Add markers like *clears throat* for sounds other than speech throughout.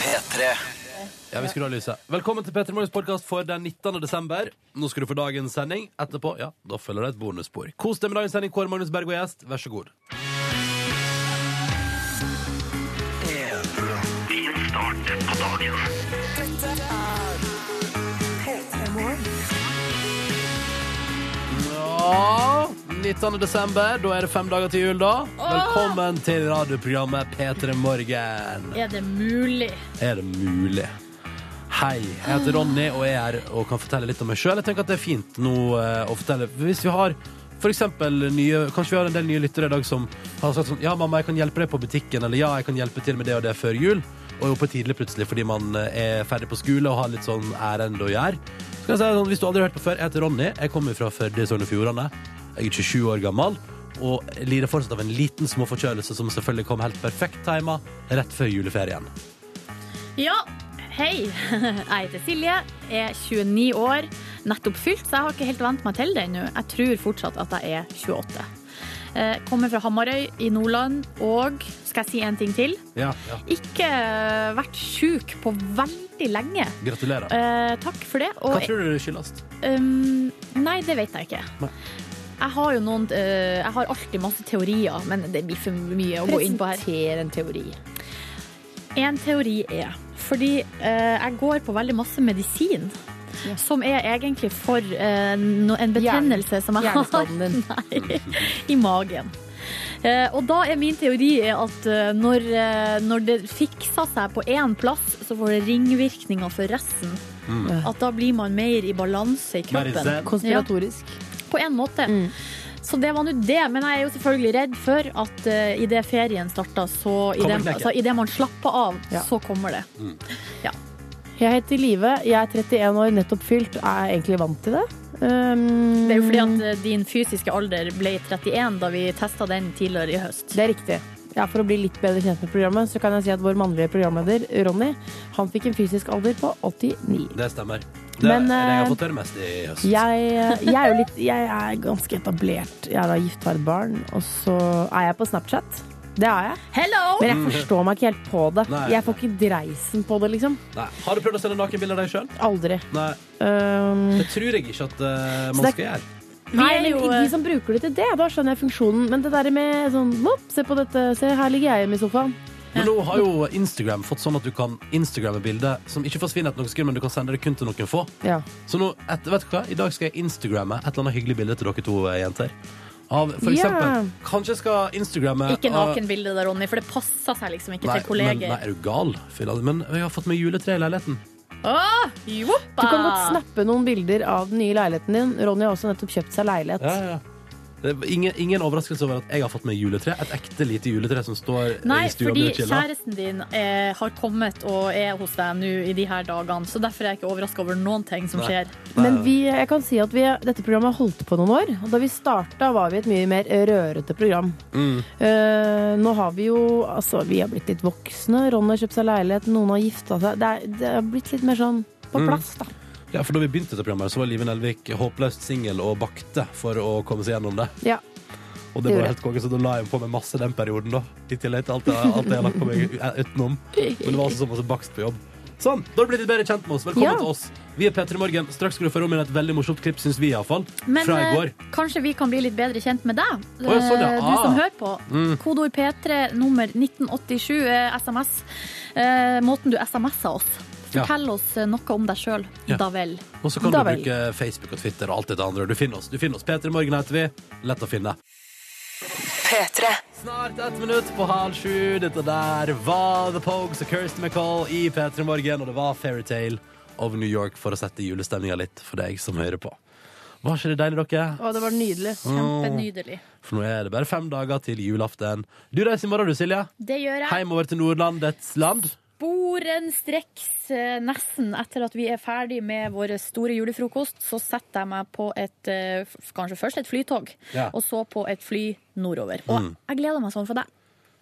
P3. Ja, vi skrur av lyset. Velkommen til Petter Morgens podkast for den 19. desember. Nå skal du få dagens sending. Etterpå ja, da følger det et bonusspor. Kos deg med dagens sending, Kåre Magnus Berg og gjest. Vær så god. Ja, 19. desember, da er det fem dager til jul, da. Velkommen til radioprogrammet P3 Morgen. Er det mulig? Er det mulig? Hei, jeg heter Ronny og er her og kan fortelle litt om meg sjøl. Jeg tenker at det er fint nå eh, å fortelle Hvis vi har for eksempel nye Kanskje vi har en del nye lyttere i dag som har sagt sånn Ja, mamma, jeg kan hjelpe deg på butikken, eller ja, jeg kan hjelpe til med det og det før jul. Og er oppe tidlig plutselig fordi man eh, er ferdig på skole og har litt sånn ærende å gjøre. Så kan jeg si sånn, Hvis du aldri har hørt på før, jeg heter Ronny. Jeg kommer fra Førde i Sogn og Fjordane. Jeg er 27 år gammel. Og lider fortsatt av en liten småforkjølelse som selvfølgelig kom helt perfekt tima rett før juleferien. Ja, hei. *laughs* Jeg heter Silje, er 29 år, nettopp fylt, så jeg har ikke helt vent meg til det ennå. Jeg tror fortsatt at jeg er 28. Eh, Kommer fra Hamarøy i Nordland, og skal jeg si en ting til? Ja, ja. Ikke eh, vært sjuk på veldig lenge. Gratulerer. Eh, takk for det. Hva Og tror du det skyldes? Um, nei, det vet jeg ikke. Nei. Jeg har jo noen eh, Jeg har alltid masse teorier, men det blir for mye å gå inn på her. Presenter en teori. En teori er Fordi eh, jeg går på veldig masse medisin. Som er egentlig for eh, no- en betennelse som jeg har Hjerneskaden din. *laughs* Nei, i magen. Eh, og da er min teori er at eh, når, eh, når det fikser seg på én plass, så får det ringvirkninger for resten. At da blir man mer i balanse i Mm. Mer i kroppen. zen. Konspiratorisk. På en måte. Mm. Så det var nå det. Men jeg er jo selvfølgelig redd for at uh, idet ferien starta, så Kommer idet knekken. altså, i det man slapper av, Ja. så kommer det. Jeg heter Live, jeg er 31 år, nettopp fylt. Er jeg egentlig vant til det. Um, Det er jo fordi at eh, din fysiske alder ble 31 da vi testa den tidligere i høst. Det er riktig. Ja, For å bli litt bedre kjent med programmet, så kan jeg si at vår mannlige programleder, Ronny, han fikk en fysisk alder på 89. Det stemmer. Det er Men, det jeg har eh, fått høre mest i høst. Jeg, jeg er jo litt Jeg er ganske etablert. Jeg er da gift, har et barn, og så er jeg på Snapchat. Det er jeg. Hello! Men jeg forstår meg ikke helt på det. Nei. Jeg får ikke dreisen på det, liksom. Nei. Har du prøvd å sende nakenbilde av deg sjøl? Aldri. Nei, Um, det tror jeg ikke at eh, Så man det- skal gjøre. Nei, Vi er jo, eh, men de som bruker det til det, da skjønner jeg funksjonen. Men det der med sånn Vopp, se på dette, se her ligger jeg hjemme i sofaen. Men nå har jo Instagram fått sånn at du kan instagramme bilder som ikke forsvinner etter noen sekunder, men du kan sende det kun til noen få. Ja. Så nå, et, vet du hva? I dag skal jeg instagramme et eller annet hyggelig bilde til dere to eh, jenter. Av for Ja. eksempel Kanskje jeg skal instagramme Ikke av- nakenbildet der, Ronny, for det passer seg liksom ikke Nei, til men, nei, kolleger. er du gal? Fy, Men jeg har fått meg juletre i leiligheten. Åh, joppa! Du kan godt snappe noen bilder av den nye leiligheten din. Ronny har også nettopp kjøpt seg leilighet. Ja, ja. Det er ingen, ingen overraskelse over at jeg har fått meg juletre. Et ekte lite juletre som står Nei, i stua fordi mi og chiller. kjæresten din eh, har kommet og er hos deg nå i de her dagene, så derfor er jeg ikke overraska over noen ting som Nei. skjer. Men vi, jeg kan si at vi, dette programmet har holdt på noen år. Og da vi starta, var vi et mye mer rørete program. Mm. Eh, nå har vi jo Altså, vi har blitt litt voksne. Ronny har kjøpt seg leilighet, noen har gifta seg. Det, er, det har blitt litt mer sånn på Mm. plass, da. Ja, for da vi begynte dette programmet, så var Live Nelvik håpløst singel og bakte for å komme seg gjennom det. Ja. Og Det det var gjorde helt konge, så da la jeg på meg masse den perioden, da. I tillegg til alt jeg, alt jeg har lagt på meg u- utenom. Men det var også så masse bakst på jobb. Sånn, da har du blitt litt bedre kjent med oss. Velkommen Ja. til oss. Vi er P3 Morgen. Straks skal du få rom inn et veldig morsomt klipp, syns vi iallfall. Men Fra i eh, går. kanskje vi kan bli litt bedre kjent med deg, ja, sånn, ja. Eh, du Ah. som hører på. Kodeord P3, nummer 1987, eh, SMS. Eh, måten du SMS-er oss. Ja. Fortell oss eh, noe om deg sjøl, Ja. da vel. Og så kan Da du vel. bruke Facebook og Twitter og alt det andre. Du finner oss. Du finner oss. P3 Morgen heter vi. Lett å finne. Snart ett minutt på halv sju. Dette der var The Pogues og Kirsten MacColl i P3 Morgen, og det var Fairytale of New York for å sette julestemninga litt for deg som hører på. Var ikke det deilig, dere? Å, det var nydelig. Mm. Kjempenydelig. For nå er det bare fem dager til julaften. Du reiser i morgen, du, Silje. Det gjør jeg. Heim over til Nordlandets land. Sporenstreks eh, nesten etter at vi er ferdig med vår store julefrokost, så setter jeg meg på et eh, f- kanskje først et flytog, Ja. Mm. og så på et fly nordover. Og jeg gleder meg sånn, for jeg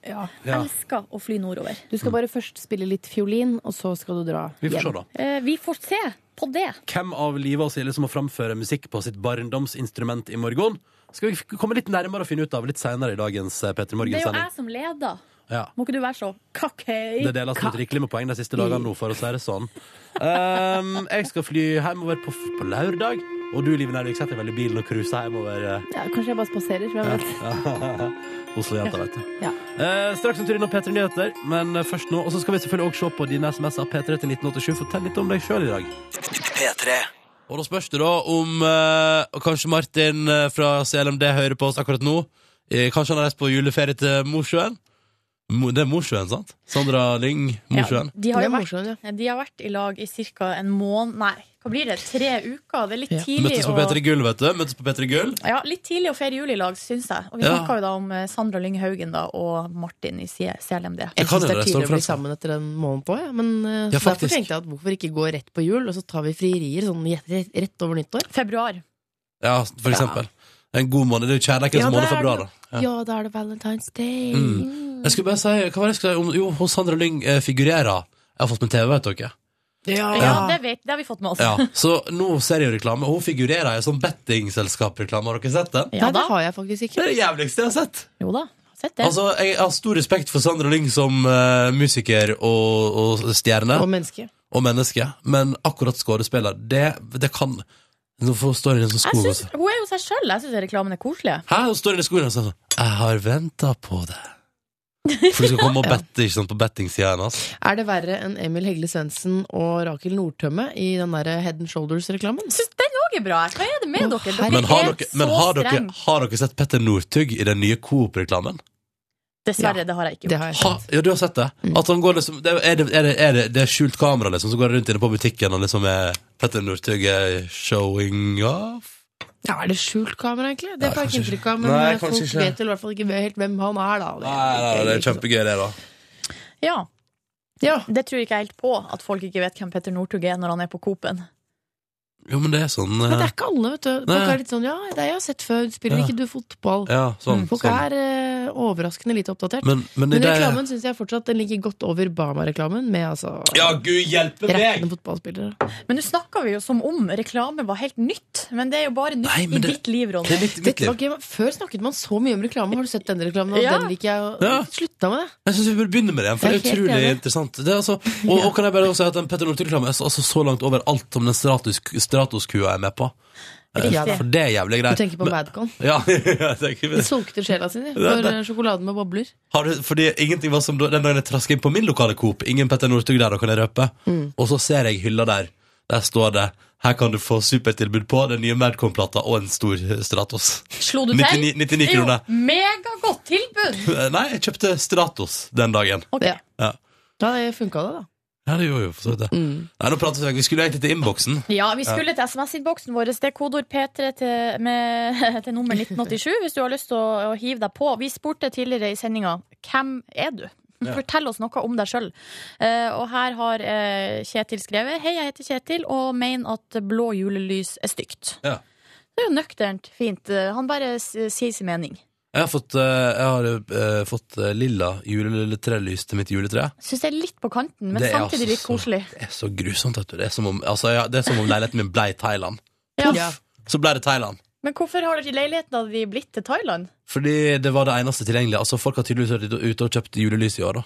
Ja. elsker å fly nordover. Du skal bare først spille litt fiolin, og så skal du dra Vi får hjem. se, da. Eh, Vi får se på det. Hvem av Live og Silje som må framføre musikk på sitt barndomsinstrument i morgen? Skal vi komme litt nærmere og finne ut av litt senere i dagens eh, P3 Det er jo Morgen-sending. jeg som leder. Ja. Må ikke du være så kakkei? Det deles ut rikelig med poeng de siste dagene nå, for å si det sånn. Ehm, jeg skal fly hjemover på, på lørdag, og du, Live Nærvik, setter vel i bilen og cruiser hjemover. eh, Ja, kanskje jeg bare spaserer, for jeg vet. Oslo-jenta, vet du. Ja. Eh, straks en tur innom P3 Nyheter, men eh, først nå. Og så skal vi selvfølgelig også se på dine SMS-er P3 til 1987. Fortell litt om deg sjøl i dag. Og da spørs det da om eh, og Kanskje Martin eh, fra CLMD hører på oss akkurat nå. Eh, kanskje han har reist på juleferie til Mosjøen? Mo, det er Mosjøen, sant? Sandra Lyng, Mosjøen. Ja, de, har jo Det er vært, morsomt, ja. de har vært i lag i ca. en måned Nei, hva blir det? Tre uker? Det er litt Ja. tidlig Møttes på å- P3 Gull, vet du. Møttes på P3 Gull. ja, litt tidlig å feire jul i lag, syns jeg. Og vi Ja. snakka jo da om eh, Sandra Lyng Haugen da, og Martin i C- CLMD. Jeg Jeg kan syns det jo er det, tidlig å bli Stormfrelst. sammen etter en måned på, ja. men eh, Ja, så derfor faktisk. tenkte jeg at hvorfor ikke gå rett på jul, og så tar vi frierier sånn jet- rett over nyttår? Februar. Ja, for eksempel. En god måned. Det er jo kjærlighetens Ja, det måned er for bra, det. da. Ja, da er det Valentine's Day! Jeg skulle bare si, hva var det jeg skulle si? om- Jo, hos Sandra Lyng eh, figurerer. Jeg har fått med TV, vet dere. Ja. Ja, det, vet, det har vi fått med oss. Ja, Så nå ser jeg jo reklame. og Hun figurerer i sånn bettingselskap-reklame. Har dere sett den? Ja Nei, det da. har jeg faktisk Det ikke. er det jævligste jeg har sett. Jo da. Sett det. Altså, Jeg har stor respekt for Sandra Lyng som eh, musiker og, og stjerne Og og, menneske. menneske, men akkurat skuespiller, det, det kan Nå får- står hun i en sånn jeg skog og synes, så- hun er jo seg sjøl. Jeg syns reklamen er koselig. Hæ? Hun står inne i skogen og sier sånn Jeg har venta på det. For du skal *laughs* komme og bette ikke sant, på altså. bettingsida hennes. Er det verre enn Emil Hegle Svendsen og Rakel Nordtømme i den derre Head and Shoulders-reklamen? Jeg syns den òg er bra. Hva er det med Å, dere? Dere herregud. Men, har er dere, så men har, dere, streng. har dere sett Petter Northug i den nye Coop-reklamen? Dessverre, det har jeg Mm. ikke Det gjort. har jeg Ha- sett. Ja, du har sett det? At han går liksom, det, er, det, er, det, er, det, det er skjult kamera liksom, som går rundt inne på butikken og liksom er Petter Northug er showing off? Ja, er det skjult kamera, egentlig? Det Nei, får jeg ikke kanskje inntrykk av, men Nei, eh, folk kanskje ikke. vet vel i hvert fall ikke helt hvem han er, da. Det, Nei, nei, nei, det er kjempegøy, det, da. Ja, Ja. Det tror jeg ikke helt på, at folk ikke vet hvem Petter Northug er når han er på Coop-en. Jo, men det er sånn Men det eh, er ikke alle, vet du. Nei. Folk er litt sånn ja, det er jeg har sett før, spiller Ja. ikke du fotball? Ja, sånn. Mm, Folk sånn. er eh, overraskende lite oppdatert. Men, men, i Men det, reklamen syns jeg fortsatt den ligger godt over Bama-reklamen, med altså Ja, gud hjelpe meg! rekkende fotballspillere. Men nå snakker vi jo som om reklame var helt nytt. Men det er jo bare nytt Nei, men i det- ditt liv, Ronny. Det er mitt, mitt Dette var liv. ikke, før snakket man så mye om reklame. Har du sett denne reklamen? Og Ja. Den liker jeg. og- Ja. Slutta med det. Jeg syns vi bør begynne med det igjen, for det er Jeg er helt utrolig enig. interessant. Det er altså, og, og kan jeg bare også si at den Petter Northug-reklamen er så- altså så langt over alt som den stratus, Stratos-kua jeg er med på. Eh, Riktig. For det er jævlig Du greit. tenker på Madcon. Ja, *laughs* jeg tenker på De det. solgte sjela si de, Det- for eh, sjokoladen med bobler. Har du, fordi ingenting var som da- Den dagen jeg trasker inn på min lokale Coop Ingen Petter Northug der, da kan jeg røpe Mm. Og så ser jeg hylla der Der står det Her kan du få supertilbud på Den nye Madcon-plata Og en stor eh, Stratos Slo du til? 99, 99 kroner Det er jo megagodt tilbud! Eh, Nei, jeg kjøpte Stratos den dagen Ok. Ja. Ja. Da funka det, da. Ja, det gjorde jo for så vidt det Mm. Nei, nå prater vi vekk Vi skulle egentlig til innboksen Ja, vi skulle til SMS-innboksen vår. Det er kodeord P3 til, med, *laughs* til nummer 1987 hvis du har lyst til å, å hive deg på. Vi spurte tidligere i sendinga hvem er du? Fortell oss noe om deg sjøl. og her har eh, Kjetil skrevet. Hei, jeg heter Kjetil og mener at blå julelys er stygt. Ja. Det er jo nøkternt fint. Eh, Han bare s- sier sin mening. Jeg har fått, eh, jeg har, eh, fått eh, lilla juletrelys til mitt juletre Syns det er litt på kanten, men Det er samtidig altså litt så- koselig. Det er så grusomt, vet du Det er som om, altså, ja, det er som om leiligheten min ble i Thailand Ja. Ja. Så ble det Thailand Men hvorfor har ikke leiligheten din blitt til Thailand? Fordi det var det eneste tilgjengelige. Altså, folk har tydeligvis vært ute og kjøpt julelys i år, da.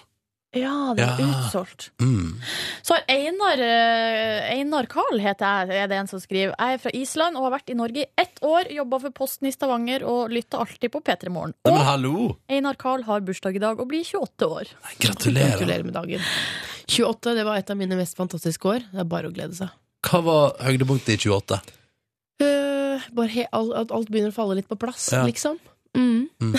Ja, det var Ja. utsolgt. Mm. Så har Einar, eh, Einar Karl heter jeg, er det en som skriver. Jeg er fra Island og har vært i Norge i ett år, jobba for Posten i Stavanger og lytter alltid på P3 Morgen. Nei, Og men hallo! Einar Karl har bursdag i dag og blir 28 år. Nei, gratulerer. Gratulerer med dagen. 28 det var et av mine mest fantastiske år. Det er bare å glede seg. Hva var høydepunktet i 28? Eh, bare he all, at alt begynner å falle litt på plass, Ja. liksom. Mm. *laughs*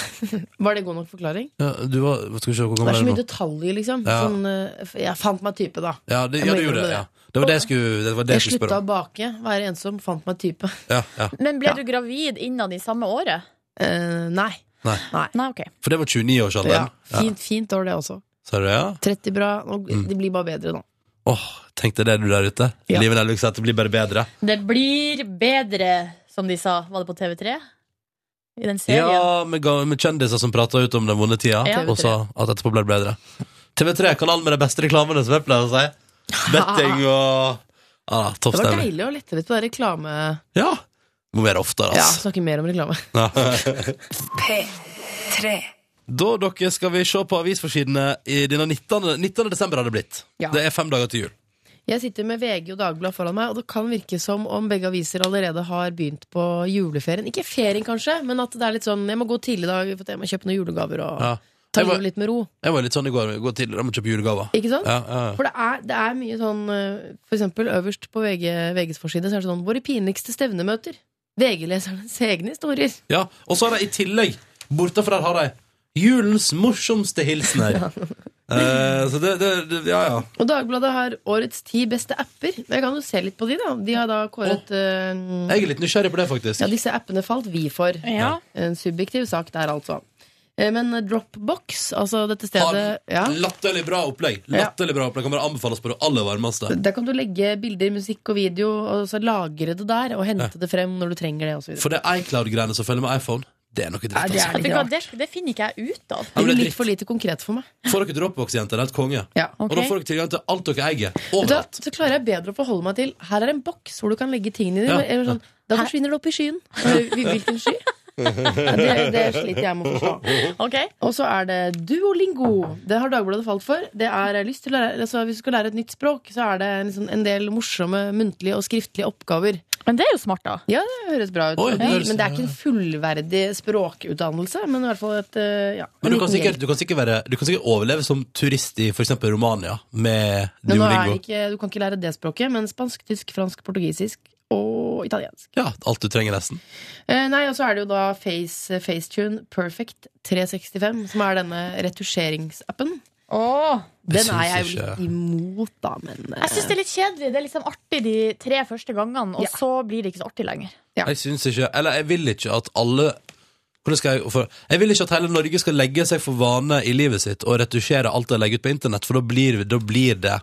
var det god nok forklaring? Ja, du var Skal vi se hvor Det er gammel du så mye er nå? detaljer, liksom. Ja. Sånn, eh, f- jeg fant meg type, da. Ja, det, Jeg ja, må du gjorde innrømme det. det. Ja. Det var det jeg skulle, det var det jeg Jeg skulle slutta spørre å om. bake, være ensom, fant meg type. *laughs* Ja, ja. Men ble Ja. du gravid innad i samme året? Eh, nei. Nei. Nei, OK. For det var 29-årsalderen. Ja. Fint, fint år, det også. Sa du det, ja? 30 bra. Nå, Mm. Det blir bare bedre nå. Åh, tenkte det du der ute. Ja. Livet Nelvik sa at det blir bare bedre. Det blir bedre, som de sa. Var det på TV3? I den serien? Ja, med, ga- med kjendiser som prata ut om den vonde tida, Ja. og sa at etterpå ble det bedre. TV3, kanalen med de beste reklamene, som jeg pleier å si. *laughs* Betting og ah, Topp Det var stemning. deilig å lette litt på det reklame... Ja. Må være oftere, Ja, altså. snakke mer om reklame. Ja. *laughs* Da dere skal vi se på avisforsidene i denne 19. 19. desember har det blitt. Ja. Det er fem dager til jul. *laughs* Jeg sitter med VG og Dagbladet foran meg, og det kan virke som om begge aviser allerede har begynt på juleferien. Ikke ferien, kanskje, men at det er litt sånn jeg må gå tidlig i dag for at jeg må kjøpe noen julegaver og Ja. ta Jeg var- livet litt med ro. Jeg var litt sånn i går. Gå til, jeg må kjøpe julegaver. Ikke sant? Ja, ja, ja. For det er, det er mye sånn eh, For eksempel øverst på VG, VGs forside så er det sånn Våre pinligste stevnemøter. VG-lesernes egne historier. ja. Og så har de i tillegg, bortafor der har de julens morsomste *laughs* hilsener. Eh, så det, det, det Ja, ja. Og Dagbladet har årets ti beste apper. Men jeg kan jo se litt på de, da. De har da kåret eh, Jeg er litt nysgjerrig på det, faktisk. Ja, disse appene falt vi for. Ja. En subjektiv sak der, altså. Eh, Men Dropbox, altså dette stedet ja, Har Latterlig bra opplegg. Latterlig bra opplegg Kommer å anbefales på det aller varmeste. Der kan du legge bilder, musikk og video, og så lagre det der og hente det frem når du trenger det. Og så videre. For det iCloud-greiene som følger med iPhone, det er noe dritt. Nei, det Altså. er litt Vet du hva, rart. det, det finner ikke jeg ut av. Ja, Det men det blir er litt for lite konkret for meg. Får dere Dropbox-jenter, det er helt konge. Ja. Og da får dere tilgang til alt dere eier. Vet du, hva, Overalt. så klarer jeg bedre å forholde meg til Her er en boks hvor du kan legge tingene dine. Ja, Eller Sånn, da forsvinner det opp i skyen. *laughs* Eh, Hvilken sky? Ja, Det, det sliter jeg med å forstå. Ok? Og så er det duolingo. Det har Dagbladet falt for. Det er lyst til å lære, altså Hvis du skal lære et nytt språk, så er det en, sånn, en del morsomme muntlige og skriftlige oppgaver. Men det er jo smart, da. Ja, det høres bra ut. Oi, det høres- men det er ikke en fullverdig språkutdannelse. Men i hvert fall et eh, ja, en Men du kan, liten sikkert, hjelp. du, kan sikkert være, du kan sikkert overleve som turist i for eksempel Romania med Men nå er det Duolingo. ikke, Du kan ikke lære det språket, men spansk, tysk, fransk, portugisisk og italiensk. Ja, alt du trenger, nesten. Eh, nei, Og så er det jo da Face, eh, Facetune Perfect 365, som er denne retusjeringsappen. Åh. Den syns er jeg jo ikke- litt imot, da, men eh, Jeg syns det er litt kjedelig. Det er liksom artig de tre første gangene, og Ja. så blir det ikke så artig lenger. Ja. Jeg syns ikke Eller jeg vil ikke at alle hvordan skal jeg, for, jeg vil ikke at hele Norge skal legge seg for vane i livet sitt og retusjere alt de legger ut på internett, for da blir, da blir det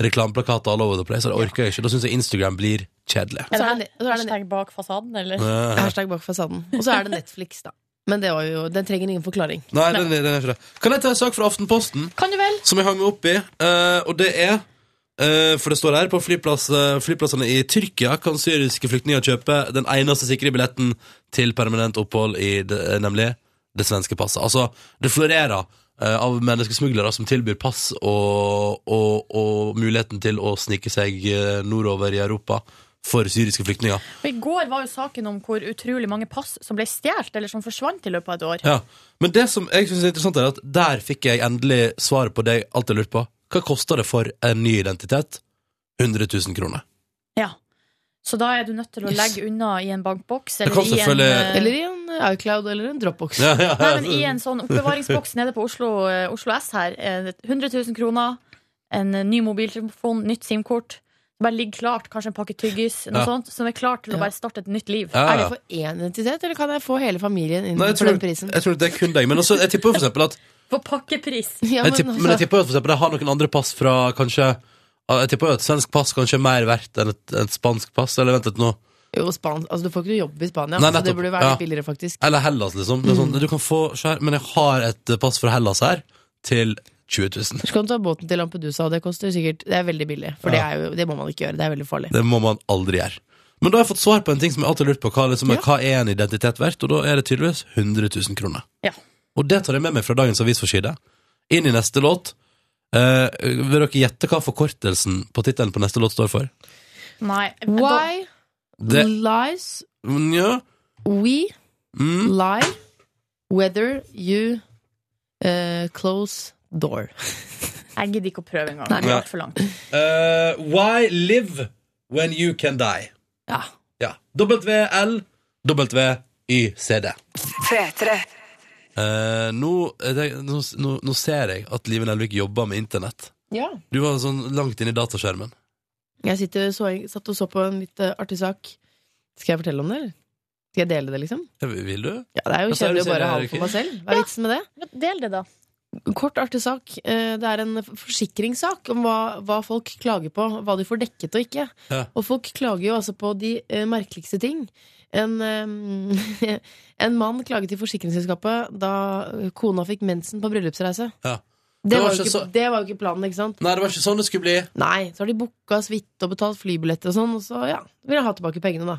reklameplakater all over the place. og Det orker jeg ikke. Da syns jeg Instagram blir kjedelig. Og så er det- og så er det- Hashtag bak fasaden, eller? Eh, Hashtag bak fasaden. Og så er det Netflix, da. Men det var jo, den trenger ingen forklaring. Nei, den, den er ikke det. Kan jeg ta en sak fra Aftenposten? Kan du vel? som jeg hang meg opp i, eh, og det er eh, For det står her, på flyplass, eh, flyplassene i Tyrkia kan syriske flyktninger kjøpe den eneste sikre billetten til permanent opphold i det, eh, nemlig det svenske passet. Altså, det florerer eh, av menneskesmuglere som tilbyr pass og, og, og muligheten til å snike seg eh, nordover i Europa for syriske flyktninger. Og I går var jo saken om hvor utrolig mange pass som ble stjålet, eller som forsvant i løpet av et år. Ja. Men det som jeg synes er interessant, er at der fikk jeg endelig svar på det jeg alltid lurte på. Hva koster det for en ny identitet? 100 000 kroner. Ja. Så da er du nødt til å legge unna i en bankboks, Det kan eller i en selvfølgelig- eh, Eller i en iCloud eller en Dropbox. *laughs* Ja, ja, Nei, men I en sånn oppbevaringsboks nede på Oslo, eh, Oslo S her. eh, 100 000 kroner, en eh, ny mobiltelefon, nytt SIM-kort. Det Bare ligger klart, kanskje en pakke tyggis, noe Ja. sånt, som er klart til å Ja. bare starte et nytt liv. Ja, Er det ja. for én identitet, eller kan jeg få hele familien inn Nei, jeg, for tror, den prisen? jeg tror det er kun deg. Men også, jeg tipper jo for eksempel at På pakkepris! *laughs* Ja, jeg altså, tipper, Men jeg tipper jo at for eksempel, jeg har noen andre pass fra kanskje Jeg tipper jo at et svensk pass kanskje er mer verdt enn et, et spansk pass. Eller vent litt nå jo, Span altså, du får ikke noe jobb i Spania, Nei, så det nettopp. burde være Ja. litt billigere, faktisk. Eller Hellas, liksom. Det er Mm. sånn, du kan få så her, Men jeg har et pass fra Hellas her til 20 000. Så kan du ta båten til Lampedusa, og det koster sikkert Det er veldig billig, Ja. for det, er jo, det må man ikke gjøre. Det er veldig farlig. Det må man aldri gjøre. Men da har jeg fått svar på en ting som jeg alltid har lurt på. Hva, liksom, er- Ja. hva er en identitet verdt? Og da er det tydeligvis 100 000 kroner. Ja. Og det tar jeg med meg fra dagens avisforside. Inn i neste låt. Eh, vil dere gjette hva forkortelsen på tittelen på neste låt står for? Nei. Da, Why Det, Mm. lies Nja. we Mm. lie whether you eh, close door? jeg gidder ikke å prøve engang. Det Nei. har gått for langt. Eh, why live when you can die? Ja. Ja. WLWYCD. Uh, nå, eh, det- nå, nå, nå ser jeg at Live Nelvik jobber med internett. ja. Du var sånn langt inn i dataskjermen. Jeg sitter, så, satt og så på en litt eh, artig sak. Skal jeg fortelle om det, eller? Skal jeg dele det, liksom? Eh, Vil du? Ja, Det er jo Ja, så er det kjedelig å bare ha seriøst, det for meg selv. Hva er vitsen med det? Men Del det, da. Kort, artig sak. Eh, Det er en forsikringssak om hva, hva folk klager på. Hva de får dekket og ikke. Ja. Og folk klager jo altså på de eh, merkeligste ting. En, eh, *laughs* en mann klaget til forsikringsselskapet da kona fikk mensen på bryllupsreise. Ja. Det var, jo ikke ikke, så- det var jo ikke planen, ikke sant? Nei, det var ikke sånn det skulle bli. Nei, så har de booka suite og betalt flybilletter og sånn, og så ja, vil jeg ha tilbake pengene, da.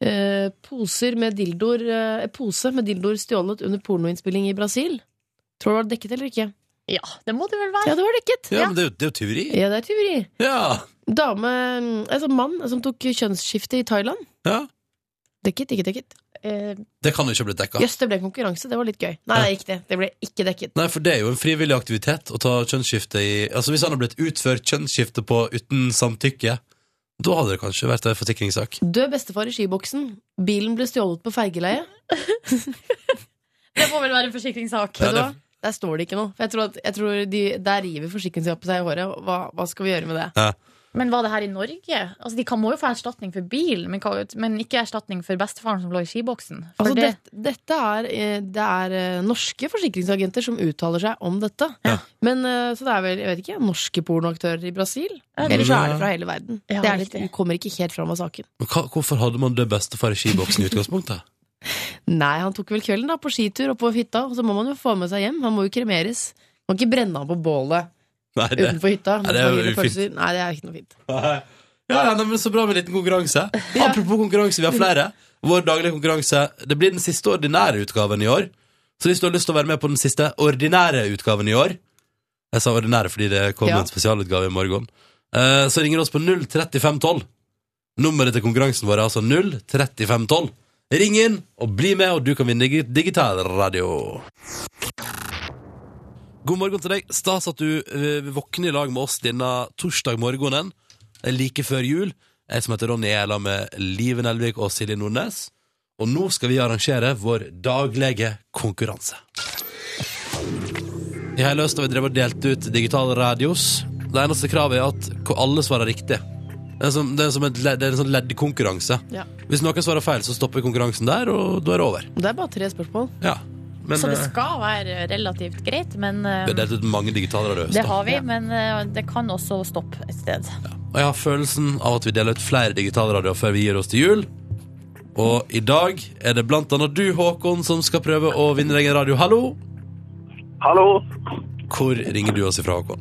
Eh, poser med dildoer eh, Pose med dildoer stjålet under pornoinnspilling i Brasil. Tror du det var dekket eller ikke? Ja, det må det vel Ja, være. det var dekket. Ja, men det er jo, det er jo tyveri. Ja, det er tyveri. Ja. Dame, altså mann som tok kjønnsskifte i Thailand. ja. Dekket, ikke dekket. Eh, Det kan jo ikke ha blitt dekka. Jøss, det ble konkurranse. Det var litt gøy. Nei, det gikk det. Det ble ikke dekket. Nei, for det er jo en frivillig aktivitet å ta kjønnsskifte i Altså hvis han har blitt utført kjønnsskifte på uten samtykke, da hadde det kanskje vært en forsikringssak. Død bestefar i skiboksen. Bilen ble stjålet på fergeleie. det må vel være en forsikringssak. Ja, Vet du hva? det- Der står det ikke noe. For jeg tror at, jeg tror de, der river forsikringsselskapet seg i håret. Hva, hva skal vi gjøre med det? Men var det her i Norge? Altså, de kan, må jo få erstatning for bil, men, hva- men ikke erstatning for bestefaren som lå i skiboksen. For Altså, det, det, dette er, eh, det er eh, norske forsikringsagenter som uttaler seg om dette. Ja. Men, eh, så det er vel jeg vet ikke, norske pornoaktører i Brasil? Ja, Eller så er ja. det fra hele verden. Ja, det er litt, riktig. kommer ikke helt fram av saken. Men hva, hvorfor hadde man død bestefar i skiboksen i utgangspunktet? Nei, han tok vel kvelden da på skitur oppå hytta, og så må man jo få med seg hjem. Han må jo kremeres. Man kan ikke brenne han på bålet Nei, det utenfor hytta. Nei, det er jo ufint. Mange pølser. Nei, det er ikke noe fint. Ja, ja nei, men så bra med en liten konkurranse. Apropos konkurranse, vi har flere. Vår daglige konkurranse. Det blir den siste ordinære utgaven i år. Så hvis du har lyst til å være med på den siste ordinære utgaven i år Jeg sa ordinære fordi det kom Ja. en spesialutgave i morgen. Eh, så ringer du oss på 03512. Nummeret til konkurransen vår er altså 03512. Ring inn og bli med, og du kan vinne digi- digital radio. God morgen til deg. Stas at du eh, våkner i lag med oss denne torsdag morgenen eh, like før jul. Jeg som heter Ronny, er i lag med Live Nelvik og Silje Nordnes. Og nå skal vi arrangere vår daglige konkurranse. I hele høst har vi drevet og delt ut digitale radios. Det eneste kravet er at ko- alle svarer riktig. Det er, som, det er, som et ledd, det er en sånn leddkonkurranse. Ja. Hvis noen svarer feil, så stopper konkurransen der, og da er det over. Det er bare tre spørsmål. Ja. Men så det eh, skal være relativt greit, men eh, vi har delt ut mange digitale radioer. i høst, det da. har vi. Men eh, det kan også stoppe et sted. Og jeg har følelsen av at vi deler ut flere digitalradioer før vi gir oss til jul. Og i dag er det blant annet du, Håkon, som skal prøve å vinne deg en radio. Hallo! Hallo. Hvor ringer du oss ifra, Håkon?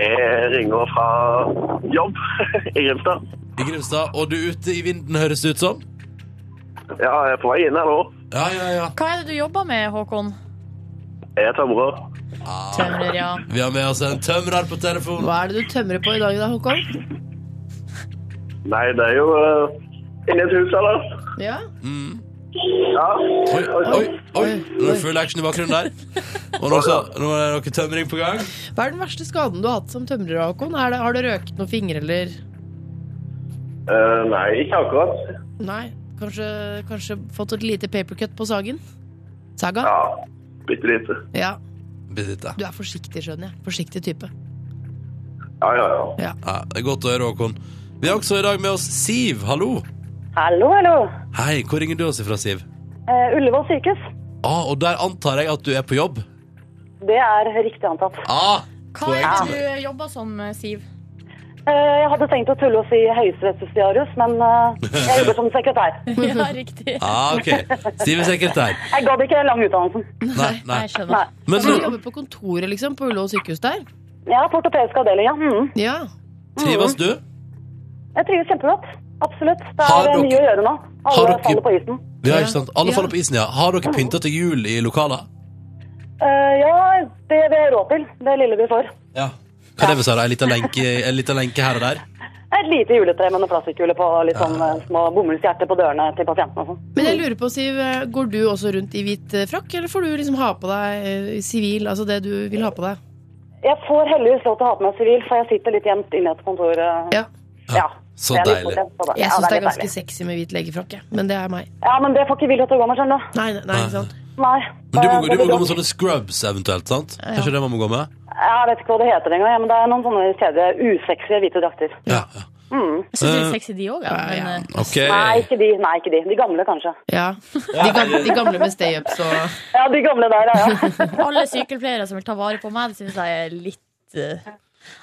Jeg ringer fra jobb *laughs* i Grimstad. I Grimstad. Og du er ute i vinden, høres det ut som? Ja, jeg er på vei inn her nå. Ja, ja, ja. Hva er det du jobber med, Håkon? Jeg er tømrer. Tømrer, ja. Vi har med oss en tømrer på telefonen. Hva er det du tømrer på i dag da, Håkon? Nei, det er jo uh, inni et hus, eller? Ja? Ja. Oi, oi, oi. Oi, Nå er det full action i bakgrunnen der. Og nå, så, nå er det noe tømring på gang. Hva er den verste skaden du har hatt som tømrer, Håkon? Er det, har du røket noen fingre, eller? Eh, nei, ikke akkurat. Nei. Kanskje, kanskje fått et lite papercut på sagen? Saga? Ja, bitte lite. Ja. Bitte lite. Du er forsiktig, skjønner jeg. Forsiktig type. Ja, ja, ja. Ja, det er godt å høre, Håkon. Vi har også i dag med oss Siv. Hallo. Hallo, hallo. Hei, hvor ringer du oss ifra, Siv? Uh, Ullevål sykehus. Ah, og der antar jeg at du er på jobb. Det er riktig antatt. Ah, Hva er det du jobber som, Siv? Eh, jeg hadde tenkt å tulle og si høyesterettsjustitiarius, men eh, jeg jobber som sekretær. Ja, riktig. ah ok. Siv er sekretær. Jeg gadd ikke lang utdannelsen. Nei, nei. Nei, Jeg skjønner. Nei. Men Så du nå jobber på kontoret, liksom, på Ullevål sykehus der? Jeg har ortopedisk avdeling, ja. Mm. Ja. trives du? Jeg trives kjempegodt. Absolutt. Det Har er eh, dere- mye å gjøre nå. Har Alle dere- faller på isen. Ja, ikke sant? Alle Ja. faller på isen, ja. Har dere pynta til jul i lokalet? Eh, ja, det vi har råd til. Det lille vi får. Ja. Hva er det vi sa, da? Ei lita lenke, ei lita lenke her og der? Et lite juletre med noen plastikkule på og litt sånn eh, små bomullshjerter på dørene til pasientene og sånn. Men jeg lurer på, Siv, eh, går du også rundt i hvit eh, frakk, eller får du liksom ha på deg eh, sivil, altså det du vil ha på deg? Jeg får heldigvis lov til å ha på meg sivil, for jeg sitter litt gjemt inne i et kontor. eh. Ja. ja. Så Det er litt deilig. forskjell på Jeg Ja, syns det er litt ganske deilig. sexy med hvit legefrakk, jeg. Men det er meg. Ja, men det får ikke vi lov til å gå med, skjønner du. Nei, nei, nei, ikke sant. Nei. Men du må, det- gå- du det må gå blir med dumt. sånne scrubs eventuelt, sant? Ja. Kanskje det man må gå med? Jeg vet ikke hva det heter engang, ja, men det er noen sånne kjedelige, usexy hvite drakter. Ja. ja. Jeg syns det Eh, er sexy, de òg, ja. ja, ja. Men, eh, Ok. Nei, ikke de. Nei, ikke de. De gamle, kanskje. Ja. De gamle, de gamle med stay-ups og Ja, de gamle der, *laughs* ja. ja. eh, alle sykepleiere som vil ta vare på meg, det syns jeg er litt eh,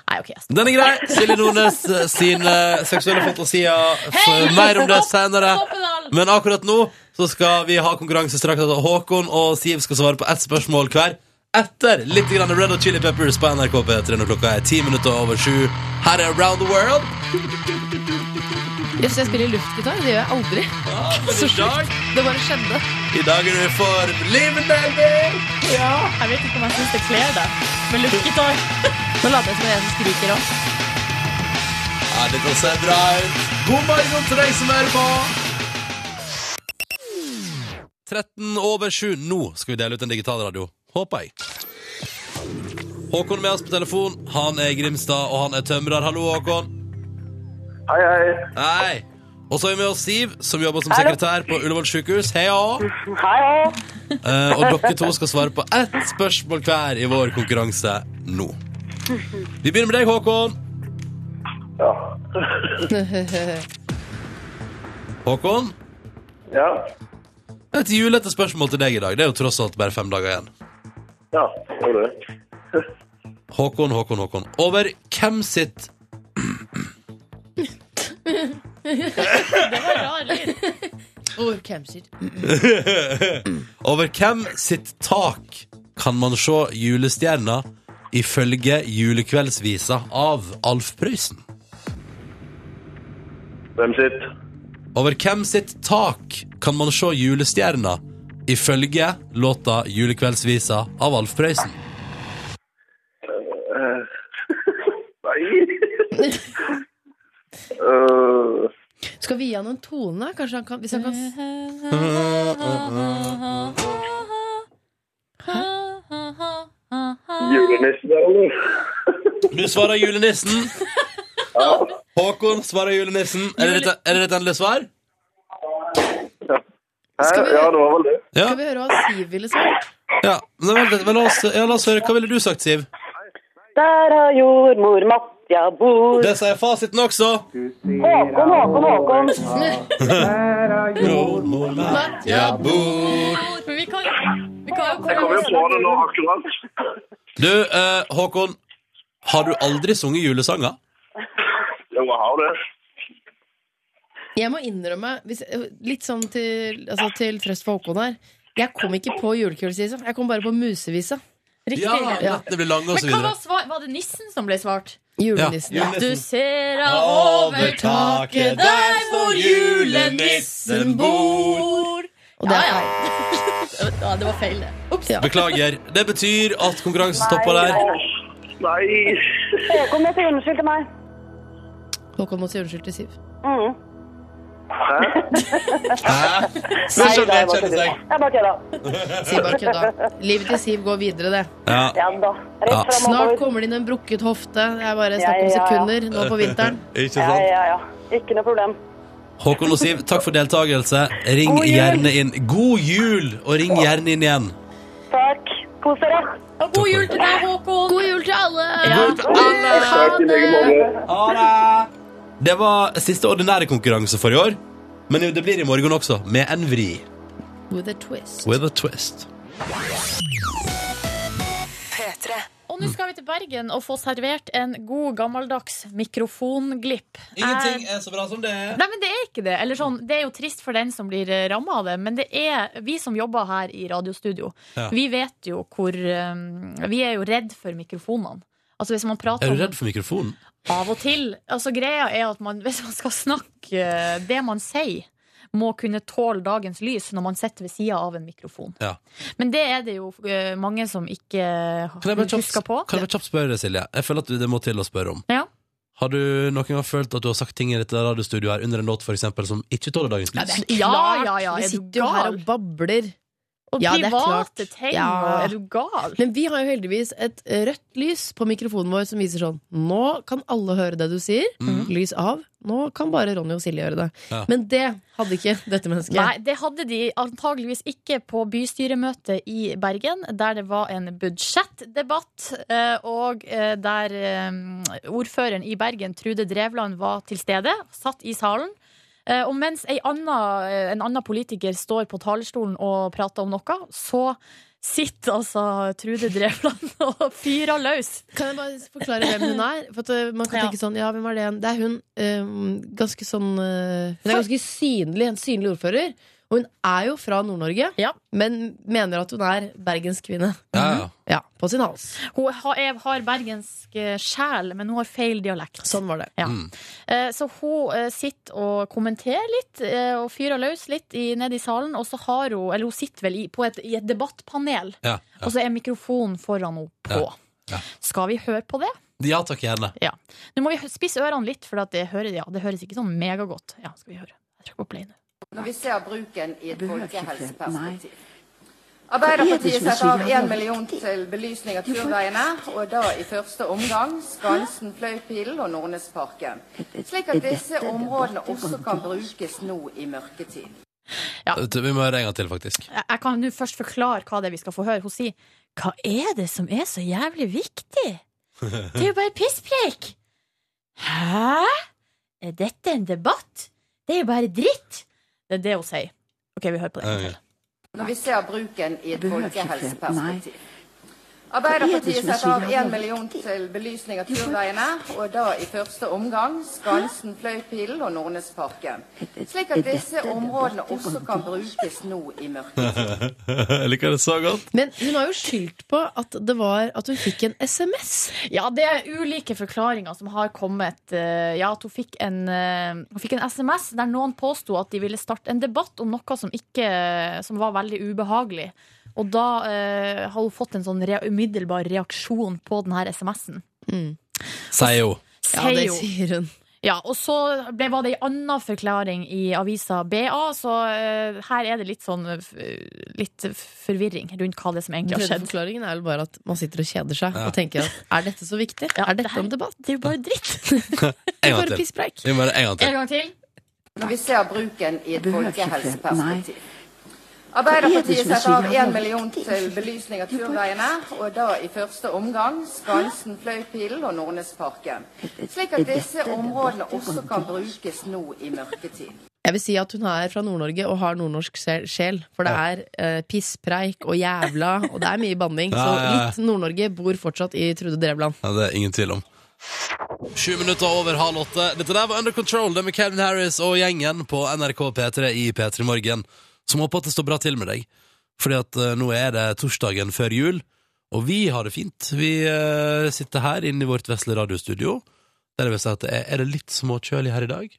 Nei, OK. Jeg Den er grei! Silje Nordnes eh, sine seksuelle fantasier. For Hei! mer om det senere. Toppedal! Men akkurat nå så skal vi ha konkurranse straks. Altså Håkon og Siv skal svare på ett spørsmål hver. Etter litt grann Red og Chili Peppers på NRK P3 når klokka er ti minutter over sju. Her er Around the World. Yes, jeg spiller luftgitar. Det gjør jeg aldri. Men i dag, Det bare skjedde. i dag er du for livet, baby! Jeg vet ikke om jeg syns det kler deg med luftgitar. Nå later jeg som jeg som skriker òg. Ja, dette ser bra ut. God morgen til deg som hører på. 13 over 7. Nå skal vi dele ut en digital radio. Håper jeg. Håkon er med oss på telefon. Han er i Grimstad, og han er tømrer. Hallo, Håkon. Hei, hei. Hei. Og så er vi med oss Siv, som jobber som Hallo. sekretær på Ullevål sykehus. Hei, ja. Hei, hei. Eh, og dere to skal svare på ett spørsmål hver i vår konkurranse nå. Vi begynner med deg, Håkon. Ja. *laughs* Håkon, Ja. et julete spørsmål til deg i dag. Det er jo tross alt bare fem dager igjen. Ja, det var det. Håkon, Håkon, Håkon. Over hvem sitt Over camser. Over hvem sitt tak kan man se julestjerna ifølge julekveldsvisa av Alf Prøysen? Hvem sitt? Over hvem sitt tak kan man se julestjerna ifølge låta Julekveldsvisa av Alf Prøysen? Eh, *laughs* Nei. Øh, Skal vi gi han en tone? Kanskje han kan, hvis han kan s- julenissen der, eller? Du svarer julenissen. Håkon svarer julenissen. Er det ditt- er det ditt endelige svar? Hæ? Skal vi- Ja, det var vel det. Ja. Skal vi høre hva Siv ville sagt? ja. Men, vent litt, men la, oss, ja, la oss høre. Hva ville du sagt, Siv? Der har jordmor Matja bor. Det sier fasiten også. Håkon, Håkon, Håkon. Ja, bor Men vi kan, vi kan Jeg kom jo på det nå akkurat. Du, eh, Håkon, har du aldri sunget julesanger? Jo, jeg har det. Jeg må innrømme, hvis, litt sånn til, altså, til trøst for Håkon her Jeg kom ikke på julekveldsvisa. Jeg kom bare på musevisa. Riktig. Ja, det blir lange og så Men hva videre. var svar? Var det nissen som ble svart? Julenissen. Ja. Du ser av Over over taket, taket der der hvor hvor julenissen julenissen bor. Og det er Ja, *laughs* Ja, det var feil, det. Beklager. Det betyr at konkurransen stopper der. 哎 Nei. Håkon må si unnskyld til meg. Håkon må si unnskyld til Siv. Mm. Hæ? Hæ? Nei, Skjønner da, jeg, jeg bare kjenner kødder. seg. Jeg bare kødda. Siv bare kødda. Livet til Siv går videre, det. Ja. Ja da. Ja. Rett frem Snart og kommer det inn en brukket hofte. Det er bare snakk om Ja, ja, ja. sekunder nå på vinteren. Ikke Ja, sant? ja, ja. Ikke noe problem. Håkon og Siv, takk for deltakelse. Ring God jul. gjerne inn. God jul, og ring gjerne inn igjen. Takk. Kos dere. Og god jul til deg, Håkon. God jul til alle! Takk i like måte. Det var siste ordinære konkurranse for i år, men jo, det blir i morgen også, med en vri. With a twist. With a twist. Og nå skal vi til Bergen og få servert en god, gammeldags mikrofonglipp. Jeg- er så bra som det. Nei, men det er ikke det. Eller sånn, det er jo trist for den som blir ramma av det, men det er vi som jobber her i radiostudio. Ja. Vi vet jo hvor um, Vi er jo redd for mikrofonene. Altså hvis man prater Er om du redd for mikrofonen? av og til Altså Greia er at man, *laughs* hvis man skal snakke eh, det man sier, må kunne tåle dagens lys når man sitter ved sida av en mikrofon. Ja. Men det er det jo eh, mange som ikke Kan jeg bare husker kjapt, på. kan jeg bare kjapt spørre deg, Silje? Jeg føler at du- det må til å spørre om. Ja. Har du noen gang følt at du har sagt ting i dette radiostudioet her under en låt for eksempel, som ikke tåler dagens lys? det Ja, Klart, ja, ja, Vi er du sitter jo her gal? og babler. Og Ja, det er private klart. ting, Ja. og er du gal? Men vi har jo heldigvis et rødt lys på mikrofonen vår som viser sånn Nå kan alle høre det du sier. Mhm. Lys av. Nå kan bare Ronny og Silje gjøre det. Ja. Men det hadde ikke dette mennesket. Nei, det hadde de antageligvis ikke på bystyremøtet i Bergen, der det var en budsjettdebatt, eh, og eh, der eh, ordføreren i Bergen, Trude Drevland, var til stede, satt i salen. Eh, Og mens ei anna, eh, en annen politiker står på talerstolen og prater om noe, så sitter altså Trude Drevland *laughs* og fyrer løs. Kan jeg bare forklare hvem hun er? For at eh, man kan Ja. tenke sånn, ja, hvem er Det Det er hun eh, ganske sånn eh, Hun er ganske synlig, en synlig ordfører. Og hun er jo fra Nord-Norge, men mener at hun er bergenskvinne. Ja, ja. Ja, på sin hals. Hun har, er- har bergensk eh, sjel, men hun har feil dialekt. Sånn var det. Ja. Eh, Så hun eh, sitter og kommenterer litt eh, og fyrer løs litt i- nede i salen. Og så har hun, eller hun sitter vel i, på et, i et debattpanel, Ja, ja. og så er mikrofonen foran henne på. Ja. Skal vi høre på det? ja takk, gjerne. Ja. Nå må vi hø- spisse ørene litt, for at det, hører, ja, det høres ikke sånn megagodt. Ja, skal vi høre. Jeg trykker på play nå. Når vi ser bruken i et folkehelseperspektiv. Det er Arbeiderpartiet det som setter er så av jævla 1 million til belysning av turveiene, og da i første omgang Skansen, Fløypilen og Nordnesparken. Slik at disse områdene også kan brukes nå i mørketid. Vet du, Vi må høre en gang til, faktisk. Jeg, jeg kan nå først forklare hva det er vi skal få høre. Hun sier Hva er det som er så jævlig viktig? Det er jo bare pisspreik! Hæ? Er dette en debatt? Det er jo bare dritt! Det er det hun sier. OK, vi hører på det. en gang til. Når vi ser bruken i et Behøver ikke flere. folkehelseperspektiv. Det er det Arbeiderpartiet som er så setter av jævla 1 million til belysning av turveiene, og da i første omgang Skansen, Fløypilen og Nordnesparken. Slik er at dette disse det- områdene dette også var kan brukes nå i mørketid. Jeg liker det så godt. Men hun har jo skyldt på at, det var at hun fikk en SMS. Ja, det er ulike forklaringer som har kommet. Eh, Ja, at hun fikk en, eh, hun fikk en SMS der noen påsto at de ville starte en debatt om noe som, ikke, som var veldig ubehagelig. Og da eh, har hun fått en sånn re umiddelbar reaksjon på denne SMS-en. Sier *laughs* jo. Ja, det Sier hun. sier hun. Ja, og så ble, var det en annen forklaring i avisa BA, så eh, her er det litt sånn eh, f- litt forvirring rundt hva det er som egentlig har Tredje skjedd. forklaringen er vel bare at man sitter og kjeder seg og tenker at er dette så viktig? Ja, er det dette her- en debatt? Det er jo *laughs* bare dritt. En gang Bare til. pisspreik. Vi må høre en gang En til. gang til. Når vi ser bruken i et Behøver ikke folkehelseperspektiv. Det er det som Arbeiderpartiet er så setter av jævla 1 million til belysning av turveiene, og da i første omgang Skansen, Fløypilen og Nordnesparken. Slik at disse områdene også kan brukes nå i mørketid. *laughs* Jeg vil si at hun er fra Nord-Norge og har nordnorsk sel- sjel. For det er eh, pisspreik og jævla, og det er mye banning. Så *laughs* Ja, ja, ja. litt Nord-Norge bor fortsatt i Trude Drevland. Ja, det er ingen tvil om. Sju minutter over halv åtte. Dette der var Under Control. Det er med Calvin Harris og gjengen på NRK P3 i P3 Morgen. Som håper at det står bra til med deg. Fordi at eh, nå er det torsdagen før jul, og vi har det fint. Vi eh, sitter her inne i vårt vesle radiostudio. Der jeg vil si at det er, er det litt småkjølig her i dag?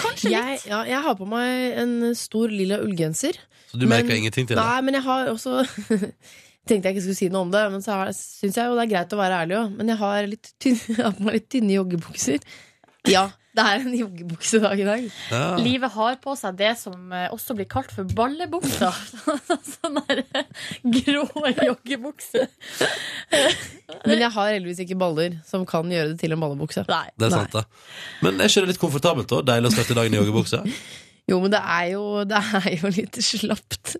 Kanskje Jeg, litt. ja, jeg har på meg en stor lilla ullgenser. Så du Men- merker ingenting til det? Nei, men jeg har også *laughs* Tenkte jeg ikke skulle si noe om det, men så syns jeg jo det er greit å være ærlig òg. Men jeg har, litt tynn, *laughs* jeg har på meg litt tynne joggebukser. Ja, det er en joggebuksedag i dag. Ja. Livet har på seg det som eh, også blir kalt for *laughs* ballebuksa. Sånn der grå joggebukse. Men jeg har heldigvis ikke baller som kan gjøre det til en ballebukse. Nei. Det er sant, det. Men er ikke det litt komfortabelt, da? Deilig å starte dagen i joggebukse? Jo, men det er jo, *laughs* det er jo litt slapt.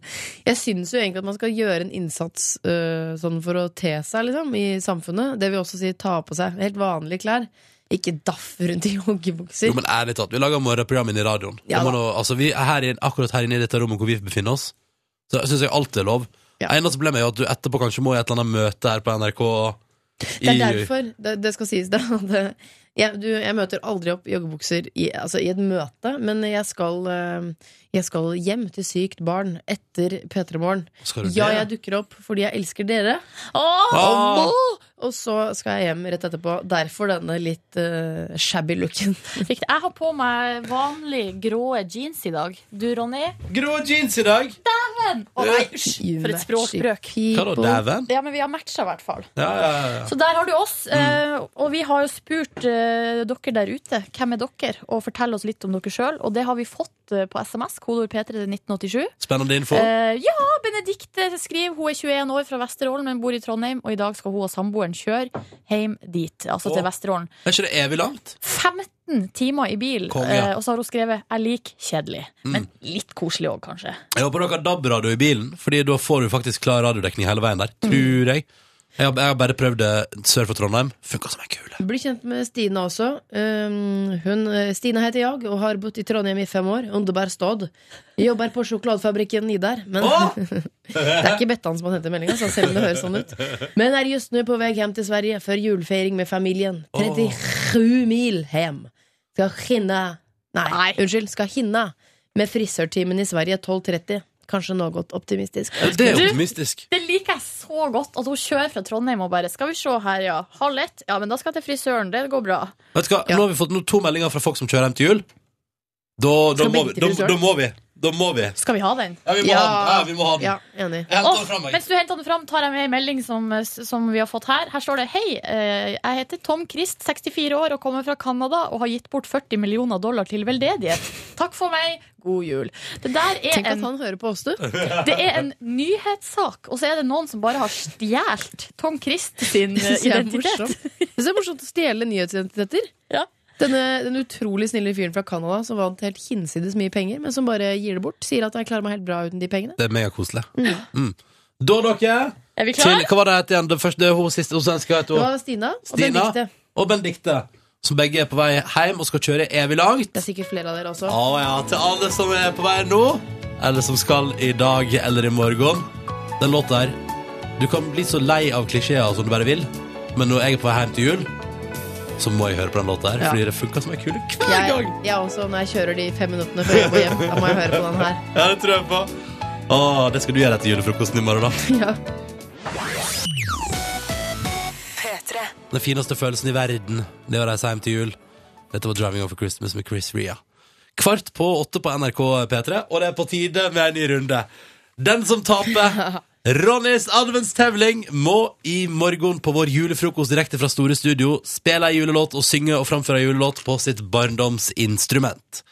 Jeg syns jo egentlig at man skal gjøre en innsats øh, sånn for å te seg liksom, i samfunnet. Det vil også si ta på seg helt vanlige klær. Ikke daff rundt i *laughs* joggebukser. Jo, men ærlig talt, vi lager morgenprogram inne i radioen. Ja Det må da. nå- altså, vi er her, inn- akkurat her inne i dette rommet hvor vi befinner oss, så syns jeg alt er lov. Ja. Eneste problemet er jo at du etterpå kanskje må i et eller annet møte her på NRK. Det er i- derfor, det, det skal sies det, at eh, jeg, du, jeg møter aldri opp joggebukser i, altså, i et møte, men jeg skal, eh, jeg skal hjem til sykt barn etter P3 Morgen. Skal du det? Ja, jeg dukker opp fordi jeg elsker dere, Åh! Ah! og så skal jeg hjem rett etterpå. Derfor denne litt eh, shabby looken. Fikk- Jeg har på meg vanlig grå jeans i dag. Du, Ronny? Grå jeans i dag! Å nei, hysj! You For et matchy språkbrøk. Eh, Hva da, people. dæven? Ja, men vi har matcha, i hvert fall. Ja, ja, ja. Så der har du oss. eh, Og vi har jo spurt eh, dere der ute hvem er dere, og fortell oss litt om dere sjøl. Og det har vi fått eh, på SMS, kodeord P3 til 1987. Spennende info. Eh, ja, Benedikte skriver hun er 21 år fra Vesterålen, men bor i Trondheim. Og i dag skal hun og samboeren kjøre hjem dit, altså til Å. Vesterålen. Er ikke det evig langt? 15 timer i bil, Konge. Mm. eh, og så har hun skrevet 'jeg liker kjedelig'. Men litt koselig òg, kanskje. Jeg håper dere har DAB-radio i bilen, Fordi da får du faktisk klar radiodekning hele veien der. Mm. Tror jeg. Jeg har, jeg har bare prøvd det sør for Trondheim. Funka som ei kule. Bli kjent med Stina også. Um, hun, eh, Stina heter jeg og har bodd i Trondheim i fem år. Underbar stad. Jobber på sjokoladefabrikken Nidar. Men *laughs* det er ikke Bettan som han henter meldinga, selv om det høres sånn ut. Men er just nå på vei hjem til Sverige for julefeiring med familien. 37 mil hjem. Skal hinne Nei, Nei. unnskyld. Skal hinne med frisørtimen i Sverige 12.30. Kanskje noe godt optimistisk. Det er Du- optimistisk. Det liker jeg så godt. At hun kjører fra Trondheim og bare Skal vi se her, ja. Halv ett? Ja, men da skal jeg til frisøren. Det går bra. Vet du hva, Nå har vi fått no- to meldinger fra folk som kjører hjem til jul. Da, da, Skal må, begge vi, til da, frisøren? da må vi. Da må vi. Skal vi ha den? Ja, vi må ha den. Ja, vi må ha den. Ja, enig. Jeg henter Åh, den fra meg. mens du henter den fram, tar jeg med en melding som, som vi har fått her. Her står det Hei, eh, jeg heter Tom Christ, 64 år og kommer fra Canada og har gitt bort 40 millioner dollar til veldedighet. Takk for meg, god jul. Det der er, Tenk at en, han hører på oss, du. det er en nyhetssak, og så er det noen som bare har stjålet Tom Christ sin eh, Det *laughs* synes jeg er identitet. morsomt. Jeg synes *laughs* det er morsomt å stjele nyhetsidentiteter. Ja. Denne, den utrolig snille fyren fra Canada som vant helt hinsides mye penger, men som bare gir det bort. Sier at 'jeg klarer meg helt bra uten de pengene'. Det er megakoselig. Mm. Da, dere, Er vi til klare? Hva var det het igjen? Det første, det er hun siste hun svenska het Det hun. var Stina og Stina Benedikte. og Benedikte. Som begge er på vei hjem og skal kjøre evig langt. Det er sikkert flere av dere også. Å ja, til alle som er på vei nå, eller som skal i dag eller i morgen. Den låta her. Du kan bli så lei av klisjeer som du bare vil, men når jeg er på vei hjem til jul, så må jeg høre på den låta her, Ja. fordi det funker som en kule hver Jeg, gang. jeg også, når jeg kjører de fem minuttene før jeg må hjem, da må jeg høre på den her. *laughs* Ja, det tror jeg på. Å, det skal du gjøre etter julefrokosten i morgen, da. Ja. Den fineste følelsen i verden Det var reise hjem til jul Dette var Driving Over Christmas med Chris Ria Kvart på åtte på NRK P3 Og det er på tide med en ny runde Den som taper Ronnys adventstevling må i morgen på vår julefrokost direkte fra Store Studio spille en julelåt og synge og framføre en julelåt på sitt barndomsinstrument.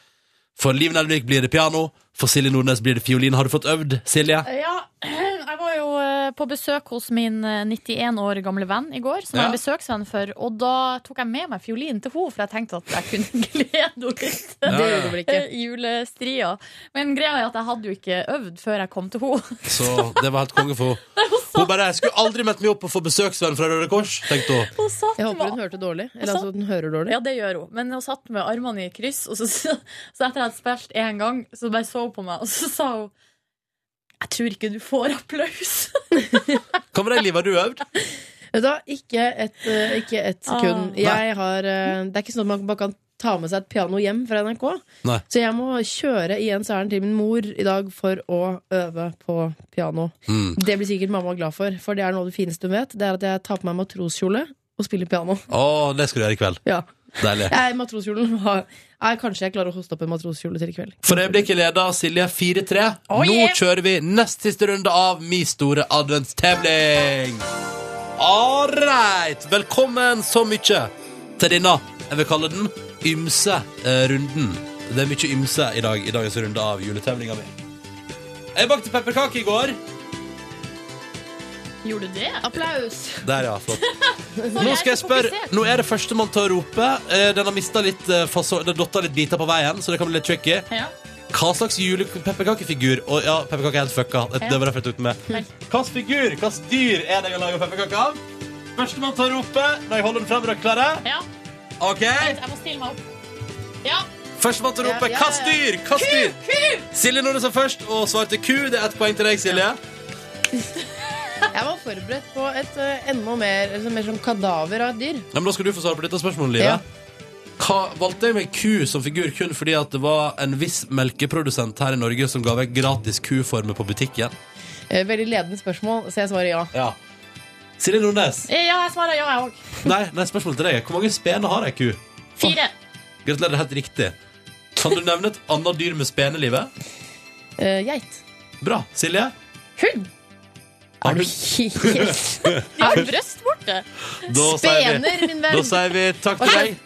For Liv Nelvik blir det piano, for Silje Nordnes blir det fiolin. Har du fått øvd, Silje? Ja, jeg var jo eh, på besøk hos min eh, 91 år gamle venn i går, som jeg Ja. er besøksvenn for, og da tok jeg med meg fiolinen til henne, for jeg tenkte at jeg kunne *laughs* glede henne litt. Det gjorde du vel ikke? eh, Julestria. Men greia er at jeg hadde jo ikke øvd før jeg kom til henne. *laughs* Så det var helt konge for henne. Hun bare 'Jeg skulle aldri meldt meg opp og få besøksvenn fra Røde Kors', tenkte hun. Hun satt Jeg håper med- hun hørte dårlig. Eller altså, hun hører dårlig. Ja, det gjør hun. Men hun satt med armene i kryss, og så, *laughs* så etter jeg hadde spilt én gang, så bare så hun på meg, og så sa hun Jeg tror ikke du får applaus. *laughs* Hva med deg, Liv? Har du øvd? Vet du hva, ikke et, eh, ikke et sekund. Ah. Jeg har, eh, det er ikke sånn at man bare kan ta med seg et piano hjem fra NRK. Nei. Så jeg må kjøre igjen særen til min mor i dag for å øve på piano. Mm. Det blir sikkert mamma glad for, for det er noe av det fineste hun vet. Det er at jeg tar på meg matroskjole og spiller piano. *laughs* Å, det skal du gjøre i kveld. Ja. Deilig. Jeg, matroskjolen var Nei, Kanskje jeg klarer å hoste opp en matroskjole til i kveld. For øyeblikket leder Silje 4-3. Nå kjører vi nest siste runde av Mi store adventstevling. Ålreit. Velkommen så mye til denne, jeg vil kalle den, ymse eh, runden. Det er mye ymse i dag i dagens runde av juletevlinga mi. Jeg bakte pepperkake i går. Gjorde du det? Altså, Applaus! Der, ja. Flott. Nå skal jeg spørre Nå er det førstemann til å rope. Eh, Den har mista litt eh, fasong Den dotta litt biter på veien, så det kan bli litt tricky. Ja. Hva slags julepepperkakefigur Å ja, pepperkake er helt fucka. Det, det var derfor jeg tok den med. Vel. Hvilken figur, hvilket dyr er det jeg lager pepperkake av? Førstemann til å rope når jeg holder den fram. Er dere klare? Ja, OK. vent, jeg må stille meg opp. Ja. Førstemann til å rope Ja, ja, ja. hvilket dyr? Hvilket dyr? Silje Nordnes er først og svarte ku. Det er ett poeng til deg, Silje. Jeg var forberedt på et eh, enda mer, altså, mer som kadaver av et dyr. Ja, men Da skal du få svare på dette spørsmålet, Live. Ja. Hva, valgte jeg meg ku som figur kun fordi at det var en viss melkeprodusent her i Norge som ga vekk gratis kuformer på butikken? Eh, Veldig ledende spørsmål, så jeg svarer ja. Ja. Silje Nordnes. Eh, ja, jeg svarer ja, jeg òg. Nei, nei, spørsmålet til deg er hvor mange spener har ei ku? Fire. Gratulerer, det er helt riktig. Kan du nevne et annet dyr med spenelivet? Eh, geit. Bra. Silje? *laughs* Hund. Har du *laughs* De har bryst borte. Da sier vi, Spener, min da venn! sier vi takk til deg.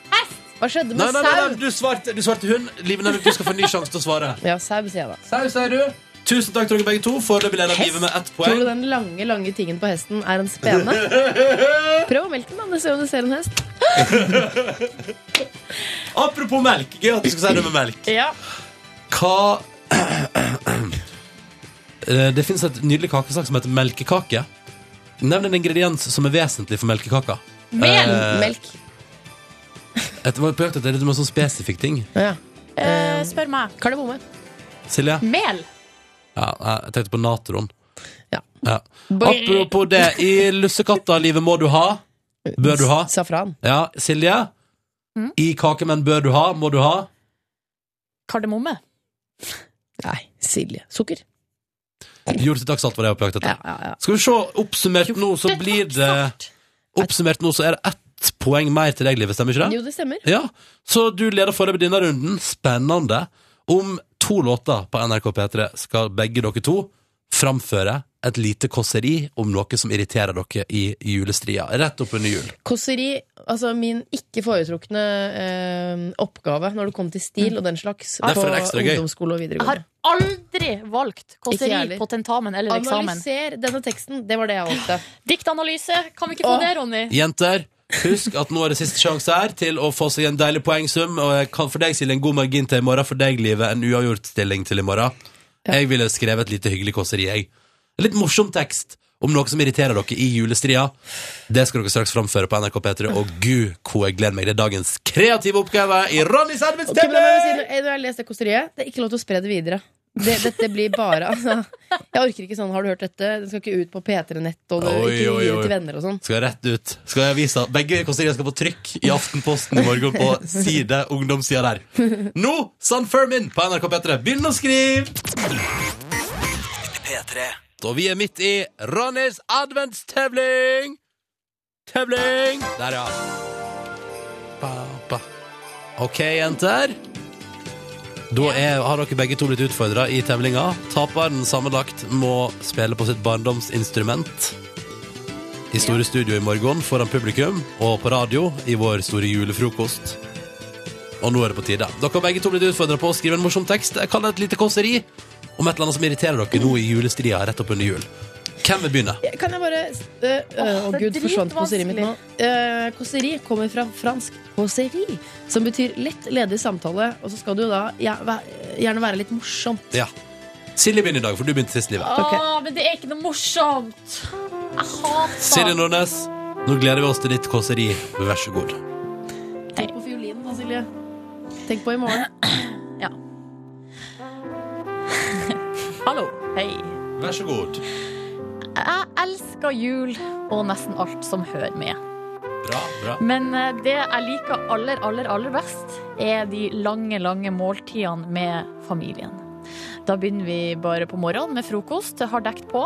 Hva skjedde Nei, med nei, nei, nei sau? du svarte, du svarte hund. Live Nelvik, du skal få en ny sjanse til å svare. Ja, sau, sier jeg da. Sau, sier du. Tusen takk til dere begge to. Foreløpig leder Live med ett Tror poeng. du den lange, lange tingen på hesten er en *laughs* spene? Prøv å melke den, da. Se om du ser en hest. Apropos melk. Gøy at du skal si det med melk. Ja. Hva *clears throat* Eh, Det finnes et nydelig kakesak som heter melkekake. Nevn en ingrediens som er vesentlig for melkekaka. Mel. Eh, Melk. Jeg var på jakt etter det med en sånn spesifikk ting. Ja. Eh, spør meg. Kardemomme. Silje? Mel. Ja, jeg tenkte på natron. Ja. Ja. Brr. Apropos det, i lussekatta-livet må du ha. Bør du ha? Safran. Ja, Silje? Mm. I kakemenn bør du ha, må du ha. Kardemomme. Nei, Silje. Sukker. Hjortetakksalt var det jeg var på jakt Ja, etter. ja, ja. Skal vi se, oppsummert nå så blir det Oppsummert nå så er det ett poeng mer til deg, Livet, stemmer ikke det? Jo, det stemmer. Ja, Så du leder foreløpig denne runden. Spennende. Om to låter på NRK P3 skal begge dere to framføre et lite kåseri om noe som irriterer dere i julestria. Rett oppunder jul. Kåseri, altså min ikke foretrukne eh, oppgave når det kom til stil og den slags Derfor på er Mm. det ekstra gøy. ungdomsskole Jeg og har videregående. aldri valgt Ikke jeg kåseri heller. på tentamen eller eksamen. Analyser denne teksten. Det var det jeg *gasps* valgte. Diktanalyse. Kan vi ikke få Åh. det, Ronny? Jenter, husk at nå er det siste sjanse her til å få seg en deilig poengsum. Og jeg kan for deg, Silje, en god margin til i morgen. For deg, Livet, en uavgjort stilling til i morgen. Jeg ville skrevet et lite hyggelig kåseri, jeg. En litt morsom tekst om noe som irriterer dere i julestria. Det skal dere straks framføre på NRK P3, og gud, hvor jeg gleder meg. Det er dagens kreative oppgave i Ronny Servens Ok, men la meg si, TV! når jeg- når jeg har lest det kåseriet, det er ikke lov til å spre det videre. Det, dette blir bare altså, Jeg orker ikke sånn 'har du hørt dette'? Den skal ikke ut på P3-nett og det, Oi, ikke oi, gi oi. det til venner og sånn. Skal rett ut. Skal jeg vise Begge kåserier skal på trykk i Aftenposten i morgen på side, ungdomssida der. Nå, San Fermin på NRK P3. Begynn å skrive! Og vi er midt i Ronnys adventstevling! Tevling! Der, ja. Ba, ba. OK, jenter. Da er, har dere begge to blitt utfordra i tevlinga. Taperen sammenlagt må spille på sitt barndomsinstrument i Store Studio i morgen foran publikum og på radio i vår store julefrokost. Og nå er det på tide. Dere har begge to blitt utfordra på å skrive en morsom tekst. Jeg kaller det et lite kåseri om et eller annet som irriterer dere nå i julestria rett opp under jul. Hvem vil begynne? Ja, Kan jeg bare øh, øh, Å, Åh, det er gud, forsvant kåseriet mitt nå. dritvanskelig. Eh, Kåseri kommer fra fransk kåseri, som betyr lett, ledig samtale. Og så skal det jo da ja, væ- gjerne være litt morsomt. Ja. Silje begynner i dag, for du begynte sist livet. Ok. Åh, men det er ikke noe morsomt! Jeg Silje hater Nordnes, nå gleder vi oss til ditt kåseri. Vær så god. Tenk på fiolinen da, Silje. Tenk på i *laughs* morgen. Hallo. Hei. Vær så god. Jeg elsker jul og nesten alt som hører med. Bra, bra. Men eh, det jeg liker aller, aller, aller best, er de lange, lange måltidene med familien. Da begynner vi bare på morgenen med frokost, har dekt på.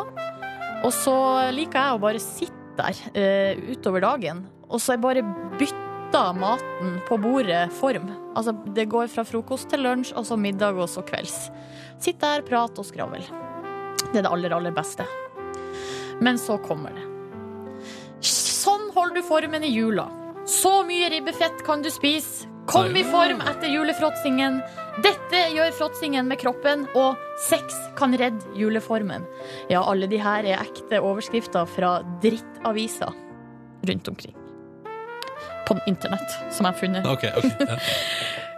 Og så liker jeg å bare sitte der eh, utover dagen, og så jeg bare bytter maten på bordet form. Altså, det går fra frokost til lunsj, og så middag, og så kvelds. Sitt der, prat og skravl. Det er det aller, aller beste. Men så kommer det. Sånn holder du formen i jula. Så mye ribbefett kan du spise. Kom i form etter julefråtsingen. Dette gjør fråtsingen med kroppen, og sex kan redde juleformen. Ja, alle de her er ekte overskrifter fra drittaviser rundt omkring. På internett, som jeg har funnet. Ok, ok. Ja.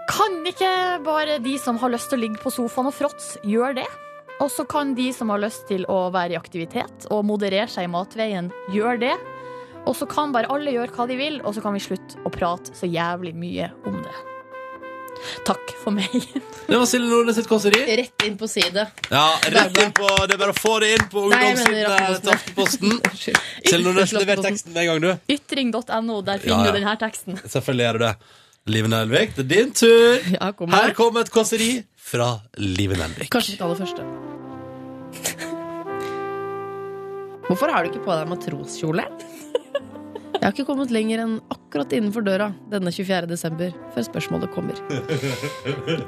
Kan ikke bare de som har lyst til å ligge på sofaen og fråts, gjøre det? Og så kan de som har lyst til å være i aktivitet og moderere seg i matveien, gjøre det. Og så kan bare alle gjøre hva de vil, og så kan vi slutte å prate så jævlig mye om det. Takk for meg. *laughs* Det var Silje Nordnes sitt kåseri. Rett inn på side. Ja, rett inn på Det er bare å få det inn på Nei, jeg mener ungdomssiden til Aftenposten. Silje Nordnes, lever teksten med en gang, du. Ytring.no, Ja, der ja. finner du denne teksten. Selvfølgelig gjør du det. Live Nelvik, det er din tur. Ja, kom Her her. kommer et kåseri fra Live Nelvik. Kanskje mitt aller første. Hvorfor har du ikke på deg matroskjole? Jeg har ikke kommet lenger enn akkurat innenfor døra denne 24. desember, før spørsmålet kommer.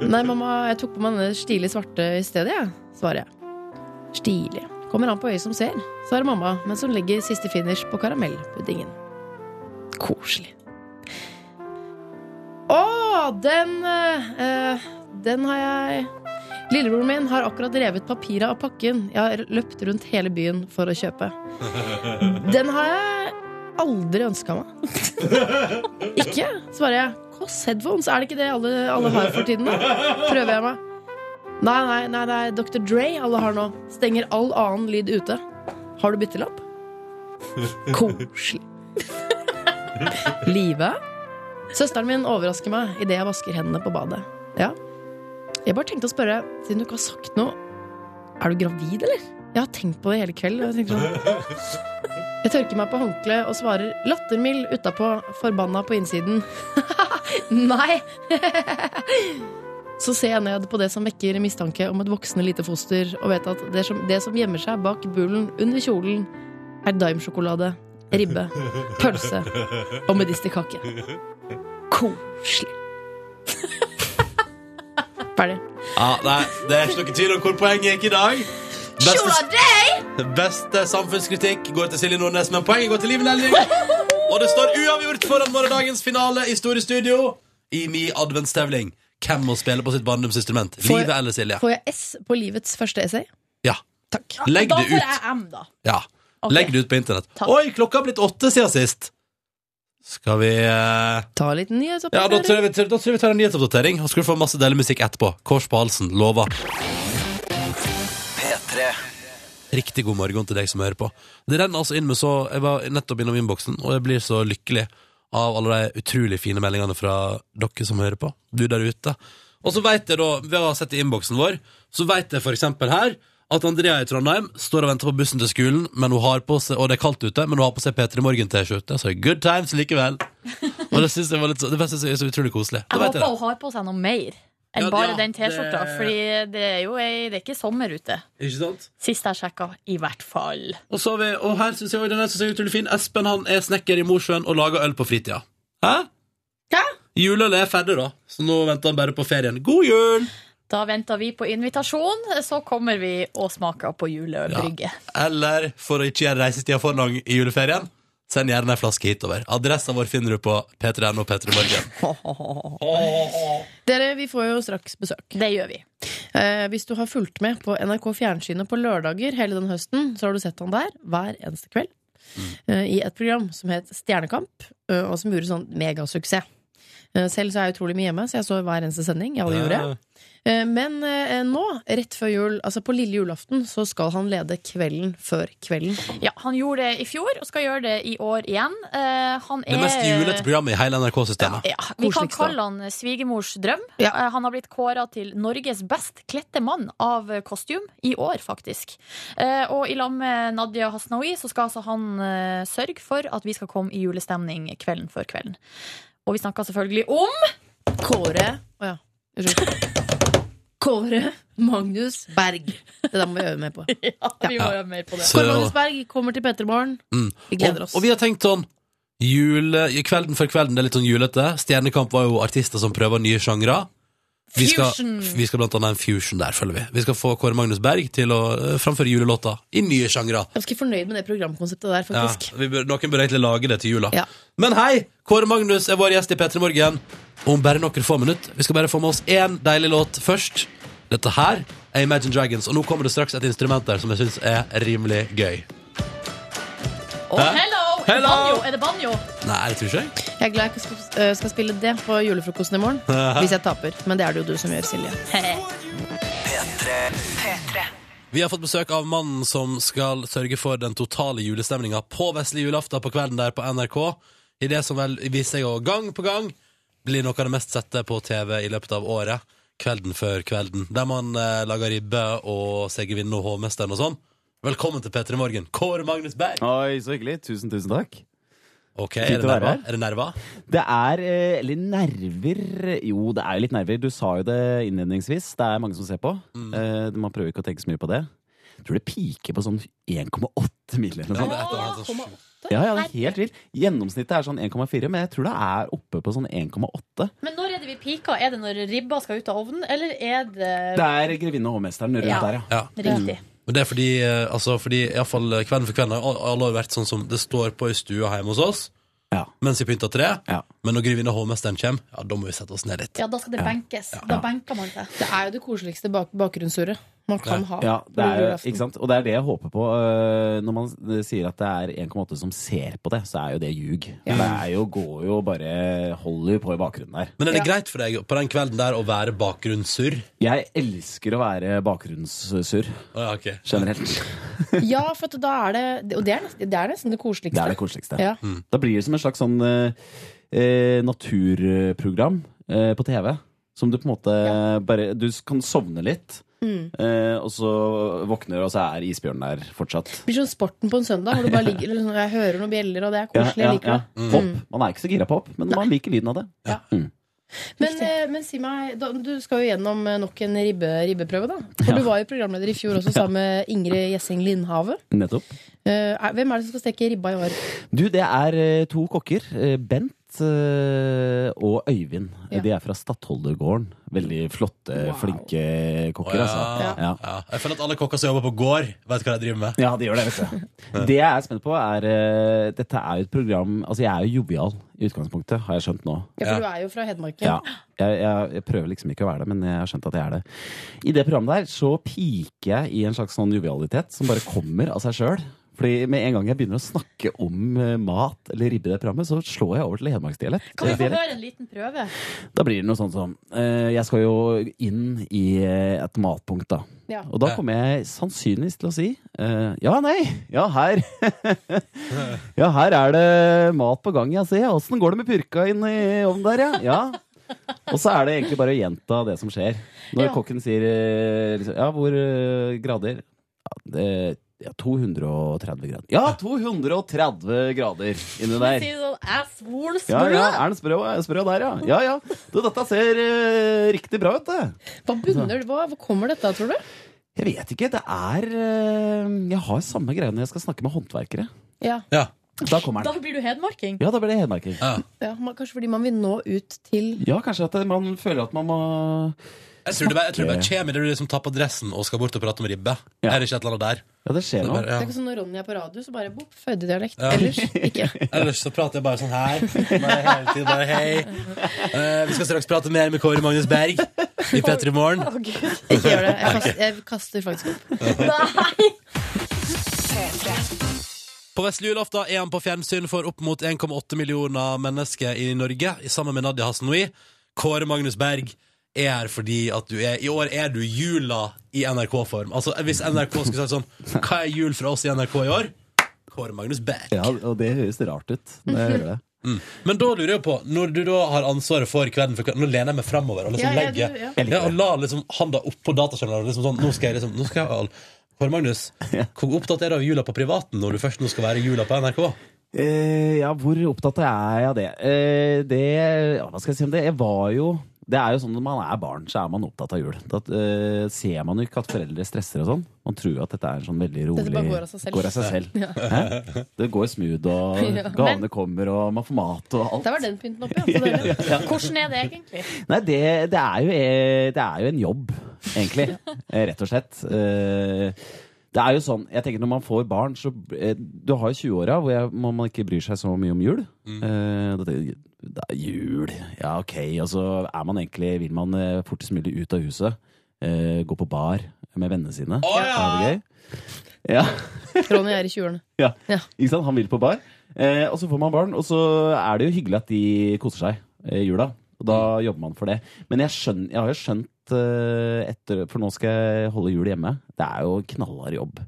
Nei, mamma, jeg tok på meg denne stilig svarte i stedet, jeg, svarer jeg. Stilig. Kommer an på øyet som ser, svarer mamma mens hun legger siste finish på karamellpuddingen. Koselig. Å, den eh, Den har jeg Lillebroren min har akkurat revet papiret av pakken jeg har løpt rundt hele byen for å kjøpe. Den har jeg aldri ønska meg. Ikke, svarer jeg. Koss headphones, er det ikke det alle, alle har for tiden? da? Prøver jeg meg. Nei, nei, nei, det er Dr. Dre alle har nå. Stenger all annen lyd ute. Har du byttelapp? Koselig. Live? Søsteren min overrasker meg idet jeg vasker hendene på badet. Ja, jeg bare tenkte å spørre, siden du ikke har sagt noe Er du gravid, eller? Jeg har tenkt på det hele kveld. og Jeg, tenkte sånn. jeg tørker meg på håndkleet og svarer lattermild *laughs* utapå, forbanna på innsiden. Nei! *laughs* så ser jeg ned på det som vekker mistanke om et voksende lite foster, og vet at det som, det som gjemmer seg bak bulen under kjolen, er daimsjokolade, ribbe, pølse og medisterkake. Koselig. Ferdig. Ja, nei, det er ikke noe tvil om hvor poenget gikk i dag. Beste, beste samfunnskritikk går til Silje Nordnes, men poenget går til Liv Nelvik. Og det står uavgjort foran morgendagens finale i Store Studio i min adventstevling. Hvem må spille på sitt barndomsinstrument? Får- Livet eller Silje? Får jeg S på livets første essay? Ja. Takk. Legg Da det får ut. jeg M, da. Ja. Ok. Legg det ut på internett. Takk. Oi, klokka har blitt åtte siden sist. Skal vi eh, Ta litt nyhetsoppdatering. Ja, da tror, jeg vi, da tror jeg vi tar en nyhetsoppdatering. Og så skal du få masse deilig musikk etterpå. Kors på halsen, lover. Riktig god morgen til deg som hører på. Det renner altså inn med så Jeg var nettopp innom innboksen, og jeg blir så lykkelig av alle de utrolig fine meldingene fra dere som hører på. Du der ute. Og så veit jeg da, ved å ha sett i innboksen vår, så veit jeg for eksempel her at Andrea i Trondheim står og venter på bussen til skolen, men hun har på seg, og det er kaldt ute, men hun har på seg P3 Morgen-T-skjorte. Så good times likevel. Og det syns jeg var litt så, det synes jeg er så utrolig koselig. Da Jeg vet håper jeg det. hun har på seg noe mer enn Ja, bare ja, den T-skjorta, det- Fordi det er jo ei, det er ikke sommer ute. Ikke sant? Sist jeg sjekka, i hvert fall. Og, så har vi, og her synes jeg, også- den her synes jeg er utrolig fin. Espen han er snekker i Mosjøen og lager øl på fritida. Hæ? Hæ? Juleølet er ferdig, da, så nå venter han bare på ferien. God jul! Da venter vi på invitasjon, så kommer vi og smaker på julebrygge. Eller for å ikke gjøre reisetida for lang i juleferien, send gjerne ei flaske hitover. Adressa vår finner du på p3.no p3morgen. Dere, vi får jo straks besøk. Det gjør vi. Eh, hvis du har fulgt med på NRK Fjernsynet på lørdager hele den høsten, så har du sett han der hver eneste kveld. Eh, I et program som het Stjernekamp, eh, og som gjorde sånn megasuksess. Eh, selv så er jeg utrolig mye hjemme, så jeg så hver eneste sending. Jeg alle gjorde Eh, Men eh, nå, rett før jul, altså på lille julaften, så skal han lede Kvelden før kvelden. Ja, Han gjorde det i fjor og skal gjøre det i år igjen. Eh, han er Det mest julete programmet i hele NRK-systemet. ja, Vi kan Koseligste. kalle han svigermors drøm. Ja. Eh, Han har blitt kåra til Norges best kledte mann av kostyme i år, faktisk. Eh, Og i lag med Nadia Hasnaoui så skal altså han eh, sørge for at vi skal komme i julestemning kvelden før kvelden. Og vi snakker selvfølgelig om Kåre Å ja, unnskyld. Kåre Magnus Berg. Det der må vi øve mer på. Ja, vi må gjøre mer på Så- Kåre Magnus Berg kommer til Pettermorgen. eh, Mm. Vi gleder oss. Og, og vi har tenkt sånn jule, Kvelden for kvelden, det er litt sånn julete. Stjernekamp var jo artister som prøver nye sjangre. Vi skal, Fusion. vi skal blant annet ha en fusion der, følger vi. Vi skal få Kåre Magnus Berg til å eh, framføre julelåta i nye sjangre. Ganske fornøyd med det programkonseptet der, Ja, faktisk. vi bør, noen bør egentlig lage det til jula. Ja. Men hei, Kåre Magnus er vår gjest i P3 Morgen om bare noen få minutter. Vi skal bare få med oss én deilig låt først. Dette her er Imagine Dragons, og nå kommer det straks et instrument der som jeg syns er rimelig gøy. Og Hæ? hello! Hello! Banjo. Er det banjo? Nei, det tror ikke jeg. Jeg er glad jeg ikke skal, øh, skal spille det på julefrokosten *laughs* i morgen. Hvis jeg taper. Men det er det jo du som gjør, Silje. Vi har fått besøk av mannen som skal sørge for den totale julestemninga på vesle julaften på kvelden der på NRK. I det som vel viser seg å gang på gang blir noe av det mest sette på TV i løpet av året. Kvelden før kvelden, der man eh, lager ribbe og ser gevinne og hovmesteren og sånn. Velkommen til P3 Morgen, Kåre Magnus Berg. Oi, så hyggelig. Tusen, tusen takk. Ok, Fint er å det være nerver? her. Er det nerver? Det er eh, Eller nerver Jo, det er jo litt nerver. Du sa jo det innledningsvis. Det er mange som ser på. Eh, man prøver ikke å tenke så mye på det. Jeg tror det piker på sånn 1,8 mil eller noe sånt. Ja, ja, det er helt vilt. Gjennomsnittet er sånn 1,4, men jeg tror det er oppe på sånn 1,8. Men når er det vi pika? Er det når ribba skal ut av ovnen, eller er det, Det er Grevinne og hovmesteren rundt Ja. der, ja. Ja. riktig? Men det er fordi, eh, altså, fordi i alle fall Kvelden for kvelden har al- alle har vært sånn som det står på i stua hjemme hos oss Ja. mens vi pynter tre. Ja. Men når grevinne og hovmesteren kommer, ja, da må vi sette oss ned litt. Ja, da skal det benkes. Da benker man seg. Det er jo det koseligste bak bakgrunnsuret man kan ha. Ja, det på er, jo- julaften. ikke sant? Og det er det jeg håper på. øh, Når man s- sier at det er 1,8 som ser på det, så er jo det ljug. Det er jo, går jo bare Holder jo på i bakgrunnen der. Men er det greit for deg på den kvelden der å være bakgrunnssurr? Jeg elsker å være bakgrunnssurr Å, ja, ok. generelt. Ja, for at da er det Og det er nesten det, er nesten det Det koseligste. er det koseligste. Ja. Da blir det som et slags sånn øh, eh, naturprogram eh, på TV. Som du på en måte bare Du kan sovne litt, Mm. eh, og så våkner du, og så er isbjørnen der fortsatt. Det blir sånn sporten på en søndag, hvor du bare ligger eller sånn, Jeg hører noen bjeller, og det Mm. er Ja, koselig. ja, jeg liker ja. Hopp. Man er ikke så gira på hopp, men man liker lyden av det. Men, eh, men si meg, da, du skal jo gjennom eh, nok en ribbe, ribbeprøve, da. For du var jo programleder i fjor også sammen med Ingrid Gjessing Lindhave. Nettopp. Eh, er- hvem er det som skal steke ribba i år? Du, det er eh, to kokker. eh, Bent eh, og Øyvind. Ja. De er fra Stadholdergården. Veldig flotte, flinke kokker, altså. Ja. Ja. Jeg føler at alle kokker som jobber på gård, vet hva de driver med. Ja, de gjør det, *laughs* vet du. Det jeg er spent på, er eh, Dette er jo et program Altså, jeg er jo jovial i utgangspunktet, har jeg skjønt nå. Ja, for du er jo fra Hedmarken. Ja. Jeg, jeg, jeg prøver liksom ikke å være det, men jeg har skjønt at jeg er det. I det programmet der så piker jeg i en slags sånn jovialitet som bare kommer av seg sjøl. Fordi med en gang jeg begynner å snakke om eh, mat eller ribbe i det programmet, så slår jeg over til hedmarksdialekt. Kan vi få Dialekt. høre en liten *laughs* prøve? Da blir det noe sånt som eh, Jeg skal jo inn i eh, et matpunkt, da. Ja. Og da kommer jeg sannsynligvis til å si eh, ja, nei, ja, her. *laughs* ja, her er det mat på gang, ja, se. Åssen går det med purka inn i ovnen der, ja? ja. Og så er det egentlig bare å gjenta det som skjer. Når Ja. kokken sier eh, liksom, ja, hvor eh, grader? Ja, det, ja, 230 grader. Ja, 230 grader inni der. Si sånn, jeg svor Ja, smør. ja, er den sprø, sprø der, ja? Ja, ja. Du, dette ser eh, riktig bra ut, det. Hva bunner hva, hvor kommer dette, tror du? Jeg vet ikke. Det er eh, Jeg har samme greie når jeg skal snakke med håndverkere. Ja. Da kommer Da den. blir du hedmarking. Ja, da blir det hedmarking. Ja. Ja, man, kanskje fordi man vil nå ut til kanskje at man føler at man må Jeg tror det bare, jeg tror det bare kommer idet du liksom tar på dressen og skal bort og prate om ribbe. Er det ikke et eller annet der? Ja, det skjer noe. Det er ikke sånn når Ronny er på radio, så bare bopp, føydedialekt. Ja. Ellers ikke. Ellers så prater jeg bare sånn her. Bare hele tiden, bare hei. Eh, vi skal straks prate mer med Kåre Magnus Berg i P3 Morgen. Ikke gjør det. Jeg kaster, jeg kaster faktisk opp. På vesle julaften er han på fjernsyn for opp mot 1,8 millioner mennesker i Norge, i sammen med Nadia Hasanoui. Kåre Magnus Berg er her fordi at du er I år er du jula i NRK-form. Altså Hvis NRK skulle sagt sånn Hva er jul fra oss i NRK i år? Kåre Magnus Berg. Ja, og det høres rart ut når jeg hører det. Mm. Men da lurer jeg på, når du da har ansvaret for Kvelden for kvelden Nå lener jeg meg framover og liksom Ja, ja, du, legger ja. ja. og la liksom handa oppå dataskjermen. og Liksom sånn, nå skal jeg liksom nå skal jeg, al- Kåre Magnus, hvor opptatt er du av jula på privaten når du først nå skal være i jula på NRK? Eh, ja, hvor opptatt er jeg av det? Eh, det ja, Hva skal jeg si om det? Jeg var jo det er jo sånn Når man er barn, så er man opptatt av jul. Da eh, ser man jo ikke at foreldre stresser. og sånn Man tror jo at dette er en sånn veldig rolig Dette bare går av seg selv. Ja. Hæ? Det går smooth, og *laughs* Ja. gavene kommer, og man får mat og alt. Der var den pynten oppe, ja. Så deilig. *laughs* Hvordan er det egentlig? Nei, det, det, er jo, eh, det er jo en jobb, egentlig. eh, Rett og slett. Eh, Det er jo sånn, jeg tenker Når man får barn, så eh, Du har jo 20-åra hvor jeg, man, man ikke bryr seg så mye om jul. Mm. Eh, da tenker jeg, Det er jul, ja ok. Og så er man egentlig, vil man eh, fortest mulig ut av huset. eh, Gå på bar med vennene sine. Å, ja! Er det gøy? Ja, Ronny er i 20-årene. ja. Ja. Ikke sant? Han vil på bar. Eh, og så får man barn, og så er det jo hyggelig at de koser seg i jula. Og da jobber man for det. Men jeg, skjønner, jeg har jo skjønt eh, etter For nå skal jeg holde jul hjemme. Det er jo knallhard jobb.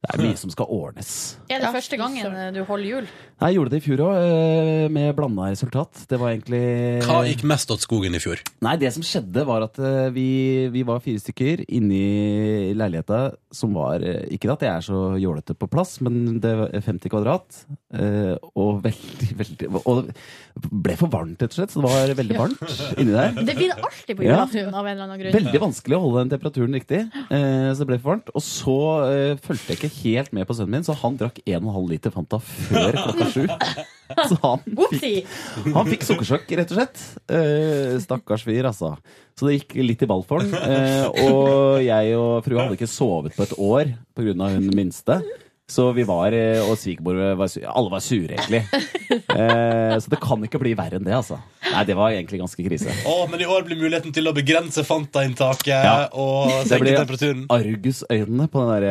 Det er mye som skal ordnes. Er det første gangen eh, du holder jul? Jeg gjorde det i fjor òg, med blanda resultat. Det var egentlig Hva gikk mest åt skogen i fjor? Nei, det som skjedde var at eh, vi, vi var fire stykker inni leiligheta som var eh, Ikke at jeg er så jålete på plass, men det var 50 kvadrat. eh, Og veldig, *laughs* veldig Og det ble for varmt, rett og slett. Så det var veldig varmt inni der. Det blir det alltid på Ja. julaften av en eller annen grunn. Veldig vanskelig å holde den temperaturen riktig. eh, Så det ble for varmt. Og så eh, fulgte jeg ikke helt med på sønnen min, så han drakk 1,5 liter Fanta før klokka sju. Så han Opsi! han fikk sukkersjokk, rett og slett. Eh, stakkars fyr, altså. Så det gikk litt i ball for han. Eh, og jeg og frua hadde ikke sovet på et år pga. hun minste. Så vi var, eh, og svigermor var su- Alle var sure, egentlig. Eh, så det kan ikke bli verre enn det, altså. Nei, det var egentlig ganske krise. Å, men i år blir muligheten til å begrense Fanta-inntaket og Det senke blir temperaturen. argusøynene på det der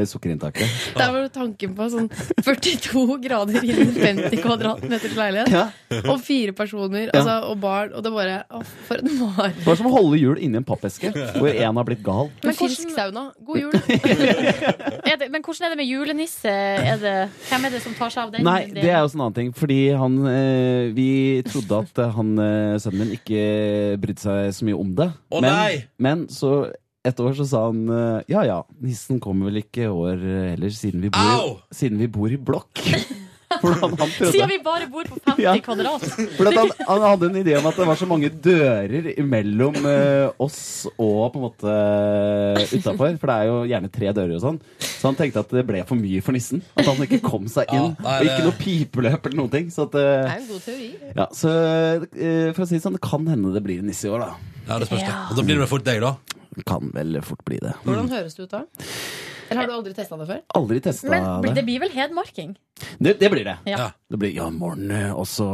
eh, sukkerinntaket. Der var jo tanken på sånn 42 grader i en 50 kvadratmeters leilighet. Ja. Og fire personer, Ja. altså, og barn. Og det bare Å, for en mareritt. Det var som å holde hjul inni en pappeske hvor én har blitt gal. Men Frisk hvordan, sauna. God jul. er det, men hvordan er det med julenisse? Er det, hvem er det som tar seg av den? Nei, det er også en annen ting. Fordi han eh, Vi trodde at eh, han eh, sønnen min ikke brydde seg så mye om det. Å, men, nei! men så et år så sa han eh, ja ja, nissen kommer vel ikke i år eh, heller, siden vi bor, Au! siden vi bor i blokk. *laughs* Hvordan han prøvde. Siden vi bare bor på 50 Ja. kvadrat. For at han, han hadde en idé om at det var så mange dører mellom eh, oss og på en måte utafor. For det er jo gjerne tre dører og sånn. Så han tenkte at det ble for mye for nissen. At han ikke kom seg inn. Ja, nei, og det- ikke noe pipeløp eller noen ting. Så, at, Det er eh, jo en god teori. ja, så eh, for å si det sånn, det kan hende det blir en nisse i år, da. Ja, det spørs det. Og da blir det vel fort deg, da. Kan vel fort bli det. Hvordan høres det ut da? Eller har du aldri testa det før? Aldri testa Men bli- det det. blir vel hedmarking? det. Det blir det. Ja. Det blir ja, morgen, eh, og så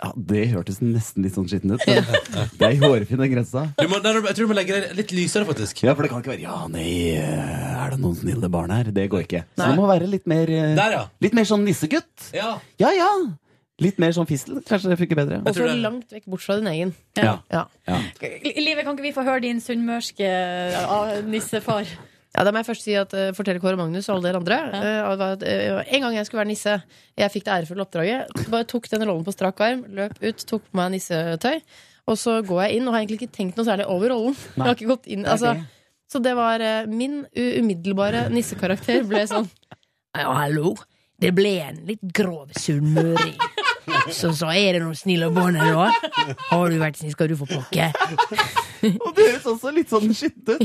ja, Det hørtes nesten litt sånn skittent ut. Men *laughs* det er i hårfin den grensa. Du må, nei, jeg tror du må legge deg litt lysere, faktisk. Ja, for det kan ikke være Ja, nei, eh, er det noen snille barn her? Det går ikke. Så det må være litt mer eh, Der, ja. Litt mer sånn nissegutt. Ja. Ja ja. Litt mer sånn fistel. Kanskje det funker bedre. Jeg tror Også det. langt vekk bort fra din egen. Ja. Ja. Livet, kan ikke vi få høre din sunnmørske ah, nissefar? Ja, Da må jeg først si at eh, fortelle Kåre Magnus og alle dere andre eh, at, eh, En gang jeg skulle være nisse, jeg fikk det ærefulle oppdraget. Bare tok den rollen på strak arm, løp ut, tok på meg nissetøy. Og så går jeg inn og har egentlig ikke tenkt noe særlig over rollen. Jeg har ikke gått inn, altså, så det var eh, min u- umiddelbare nissekarakter ble sånn. Ja, hallo. Det ble en litt grov *laughs* sunnmøring. Så sa er det noen snille barn her da? Har du vært snill, skal du få pakke. Og det høres også litt sånn skittent ut.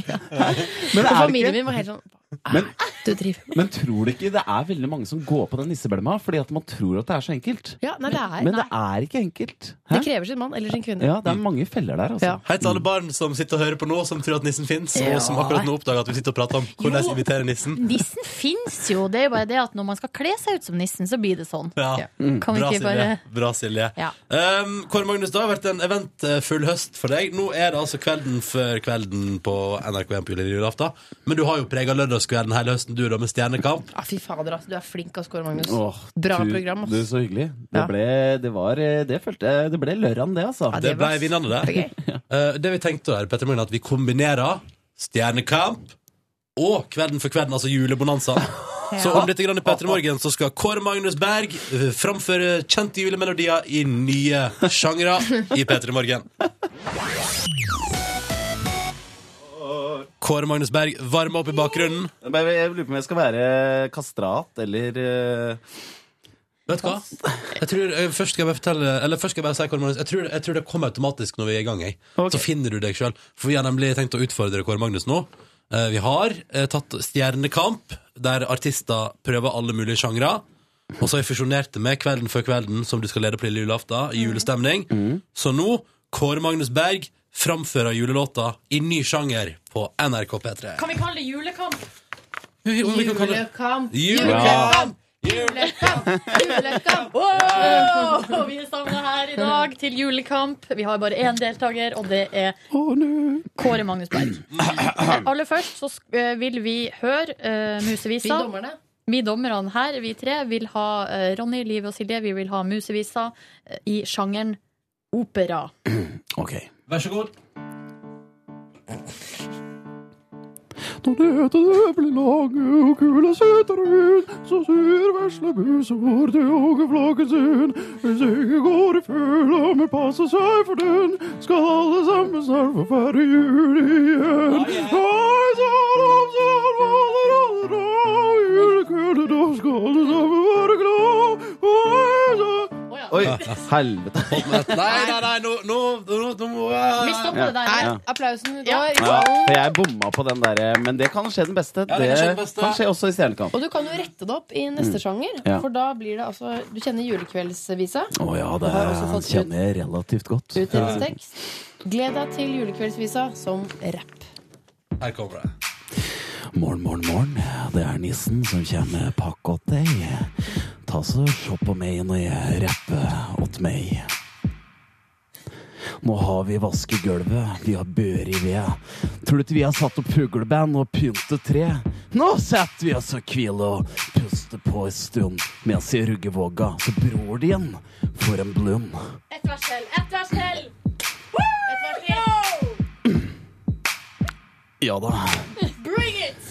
Og Men, er det familien ikke, min var helt sånn men, Du driver men tror du ikke det er veldig mange som går på den nissebelma fordi at man tror at det er så enkelt? Ja, nei, det er Men nei. det er ikke enkelt. Det Hæ? krever sin mann eller sin kvinne. Ja, det er mange feller der, altså. Ja. Hei til alle barn som sitter og hører på nå, som tror at nissen fins, og som akkurat nå oppdager at vi sitter og prater om hvordan Jo. imitere nissen. Nissen fins jo, det er jo bare det at når man skal kle seg ut som nissen, så blir det sånn. Ja. Kan vi Bra, ikke bare Silje. Bra, Silje. Ja. Um, Kåre Magnus, det har vært en eventfull høst for deg. Nå er det altså kvelden før kvelden på NRK1 på jule- julaften. Men du har jo prega lørdagskvelden hele høsten, du, da, med Stjernekamp. Ja, fy fader, altså. Du er flink, ass, Kåre Magnus. Åh, Bra du- program, ass. Du, så hyggelig. Det Ja. ble, det var, eh, det følte jeg, det ble lørdagen det, altså. Det var ble vinnende, det. *laughs* kjempegøy. *laughs* Eh, det vi tenkte der, Petter Magne, at vi kombinerer Stjernekamp og Kvelden for kvelden, altså julebonanza. Så om litt grann i Petter Morgen så skal Kåre Magnus Berg eh, framføre kjente julemelodier i nye sjangre i Petter Morgen. Kåre Magnus Berg varmer opp i bakgrunnen. Men Jeg jeg lurer på om jeg skal være kastrat eller eh, Vet du hva? Jeg tror, eh, først, skal jeg bare fortelle, eller først skal jeg bare si Kåre Magnus jeg tror, jeg tror det kommer automatisk når vi er i gang. Jeg. Ok. Så finner du deg sjøl. For vi har nemlig tenkt å utfordre Kåre Magnus nå. Eh, Vi har eh, tatt Stjernekamp, der artister prøver alle mulige sjangre. Og så har vi fusjonert det med Kvelden før kvelden, som du skal lede på lille julaften. I julestemning. Så nå, Kåre Magnus Berg framfører julelåta i ny sjanger på NRK P3. Kan vi kalle det julekamp? Om vi kan kalle Julekamp! det- Julekamp! Julekamp! Julekamp! Wow! Vi er samla her i dag til julekamp. Vi har bare én deltaker, og det er Kåre Magnus Berg. Eh, Aller først så sk- eh, vil vi høre eh, Vi Musevisa. dommerne. Vi dommerne her, vi tre, vil ha eh, Ronny, Liv og Silje. Vi vil ha Musevisa eh, i sjangeren opera. Ok. Vær så god. Når dette det blir lange og kula sitter ut, så sier vesle busord til ågeflakken sin. Hvis ikke går i fugla, men passer seg for den, skal alle sammen snart få færre jul igjen. Oi, så langt, så faller alle da, julekvelden, da skal alle sammen være glad. Oi, så... Oi, helvete. Nei, nei, nei, nå, nå, nå, nå må jeg Vi stopper det der. Nei, Ja. applausen går. Ja, for jeg bomma på den derre, men det kan skje den beste. Ja, det det kan skje den kan beste. skje, også i Stjernekamp. Og du kan jo rette det opp i neste sjanger, Mm. Ja. for da blir det altså Du kjenner julekveldsvisa? Å ja, Du har også fått ut- jeg relativt godt. Utdelingstekst. Gled deg til julekveldsvisa som rapp. Her kommer det. Morgen, morgen, morgen. Det er nissen som kommer med pakke åt deg. Ta så se på meg når jeg rapper åt meg. Nå har vi vasket gulvet, vi har bør i ved. Tror du ikke vi har satt opp fugleband og pyntet tre? Nå setter vi oss og hviler og puster på en stund. Mens i ruggevåga så bror din får en blund. Ett vers til. Ett vers til. Ja da. Bring it!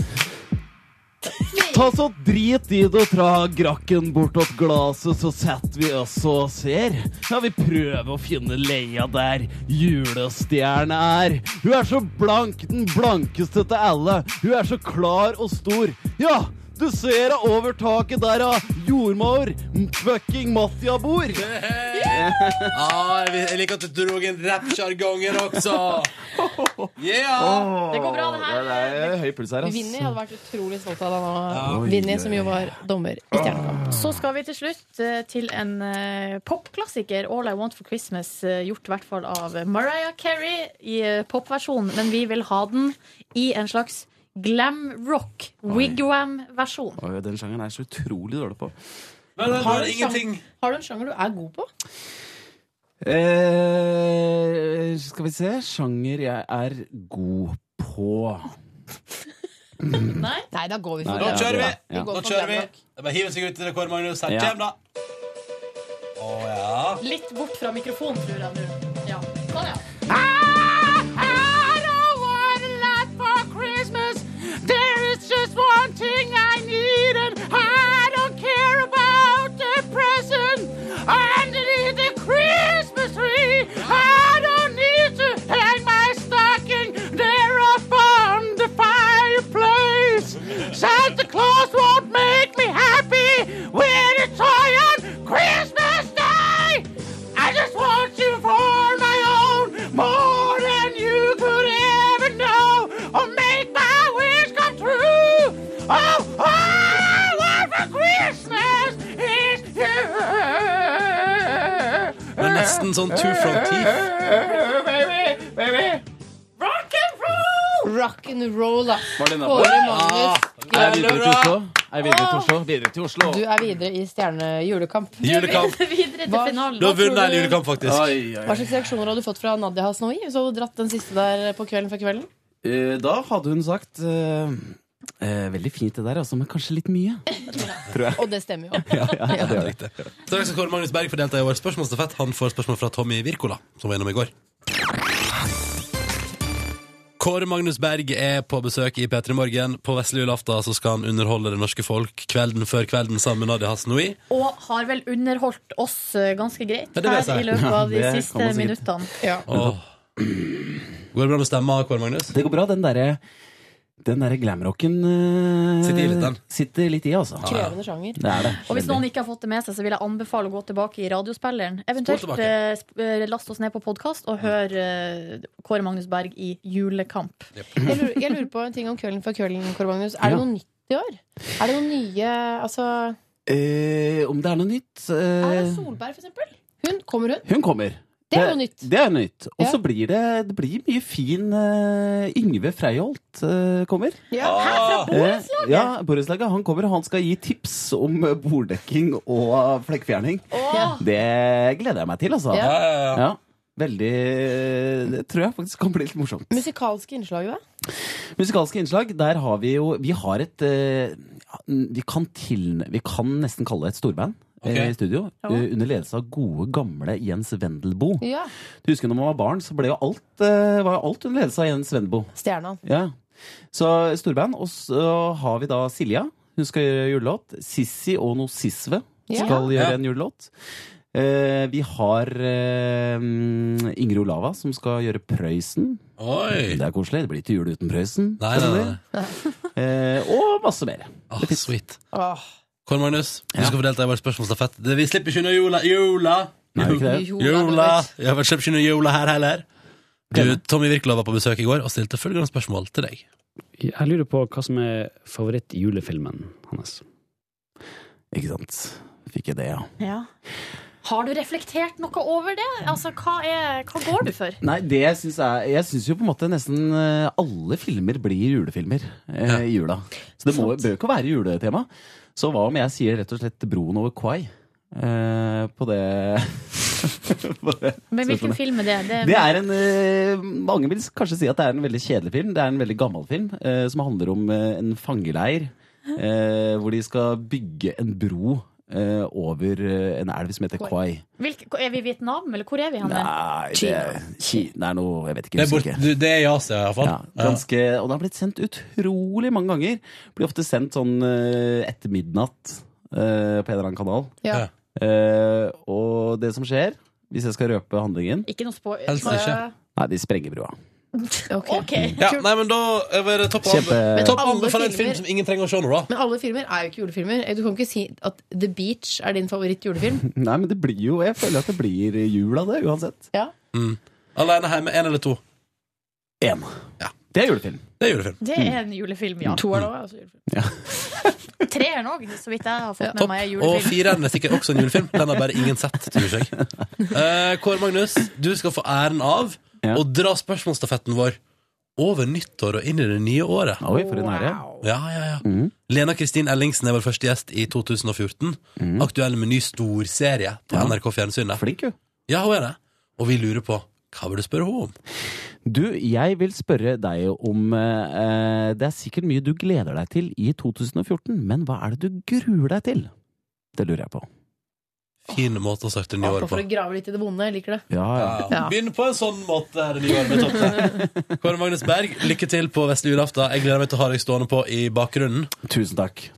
Ta så drit i det og dra grakken bortåt glaset, så setter vi oss og ser. Ja, vi prøver å finne leia der julestjerne er. Hun er så blank, den blankeste til alle. Hun er så klar og stor. Ja, Du ser da over taket der av jordmaur fucking Mattia bor. Ah, jeg vil- jeg liker at du dro inn rappsjargongen også. Yeah! Det går bra, det her. Det er høy puls her, ass. Vinni hadde vært utrolig stolt av deg nå. Oi, Vinni, oi, som jo var dommer i Stjernekamp. Så skal vi til slutt eh, til en eh, popklassiker, 'All I Want for Christmas', eh, gjort i hvert fall av Mariah Carey i eh, popversjon, men vi vil ha den i en slags glam rock, wigwam-versjon. Oi, den sjangeren er jeg så utrolig dårlig på. Har du en sjanger- har du en sjanger du er god på? Eh, skal vi se Sjanger jeg er god på. Nei, da går vi Nei, for ja, det. Nå kjører vi. Ja. Vi går Nå for kjører vi. Glamrock. Det er bare å hive seg ut i det, Kåre Magnus. Her Ja. kommer da. Å ja. Litt bort fra mikrofonen, tror jeg nå. Ja. Sånn, ja. ah, I don't want a lot for Christmas. There is just one thing I need, and I don't care about the present underneath the Christmas tree. I don't need to hang my stocking there upon the fireplace. Santa Claus won't make me happy when it's toy on Christmas Day. I just want you for my own, more than you could ever know. Oh, make my wish come true. Oh, all I want for Christmas is you. Det er nesten sånn two from teeth. Baby, baby. Rock and roll! Rock and roll, da. Var den Kåre Magnus, Er jeg videre til Oslo? Er jeg videre til Oslo? Videre til Oslo. du er videre i stjernejulekamp. Julekamp. Videre til finalen. Du har vunnet en julekamp, Oi, faktisk. Hva slags reaksjoner har du fått fra Nadia Hasnoi? Så har du dratt den siste der på kvelden før kvelden. Eh, Da hadde hun sagt eh, eh, Veldig fint det der, altså, men kanskje litt mye. Tror jeg. Og det stemmer jo. Ja, ja, ja, det gjør det. Takk skal Kåre Magnus Berg for å delta i vår spørsmålsstafett. Han får spørsmål fra Tommy Wirkola, som var innom i går. Kåre Magnus Berg er på besøk i P3 Morgen. På vesle julaften så skal han underholde det norske folk kvelden før kvelden sammen med Nadia Hasnoui. Og har vel underholdt oss eh, ganske greit Ja, det vil jeg si. her i løpet av de Ja, det kan siste man sikkert. minuttene. Åh. Går det bra med stemma, Kåre Magnus? Det går bra. Den derre den der glamrocken eh, Sitter i litt, den. sitter litt i, altså. Krevende sjanger. Det er det. Og hvis Veldig. noen ikke har fått det med seg, så vil jeg anbefale å gå tilbake i radiospilleren. Eventuelt Spol eh, tilbake. sp- eh, last oss ned på podkast og hør eh, Kåre Magnus Berg i Julekamp. Jeg lurer, jeg lurer på en ting om Kvelden før kvelden, Kåre Magnus. Er det Ja. noe nytt i år? Er det noen nye Altså, Eh, Om det er noe nytt? eh, Erna Solberg, for eksempel. Hun, kommer hun? Hun kommer. Det er noe nytt. Det er noe nytt. Og Ja. så blir det, det blir mye fin eh, Yngve Freiholt eh, kommer. Ja, her fra borettslaget! ja, borettslaget. Han kommer og han skal gi tips om eh, borddekking og eh, flekkfjerning. Det gleder jeg meg til, altså. Ja. Ja, Ja. Veldig Det tror jeg faktisk kan bli litt morsomt. Musikalske innslag, da? Musikalske innslag, der har vi jo Vi har et eh, ja, Vi kan, til, vi kan nesten kalle det et storband eh, Ok. i studio. Ja. eh, Under ledelse av gode, gamle Jens Wendelboe. Ja. Du husker når man var barn, så ble jo alt, eh, var jo alt under ledelse av Jens Wendelboe. Stjerna. Ja. Så storband. Og så har vi da Silja. Hun skal gjøre julelåt. Sissi og noe Sisve Ja. skal Ja. gjøre en julelåt. Eh, vi har eh, Ingrid Olava som skal gjøre Prøysen. Oi! Det er koselig. Det blir ikke jul uten Prøysen. Nei, nei, Eh, og masse mer. Ah, sweet. Åh. Kåre Magnus, du skal få delta i vår spørsmålsstafett. Det- Vi slipper ikke unna jula. Jula! Nei, vi ikke det. Jula! Ja, vi slipper ikke unna jula her heller. Du, Tommy Wirkola var på besøk i går og stilte følgende spørsmål til deg. Jeg lurer på hva som er favorittjulefilmen hans. Ikke sant. Fikk jeg det, ja. Har du reflektert noe over det? Altså, hva, er, hva går du for? Nei, det jeg syns er Jeg syns jo på en måte nesten eh, alle filmer blir julefilmer eh, i jula. Så det må, bør ikke være juletema. Så hva om jeg sier rett og slett 'Broen over Kwai'? Eh, på det *laughs* på det Men hvilken spørsmålet. film er det? Det er en eh, Mange vil kanskje si at det er en veldig kjedelig film. Det er en veldig gammel film eh, som handler om eh, en fangeleir eh, hvor de skal bygge en bro eh, over eh, en elv som heter Kwai. Hvilk- er vi i Vietnam, eller hvor er vi? Hanne? Nei, det, Ki, det er noe Jeg vet ikke. Det er, husker bort, ikke. du, det er i Asia, iallfall. Ja, ganske, og det har blitt sendt utrolig mange ganger. Blir ofte sendt sånn eh, etter midnatt eh, på en eller annen kanal. Ja. Eh, og det som skjer, hvis jeg skal røpe handlingen Ikke noe spå... Nei, de sprenger brua. Ok. Ja, nei, men da eh, var det topp av Kjempe- Topp Men alle anbefalt filmer- film som ingen trenger å se nå, da. Men alle filmer er jo ikke julefilmer. Du kan ikke si at The Beach er din favoritt-julefilm. *laughs* Nei, men det blir jo Jeg føler at det blir jul av det, uansett. Ja. Alene hjemme, én eller to? Én. Det er julefilm. Det er julefilm. Det er en julefilm, ja. Toeren også er også julefilm. Treeren òg, så vidt jeg har fått med Topp. meg. er Og Julefilm. fireren er sikkert også en julefilm. Den har bare ingen sett, tror *laughs* jeg. Eh, Kåre Magnus, du skal få æren av å dra spørsmålsstafetten vår over nyttår og inn i det nye året. Oi, for en ære. Ja, ja, ja. Lena Kristin Ellingsen er vår første gjest i 2014. Aktuell med ny storserie på NRK Fjernsynet. Flink, jo. Ja, hun er det. Og vi lurer på hva vil du spørre henne om? Du, jeg vil spørre deg om eh, Det er sikkert mye du gleder deg til i 2014, men hva er det du gruer deg til? Det lurer jeg på. Fin måte å starte det nye Bare året Ah, for på. å grave litt i det vonde. Jeg liker det. Ja, Ja. Begynn på en sånn måte her det nye året. med toppen. Kåre Magnus Berg, lykke til på vesle julaften. Jeg gleder meg til å ha deg stående på i bakgrunnen. Tusen takk.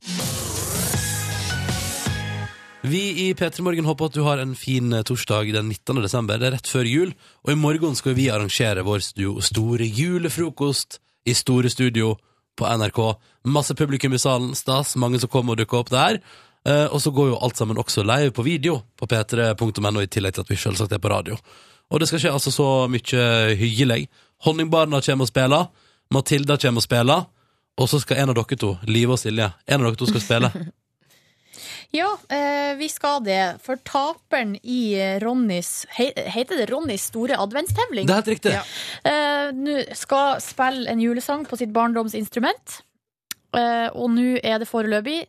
Vi i P3 Morgen håper at du har en fin eh, torsdag den 19. desember. Det er rett før jul, og i morgen skal vi arrangere vår stu- store julefrokost i Store Studio på NRK. Masse publikum i salen, stas, mange som kommer og dukker opp der. Eh, og så går jo alt sammen også live på video på p3.no, i tillegg til at vi selvsagt er på radio. Og det skal skje altså så mye hyggelig. Honningbarna kommer og spiller, Matilda kommer og spiller, og så skal en av dere to, Live og Silje, en av dere to skal spille. Ja, eh, vi skal det. For taperen i eh, Ronnys he- Heter det Ronnys store adventstevling? Det er helt riktig. Ja. Eh, Nå skal spille en julesang på sitt barndomsinstrument. Eh, og nå er det foreløpig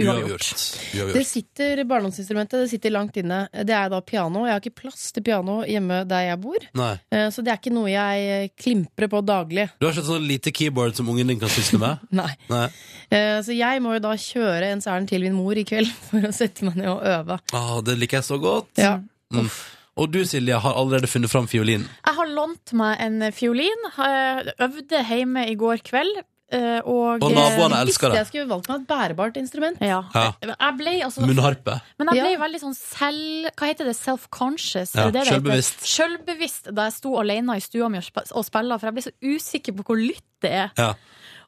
Uavgjort. Det Uavgjort. sitter barndomsinstrumentet det sitter langt inne. Det er da piano. Jeg har ikke plass til piano hjemme der jeg bor. Nei. Eh, Så det er ikke noe jeg klimprer på daglig. Du har ikke et sånn lite keyboard som ungen din kan sysle med? Nei. Nei. Eh, Så jeg må jo da kjøre ens ærend til min mor i kveld *laughs* for å sette meg ned og øve. Ah, det liker jeg så godt. Ja. Mm. Og du, Silje, har allerede funnet fram fiolinen. Jeg har lånt meg en fiolin. eh, Øvde hjemme i går kveld. eh, Og, eh, Og naboene elsker det. Jeg skulle valgt meg et bærbart instrument. Ja. Ja. Jeg ble altså Munnharpe. Men jeg ble veldig sånn selv... Hva heter det? Self-conscious? Ja, er det det heter? selvbevisst. Selvbevisst da jeg sto alene i stua mi og sp- og spilla, for jeg ble så usikker på hvor lytt det er. Ja.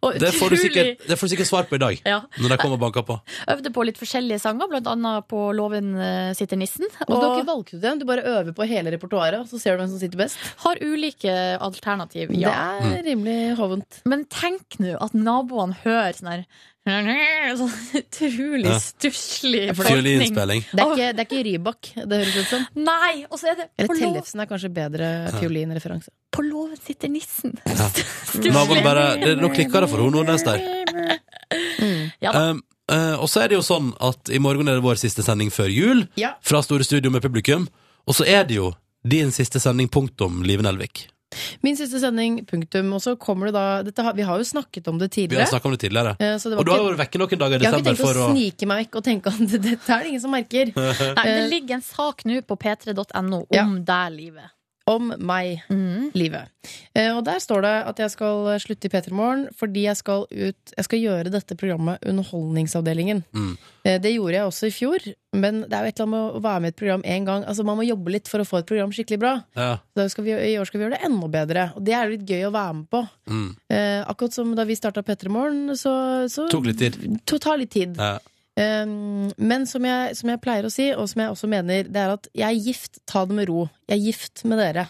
Og Det får, du utrolig- sikkert, det får du sikkert svar på i dag, Ja. når de kommer og banker på. Øvde på litt forskjellige sanger, blant annet på Låven eh, sitter nissen. Men du har ikke valgt ut den, du bare øver på hele repertoaret, og så ser du hvem som sitter best. har ulike alternativ. Ja. Det er rimelig hovent. Men tenk nå at naboene hører sånn her *laughs* Sånn utrolig Ja. stusslig tolkning. Fiolinspilling. Det er ikke, det er ikke Rybak, det høres ut som. Nei! Og så er det Eller på, lå- Tellefsen er kanskje bedre fiolinreferanse. på låven sitter nissen. *laughs* Naboen bare det, Nå klikker det for henne neste der. Ja da. Um, eh, og så er det jo sånn at i morgen er det vår siste sending før jul, Ja. fra Store Studio med publikum. Og så er det jo din siste sending, punktum, Live Nelvik. Min siste sending, punktum. Og så kommer det da dette, har- Vi har jo snakket om det Vi har tidligere. snakket om det tidligere. eh, så det var Og du har ikke- jo vært vekke noen dager i jeg har ikke desember tenkt å for å snike meg vekk og tenke at *laughs* dette er det ingen som merker. *laughs* Nei, det ligger en sak nå på p3.no om Ja. deg, livet. Om meg. Livet. Eh, Og der står det at jeg skal eh, slutte i P3 Morgen fordi jeg skal ut Jeg skal gjøre dette programmet Underholdningsavdelingen. Mm. Eh, Det gjorde jeg også i fjor, men det er jo et eller annet med å være med i et program én gang. Altså Man må jobbe litt for å få et program skikkelig bra. ja. Da skal vi, I år skal vi gjøre det enda bedre, og det er jo litt gøy å være med på. mm. Eh, akkurat som da vi starta P3 Morgen, så, så Tok litt tid. to- tar litt tid. Ja. Eh, men som jeg, som jeg pleier å si, og som jeg også mener, det er at jeg er gift, ta det med ro. Jeg er gift med dere.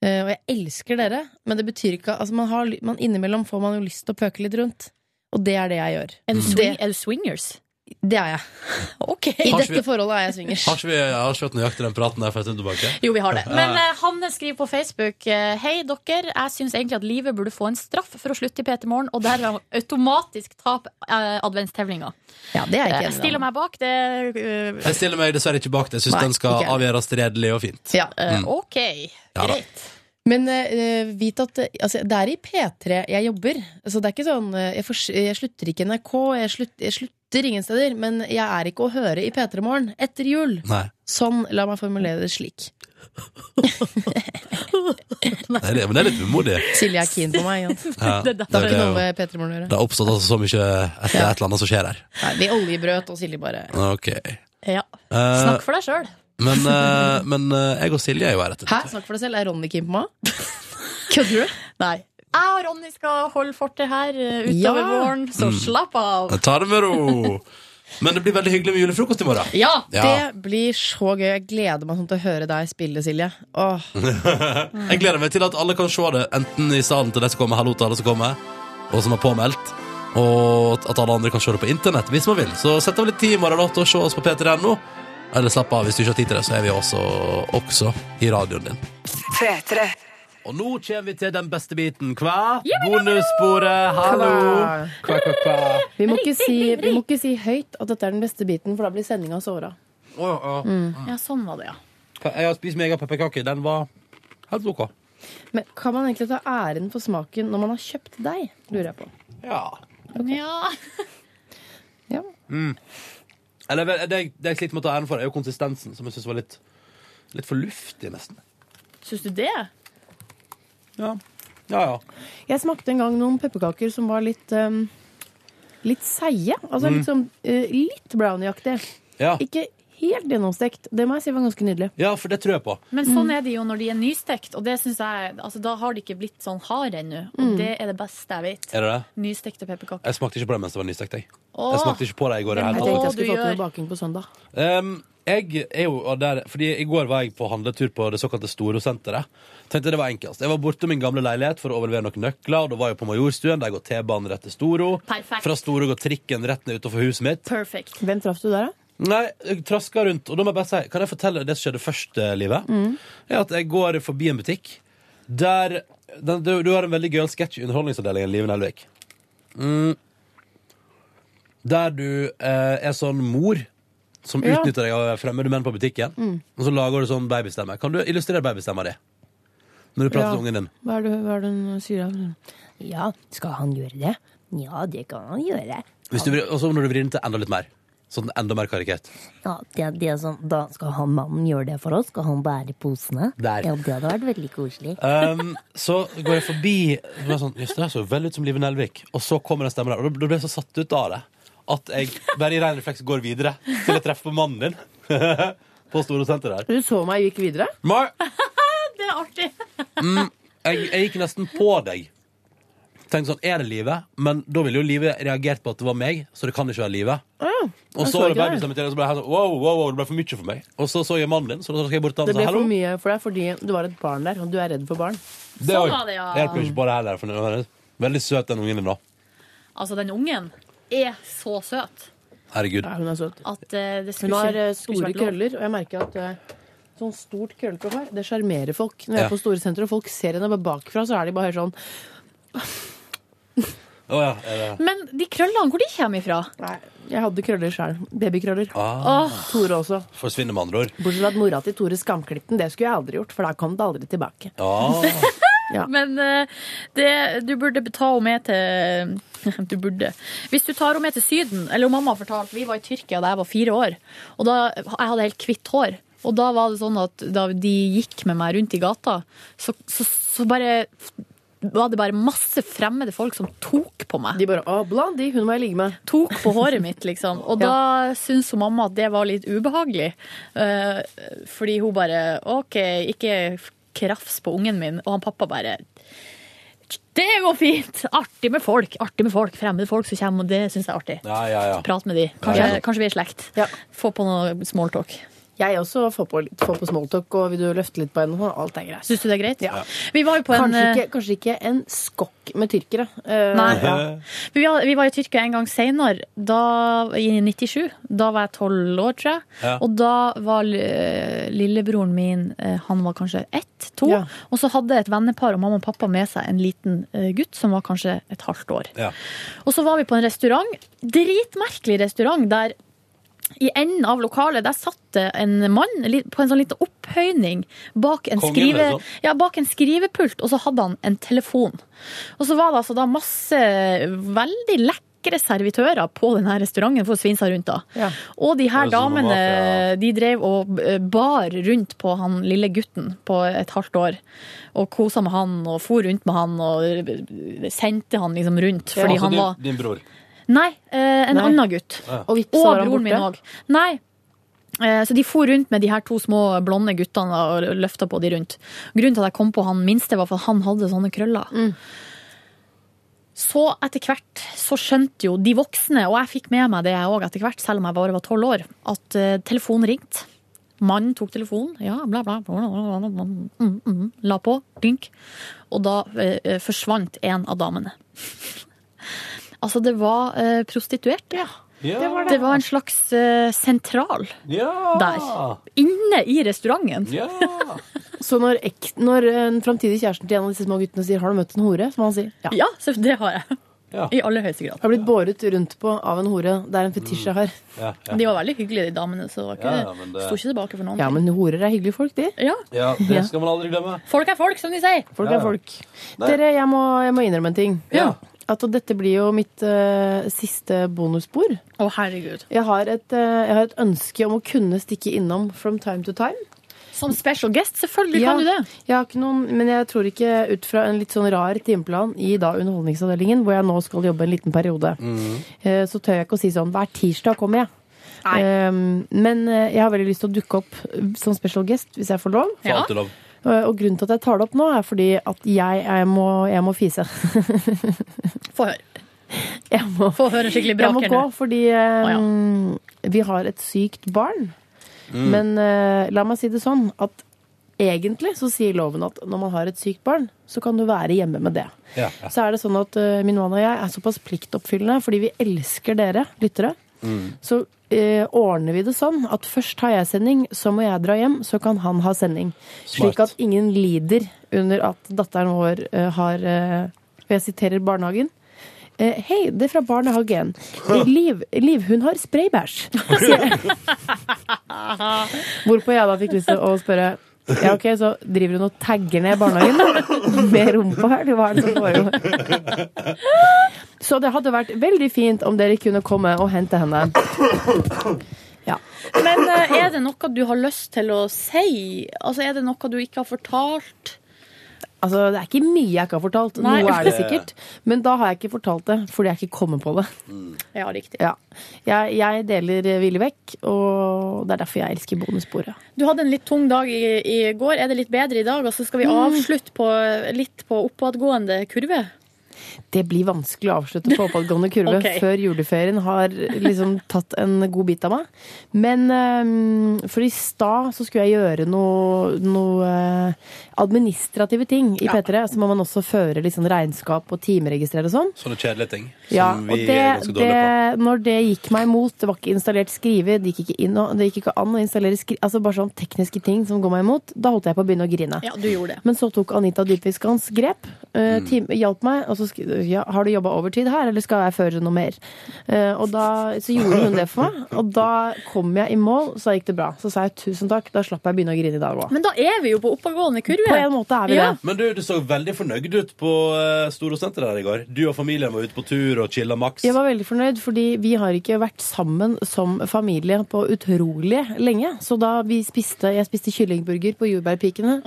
Eh, og jeg elsker dere, men det betyr ikke altså man har, ly- man Innimellom får man jo lyst til å pøke litt rundt, og det er det jeg gjør. Er du, Det, swing, er du swingers? det er jeg. *laughs* Ok. I Mm. Har ikke dette vi- forholdet er jeg swingers. Har ikke vi, har ikke vi hatt nøyaktig den praten der for en stund tilbake? Jo, vi har det. Men Ja. eh, Hanne skriver på Facebook eh, Hei, dere. Jeg syns egentlig at livet burde få en straff for å slutte i P3 Morgen, og derav automatisk tape eh, adventstevlinga. Ja, det er Eh, jeg ikke Jeg enig stiller med. meg bak. Det eh, Jeg stiller meg dessverre ikke bak det. Jeg syns Nei, den skal ikke jeg. avgjøres redelig og fint. Ja. eh, Mm. OK. Ja da. Greit. Men eh, vit at eh, altså, det er i P3 jeg jobber. Så det er ikke sånn eh, jeg, fors- jeg slutter ikke i NRK, jeg, slutt, jeg slutter ingen steder. Men jeg er ikke å høre i P3 Morgen etter jul. Nei. Sånn, la meg formulere det slik. Nei, det, men det er litt *laughs* umodig. Silje er keen på meg. Jan. Ja, Det er det, derfor Det er har ikke noe det, med P3 Morgen å det gjøre. har oppstått altså så mye etter et eller annet som skjer her. Nei, vi oljebrøt, og Silje bare Ok. Ja. Eh, Snakk for deg sjøl. men eh, men eh, jeg og Silje er jo her etter. *laughs* Hæ, snakk for deg selv. Er Ronny keen på meg? Kødder du? Nei. Jeg og Ronny skal holde fortet her eh, utover Ja. våren, så Mm. slapp av. Jeg tar det med ro. Men det blir veldig hyggelig med julefrokost i morgen. Ja, Ja. det blir så gøy. Jeg gleder meg sånn til å høre deg spille, Silje. Åh. jeg gleder meg til at alle kan se det, enten i salen til de som kommer, hallo til alle som kommer, og som er påmeldt, og at alle andre kan se det på internett hvis man vil. Så sett av litt tid i morgen da, til å se oss på p3.no, eller slapp av hvis du ikke har tid til det, så er vi også, også i radioen din. Og nå kommer vi til den beste biten. Hva? Bonussporet. Hallo. Kva, kva, kva. Vi må, ikke si, vi må ikke si høyt at dette er den beste biten, for da blir sendinga såra. Å, å. Ja, sånn var det, ja. Hva- Jeg har spist mega pepperkake. Den var helt OK. Men kan man egentlig ta æren for smaken når man har kjøpt deg, lurer jeg på. Ja. Ja. Mm. Eller vel, det, jeg- det jeg sliter med å ta æren for, er jo konsistensen, som jeg syns var litt, litt for luftig, nesten. Syns du det? Ja. Ja, ja. Jeg smakte en gang noen pepperkaker som var litt um, litt seige. Altså Mm. Ah. litt sånn eh, litt brownieaktig. Ja. Ikke helt gjennomstekt. Det må jeg si var ganske nydelig. ja, for det tror jeg på. Men sånn Mm. er det jo når de er nystekt, og det synes jeg, altså, da har de ikke blitt sånn hard ennå. Og Mm. det er det beste jeg vet. Er det det? Nystekte pepperkaker. Jeg smakte ikke på det mens det var nystekt. Jeg. Åh. jeg smakte ikke på det i går. i det hele tatt. Jeg tenkte jeg skulle få til noe baking på søndag. Um, jeg er jo av der, fordi I går var jeg på handletur på det såkalte Storosenteret. Tenkte det var enklest. Jeg var borte min gamle leilighet for å overlevere noen nøkler. Og da var jeg på Majorstuen. Der går T-banen rett til Storo. Perfekt. Fra Storo går trikken rett ned utenfor huset mitt. Perfect. Hvem traff du der, da? Nei, jeg traska rundt. Og da må jeg bare si, kan jeg fortelle det som skjedde først, eh, livet? Mm. er at jeg går forbi en butikk der den, du, du har en veldig gøyal sketsj i Underholdningsavdelingen, Live Nelvik. Mm. Der du eh, er sånn mor som Ja. utnytter deg av fremmede menn på butikken. Mm. Og så lager du sånn babystemme. Kan du illustrere babystemma di? Når du prater Ja. til ungen din. Hva er det, hva er det hun sier? da? Ja, skal han gjøre det? Ja, det kan han gjøre. Hvis du vrir- Og så når du vrir den til enda litt mer. Sånn enda mer karikert. Ja, det, det er sånn, da skal han mannen gjøre det for oss? Skal han bære posene? Der. Ja, det hadde vært veldig koselig. Um, så går jeg forbi og er sånn, Just det, her så vel ut som Live Nelvik. Og så kommer den stemmen der. Og da- da ble jeg så satt ut av det at jeg bare i ren refleks går videre til jeg treffer på mannen din. *laughs* på Store Senter der. Du så meg og gikk videre? Mar, *laughs* Det er artig. mm, jeg, jeg gikk nesten på deg. Tenkte sånn, er det livet? Men da ville jo livet reagert på at det var meg, så det kan ikke være livet. Og så var det babystemmen til, og så ble jeg helt sånn, wow, wow, wow, det ble for mye for meg. Og så så jeg mannen din, så da skal jeg bort til han og Det si ble hallo. for mye for deg fordi du var et barn der, og du er redd for barn. Det Sånn var- hjelper jo ikke på det heller. For det er veldig søt, den ungen din, da. Altså, den ungen er så søt Herregud. Ja, hun er søt. at eh, det Hun skulle har eh, ikke- skulle store ikke vært lov. krøller, og jeg merker at eh, sånn stort krøllete hår, det sjarmerer folk. Når jeg Ja. er på store sentre og folk ser henne bare bakfra, så er de bare sånn Å ja, er det Men de krøllene, hvor de kommer ifra? Nei, jeg hadde krøller sjøl. Babykrøller. Ah. Tore også. Forsvinner med andre ord. Bortsett fra at mora til Tore skamklipte den. Det skulle jeg aldri gjort, for da kom det aldri tilbake. Ja. Men eh, det, du burde ta henne med til *laughs* Du burde. Hvis du tar henne med til Syden, eller mamma fortalte, vi var i Tyrkia da jeg var fire år, og da jeg hadde helt hvitt hår. Og da var det sånn at da de gikk med meg rundt i gata, så, så, så bare var det bare masse fremmede folk som tok på meg. De bare 'Å, Blondie, hun må jeg ligge med'. Tok på håret mitt, liksom. Og *laughs* da syntes hun mamma at det var litt ubehagelig. Eh, fordi hun bare OK, ikke krafs på ungen min. Og han pappa bare Det går fint! Artig med folk. Artig med folk. Fremmede folk som kommer, og det syns jeg er artig. Ja, ja, ja. Prat med de. Ja, Kanskje, ja. kanskje vi er i slekt. Få på noe smalltalk. Jeg også får på, litt- får på smalltalk, og vil du løfte litt på henne? og sånn? Alt er greit. Syns du det er greit? Vi var jo på en kanskje, eh, ikke, kanskje ikke en skokk med tyrkere. Eh, Nei. ja. Men Vi var, vi var i Tyrkia en gang senere, da, i 97. Da var jeg tolv år, tror jeg. Ja. Og da var eh, lillebroren min eh, Han var kanskje ett, to. Ja. Og så hadde et vennepar og mamma og pappa med seg en liten eh, gutt som var kanskje et halvt år. Ja. Og så var vi på en restaurant, dritmerkelig restaurant, der i enden av lokalet der satt det en mann li- på en sånn liten opphøyning bak en, Kongen, skrive, liksom? ja, bak en skrivepult, og så hadde han en telefon. Og så var det altså da masse veldig lekre servitører på denne restauranten for å svinne seg rundt da. Og de her Det sånn er som damene, mafia. de drev og eh, bar rundt på han lille gutten på et halvt år, og koset med han, og for rundt med han, og eh, sendte han liksom rundt, fordi Altså, han din, var... Din bror. Nei, eh, en Nei. annen gutt. Ja. Og, Og vips, så var han broren min borte. òg. Nei. Eh, Så de for rundt med de her to små blonde guttene og løfta på de rundt. Grunnen til at jeg kom på han minste, var for at han hadde sånne krøller. Så etter hvert så skjønte jo de voksne, og jeg fikk med meg det jeg òg etter hvert, selv om jeg bare var tolv år, at eh, telefonen ringte. Mannen tok telefonen, ja, bla, bla, bla, bla, bla, bla mm, mm, la på, dynk. Og da eh, eh, forsvant en av damene. *laughs* altså, det var eh, prostituerte. Ja. Det, var det. det var en slags eh, sentral Ja! der. Ah. Inne i restauranten. Så når, ek, når en framtidig kjæresten til en av disse små guttene sier 'har du møtt en hore', som han sier ja. så det har jeg. I aller høyeste grad. Har blitt båret rundt på av en hore. Det er en fetisj jeg har. Ja, De var veldig hyggelige, de damene, så det var ikke, Ja, ja, men det- sto ikke tilbake for noen. Ja, men horer er hyggelige folk, de. Ja. Ja, Ja. det skal man aldri glemme. Folk er folk, som de sier. Folk Ja, er ja. folk. Nei. Dere, jeg må, jeg må innrømme en ting. At dette blir jo mitt eh, siste bonusspor. Å, herregud. Jeg har, et, eh, jeg har et ønske om å kunne stikke innom from time to time. Som special guest, selvfølgelig kan du det. Jeg har ikke noen, men jeg tror ikke ut fra en litt sånn rar timeplan i da Underholdningsavdelingen, hvor jeg nå skal jobbe en liten periode, eh, så tør jeg ikke å si sånn hver tirsdag kommer jeg. Ehm, men eh, jeg har veldig lyst til å dukke opp eh, som special guest, hvis jeg får lov. For alt er lov. Eh, Og grunnen til at jeg tar det opp nå, er fordi at jeg, jeg, må, jeg må fise. *laughs* Få høre. Jeg må, Få høre skikkelig braker Jeg må gå, nå. fordi eh, vi har et sykt barn. Mm. Men eh, la meg si det sånn at egentlig så sier loven at når man har et sykt barn, så kan du være hjemme med det. Ja, ja. Så er det sånn at eh, min mann og jeg er såpass pliktoppfyllende fordi vi elsker dere lyttere. Så eh, ordner vi det sånn at først har jeg sending, så må jeg dra hjem, så kan han ha sending. Smart. Slik at ingen lider under at datteren vår eh, har eh, Og jeg siterer barnehagen. Eh, Hei, det er fra barnehagen. Eh, Liv, Liv hun har spraybæsj. Hvorpå jeg da fikk lyst til å spørre Ja, ok, så driver hun og tagger ned barnehagen med rumpa her? Hva er det som foregår? Så det hadde vært veldig fint om dere kunne komme og hente henne. Men eh, er det noe du har lyst til å si? Altså, Er det noe du ikke har fortalt? Altså, Det er ikke mye jeg ikke har fortalt. Nei. Noe er *laughs* det sikkert. Men da har jeg ikke fortalt det, fordi jeg ikke kommer på det. Ja, riktig. Ja. Jeg, jeg deler eh, villig vekk, og det er derfor jeg elsker bonussporet. Du hadde en litt tung dag i, i går. Er det litt bedre i dag? Og så skal vi Mm. avslutte på, litt på oppadgående kurve. Det blir vanskelig å avslutte på *laughs* oppadgående kurve Ok. før juleferien har liksom tatt en god bit av meg. Men eh, for i stad så skulle jeg gjøre noe, noe eh, administrative ting i P3. Så må man også føre litt sånn regnskap og timeregistrere og sånn. Sånne kjedelige ting som Ja, og vi er det, ganske dårlige på. det, når det gikk meg imot, det var ikke installert skrive, det gikk ikke, inn, og- det gikk ikke an å installere skrive, altså bare sånne tekniske ting som går meg imot, da holdt jeg på å begynne å grine. Ja, du gjorde det. Men så tok Anita Dybfiskans grep, eh, Mm. tim- hjalp meg, og så sk- ja, har du jobba overtid her, eller skal jeg føre noe mer? Eh, og da, så gjorde hun det for meg, og da kom jeg i mål, så gikk det bra. Så sa jeg tusen takk, da slapp jeg å begynne å grine i dag òg. Men da er vi jo på oppadgående kurve. På en måte er vi Ja. det. Men du, du så veldig fornøyd ut på eh, Storosenteret her i går. Du og familien var ute på tur og chilla maks. Jeg var veldig fornøyd, fordi vi har ikke vært sammen som familie på utrolig lenge. Så da vi spiste, jeg spiste kyllingburger på jordbærpikene.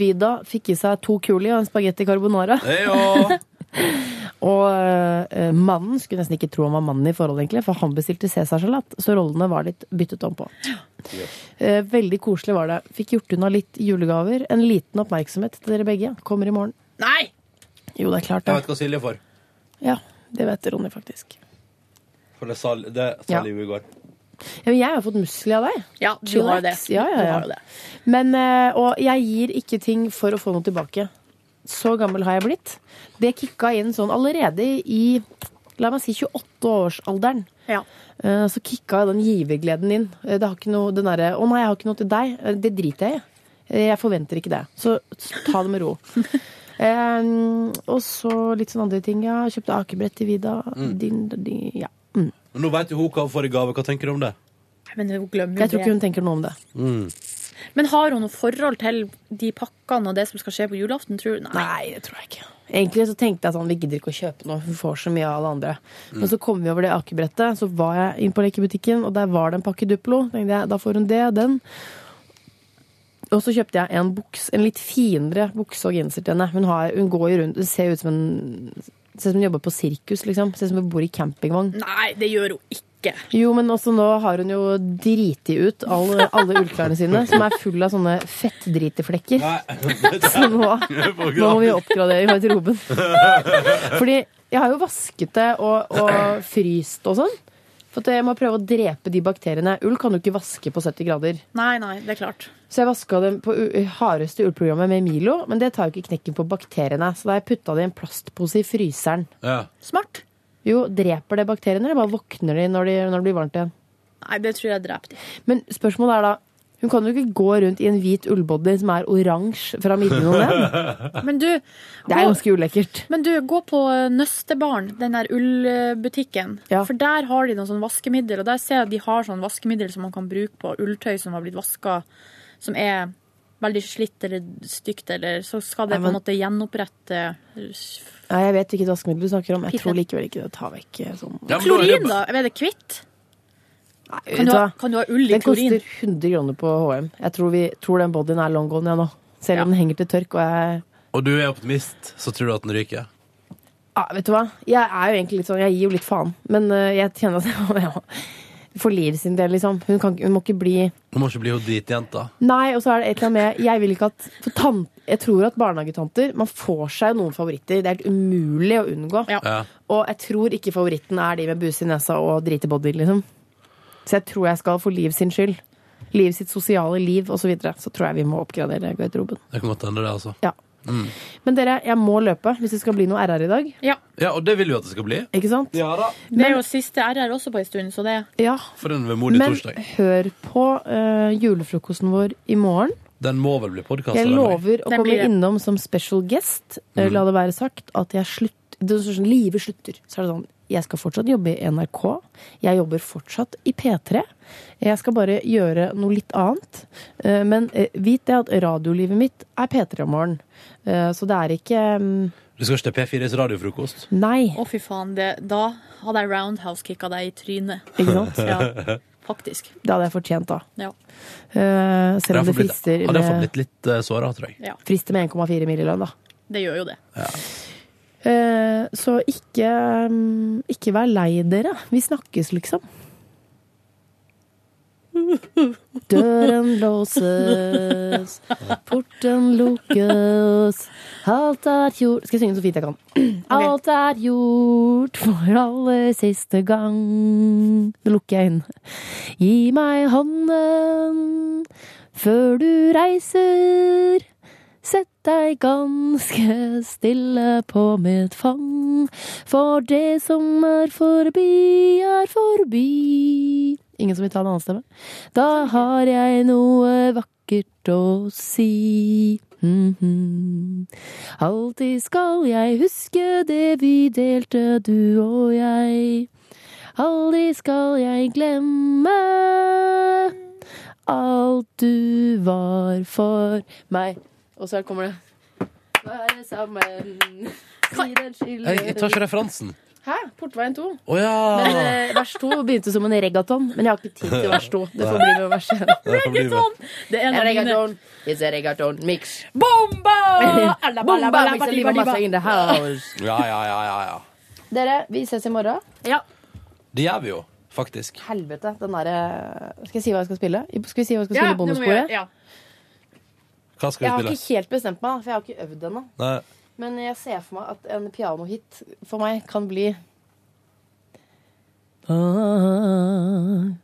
Vida fikk i seg to kuli og en spagetti carbonara. *laughs* og eh, mannen skulle nesten ikke tro han var mannen i forhold, egentlig, for han bestilte cæsarsalat. Så rollene var litt byttet om på. Eh, veldig koselig var det. Fikk gjort unna litt julegaver. En liten oppmerksomhet til dere begge. Kommer i morgen. Nei! Jo, det er klart Jeg det. vet hva Silje får. Ja, det vet Ronny faktisk. For det sa, det sa Ja. Liv i går. Ja, men jeg har jo fått musli av deg. Ja, du Chillax. har jo det. Ja, ja, Du ja. har jo det. Men, eh, og jeg gir ikke ting for å få noe tilbake. Så gammel har jeg blitt. Det kicka inn sånn allerede i la meg si 28-årsalderen. Ja. Eh, Så kicka den givergleden inn. Eh, Det har ikke noe, den derre 'Å nei, jeg har ikke noe til deg'. Eh, Det driter jeg i. Eh, Jeg forventer ikke det. Så s- ta det med ro. Eh, og så litt sånn andre ting. Ja, kjøpte akebrett til Vida. Mm. Din, din, ja. Men nå vet jo hun hva hun får i gave. Hva tenker du *laughs* om det? Men hun glemmer Jeg jo tror ikke hun det. tenker noe om det. Men har hun noe forhold til de pakkene og det som skal skje på julaften, tror du? Nei. det tror jeg ikke. Egentlig så tenkte jeg sånn, vi gidder ikke å kjøpe noe, hun får så mye av alle andre. Men så kom vi over det akebrettet, så var jeg inn på lekebutikken, og der var det en pakke Duplo. Tenkte jeg, da får hun det, den. Og så kjøpte jeg en buks, en litt finere bukse og genser til henne. Hun, har, hun går jo rundt, det ser ut som en, ser ut som hun jobber på sirkus, liksom. Ser ut som hun bor i campingvogn. Nei, det gjør hun ikke. ikke. Jo, men også nå har hun jo driti ut alle, alle ullklærne sine, som er full av sånne fettdriteflekker. Så nå, nå må vi oppgradere garderoben. Fordi jeg har jo vasket det og, og fryst og sånn. For at jeg må prøve å drepe de bakteriene. Ull kan du ikke vaske på 70 grader. Nei, nei, det er klart. Så jeg vaska dem på u- hardeste ullprogrammet med Milo, men det tar jo ikke knekken på bakteriene. Så da har jeg putta det i en plastpose i fryseren. Ja. Smart. Jo, dreper det bakteriene, eller bare våkner de når, de når det blir varmt igjen? Nei, det tror jeg dreper de. Men spørsmålet er da Hun kan jo ikke gå rundt i en hvit ullbody som er oransje fra midjen og ned. Men du, det er ganske ulekkert. Men du, gå på Nøstebaren, den der ullbutikken. For der har de noe sånn vaskemiddel, og der ser jeg at de har sånn vaskemiddel som man kan bruke på ulltøy som har blitt vaska, som er veldig slitt eller stygt, eller så skal det Nei, på men- en måte gjenopprette eh, Nei, jeg vet hvilket vaskemiddel du snakker om. Jeg Piffen. tror likevel ikke det tar vekk eh, sånn Klorin, da? Er det kvitt? vet Kan du, ha, hva? kan du ha ull i Den klorin? koster 100 kroner på HM. Jeg tror, vi, tror den bodyen er long gone, jeg nå. Selv om den henger til tørk. Og jeg, Og du er optimist, så tror du at den ryker? ja, vet du hva? Jeg er jo egentlig litt sånn, jeg gir jo litt faen. Men eh, jeg kjenner at *laughs* jeg må ja, For liv sin del, liksom. Hun, kan, ikke- hun må ikke bli Du må ikke bli hun dritjenta. Nei, og så er det et eller annet med Jeg vil ikke at for tan- Jeg tror at barnehagetanter Man får seg noen favoritter. Det er helt umulig å unngå. Ja. Og jeg tror ikke favoritten er de med buse i nesa og dritebody, liksom. Så jeg tror jeg skal for Liv sin skyld. Liv sitt sosiale liv osv. Så, videre, så tror jeg vi må oppgradere garderoben. Det kan godt hende, det, altså. Ja. Mm. Men dere, jeg må løpe hvis det skal bli noe RR i dag. ja, og det vil vi at det skal bli. Ikke sant? Ja da. Det er jo siste RR også på en stund, så det Ja. For en vemodig Men torsdag. hør på eh, julefrokosten vår i morgen. Den må vel bli podkasta? Jeg lover å Den blir det. komme innom som special guest. Mm. Eh, La det være sagt at jeg slutt, det er sånn, som livet slutter. Så er det sånn, jeg skal fortsatt jobbe i NRK. Jeg jobber fortsatt i P3. Jeg skal bare gjøre noe litt annet. Eh, Men eh, vit det at radiolivet mitt er P3 om morgenen. Eh, Så det er ikke mm, Du skal ikke til P4s radiofrokost? Nei. Å, fy faen. Det, da hadde jeg roundhouse-kicka deg i trynet. Ikke *laughs* sant? Ja, faktisk. Det hadde jeg fortjent, da. Ja. Eh, Hadde Selv om jeg det fått frister blitt- hadde jeg fått med, blitt litt uh, såra, tror jeg. ja. frister med 1,4 mill. i lønn, da. Det gjør jo det. Eh, Så ikke, mm, ikke vær lei dere. Vi snakkes, liksom. Døren låses, porten lukkes. Alt er gjort Skal jeg synge så fint jeg kan? Alt er gjort for aller siste gang. Nå lukker jeg øynene. Gi meg hånden før du reiser. Sett deg ganske stille på mitt fang, for det som er forbi, er forbi. Ingen som vil ta en annen stemme? Da har jeg noe vakkert å si. Mhm. Alltid skal jeg huske det vi delte, du og jeg. Aldri skal jeg glemme alt du var for meg. Og så kommer det Være sammen, siden skiller Jeg, jeg tar ikke referansen. Hæ? Portveien 2? Å *laughs* ja! Men eh, vers 2 begynte som en reggaeton, men jeg har ikke tid til vers 2. Det får bli med vers 1. Det får bli med. Det er en av mine- reggaeton. It's a reggaeton mix. *laughs* Bomba! Bomba mix a liva massa in the house. Ja, ja, ja, ja, ja. Dere, vi ses i morgen. Ja. Det gjør vi jo, faktisk. Helvete, den derre Skal jeg si hva jeg skal spille? Skal vi si hva jeg skal Ja, det må spille i vi bonussporet? gjøre, ja. Hva skal Jeg har vi ikke spille? helt bestemt meg, for jeg har ikke øvd ennå. Nei. Men jeg ser for meg at en pianohit for meg kan bli I Ah,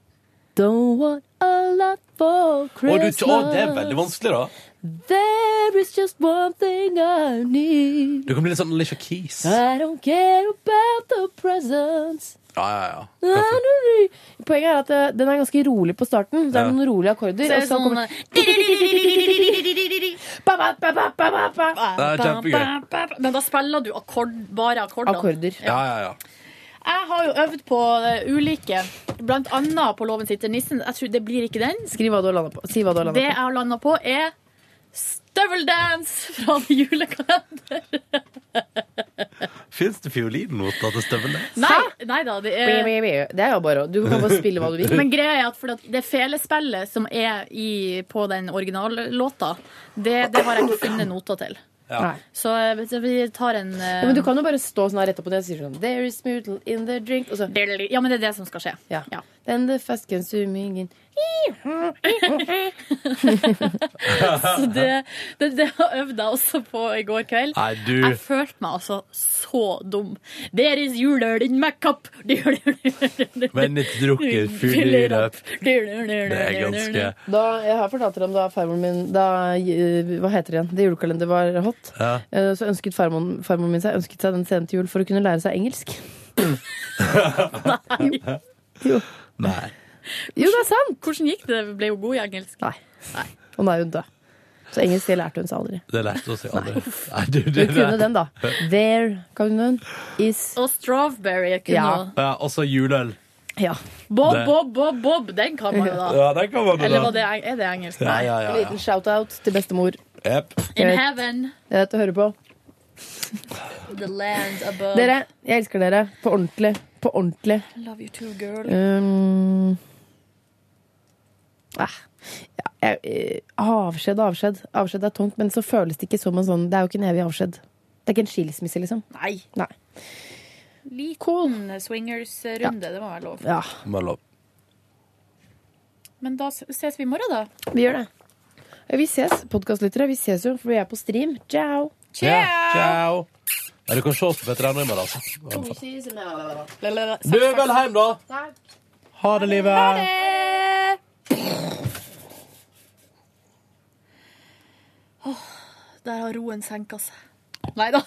don't want a lot for Å, du, Christmas. å, det er veldig vanskelig, da. There is just one thing I need. Du kan bli litt sånn Alicia Keys. Ja, I don't care about the presents. ja, ja. Poenget er at eh, den er ganske rolig på starten. Det er Ja. noen Så rolige akkorder. er sånn, Og det så kommer eh, sånn Ba, ba, ba, ba, ba, ba, Ah, ba. Det er kjempegøy. Men da spiller du akkord, bare akkordene. Akkorder. Ja, ja, ja. Jeg har jo øvd på eh, ulike, blant annet på Loven sitter nissen. Jeg tror det blir ikke den. Skriv hva du har landa på. Si hva du har Det landa jeg på. har landa på, er støveldans fra *laughs* julekalenderen. Fins det fiolinnoter til støvelen? Nei, nei da, det Bri, er bri, bri. Det er jo bare å Du kan bare spille hva *laughs* du vil. Men greia er at, fordi at det felespillet som er i, på den originallåta, det, det har jeg ikke funnet noter til. Nei. Så eh, så vi tar en eh, Ja, men du kan jo bare stå sånn her rett opp og ned og si sånn There is mutal in the drink. Og så eh, Ja, men det er det som skal skje. Ja. Then the fast consuming in Så det, det, det øvde jeg også på i går kveld. Nei, du- Jeg følte meg altså så dum. There is juleøl in my cup. *laughs* Men ikke *laughs* drukket fylleløp. Det er ganske Da, jeg har fortalt dere om da farmoren min da, eh, Hva heter det igjen? Det julekalender var hot. ja. Eh, Så ønsket farmoren, farmoren min seg ønsket seg den scenen til jul for å kunne lære seg engelsk. Nei. Jo, det er sant! Hvordan gikk det? Ble hun god i engelsk? Nei. Og nå er hun død. Så engelsk det lærte hun seg aldri. Det lærte oss jo aldri. Nei, du, Hun kunne det- den, da. There kan hun is Og strawberry kunne Ja. hun. Ja, og så juleøl. Ja. Bob, Det- bob, bob, bob. Den kan man jo da. Ja, den kan man jo da. Eller var det, eng- er det engelsk? Ja, ja, ja, En ja. liten shout-out til bestemor. Jep. In heaven, Det er dette å høre på. the land above. Dere, jeg elsker dere. På ordentlig. På ordentlig. Love you too, girl. Um, eh, ja, jeg, eh, avskjed, avskjed. Avskjed er tungt, men så føles det ikke som en sånn Det er jo ikke en evig avskjed. Det er ikke en skilsmisse, liksom. Nei. Nei. Liten swingers-runde, Ja. det må være lov. Ja, Mellom. Men da ses vi i morgen, da. vi gjør det. Eh, Vi ses, podkastlyttere. Vi ses jo, for vi er på stream. Ciao! Ja, ciao. Ja, du kan se oss på Veteranene i morgen, altså. Du, vel hjem, da. Ha det, livet. Åh, der har roen senka seg. Nei da.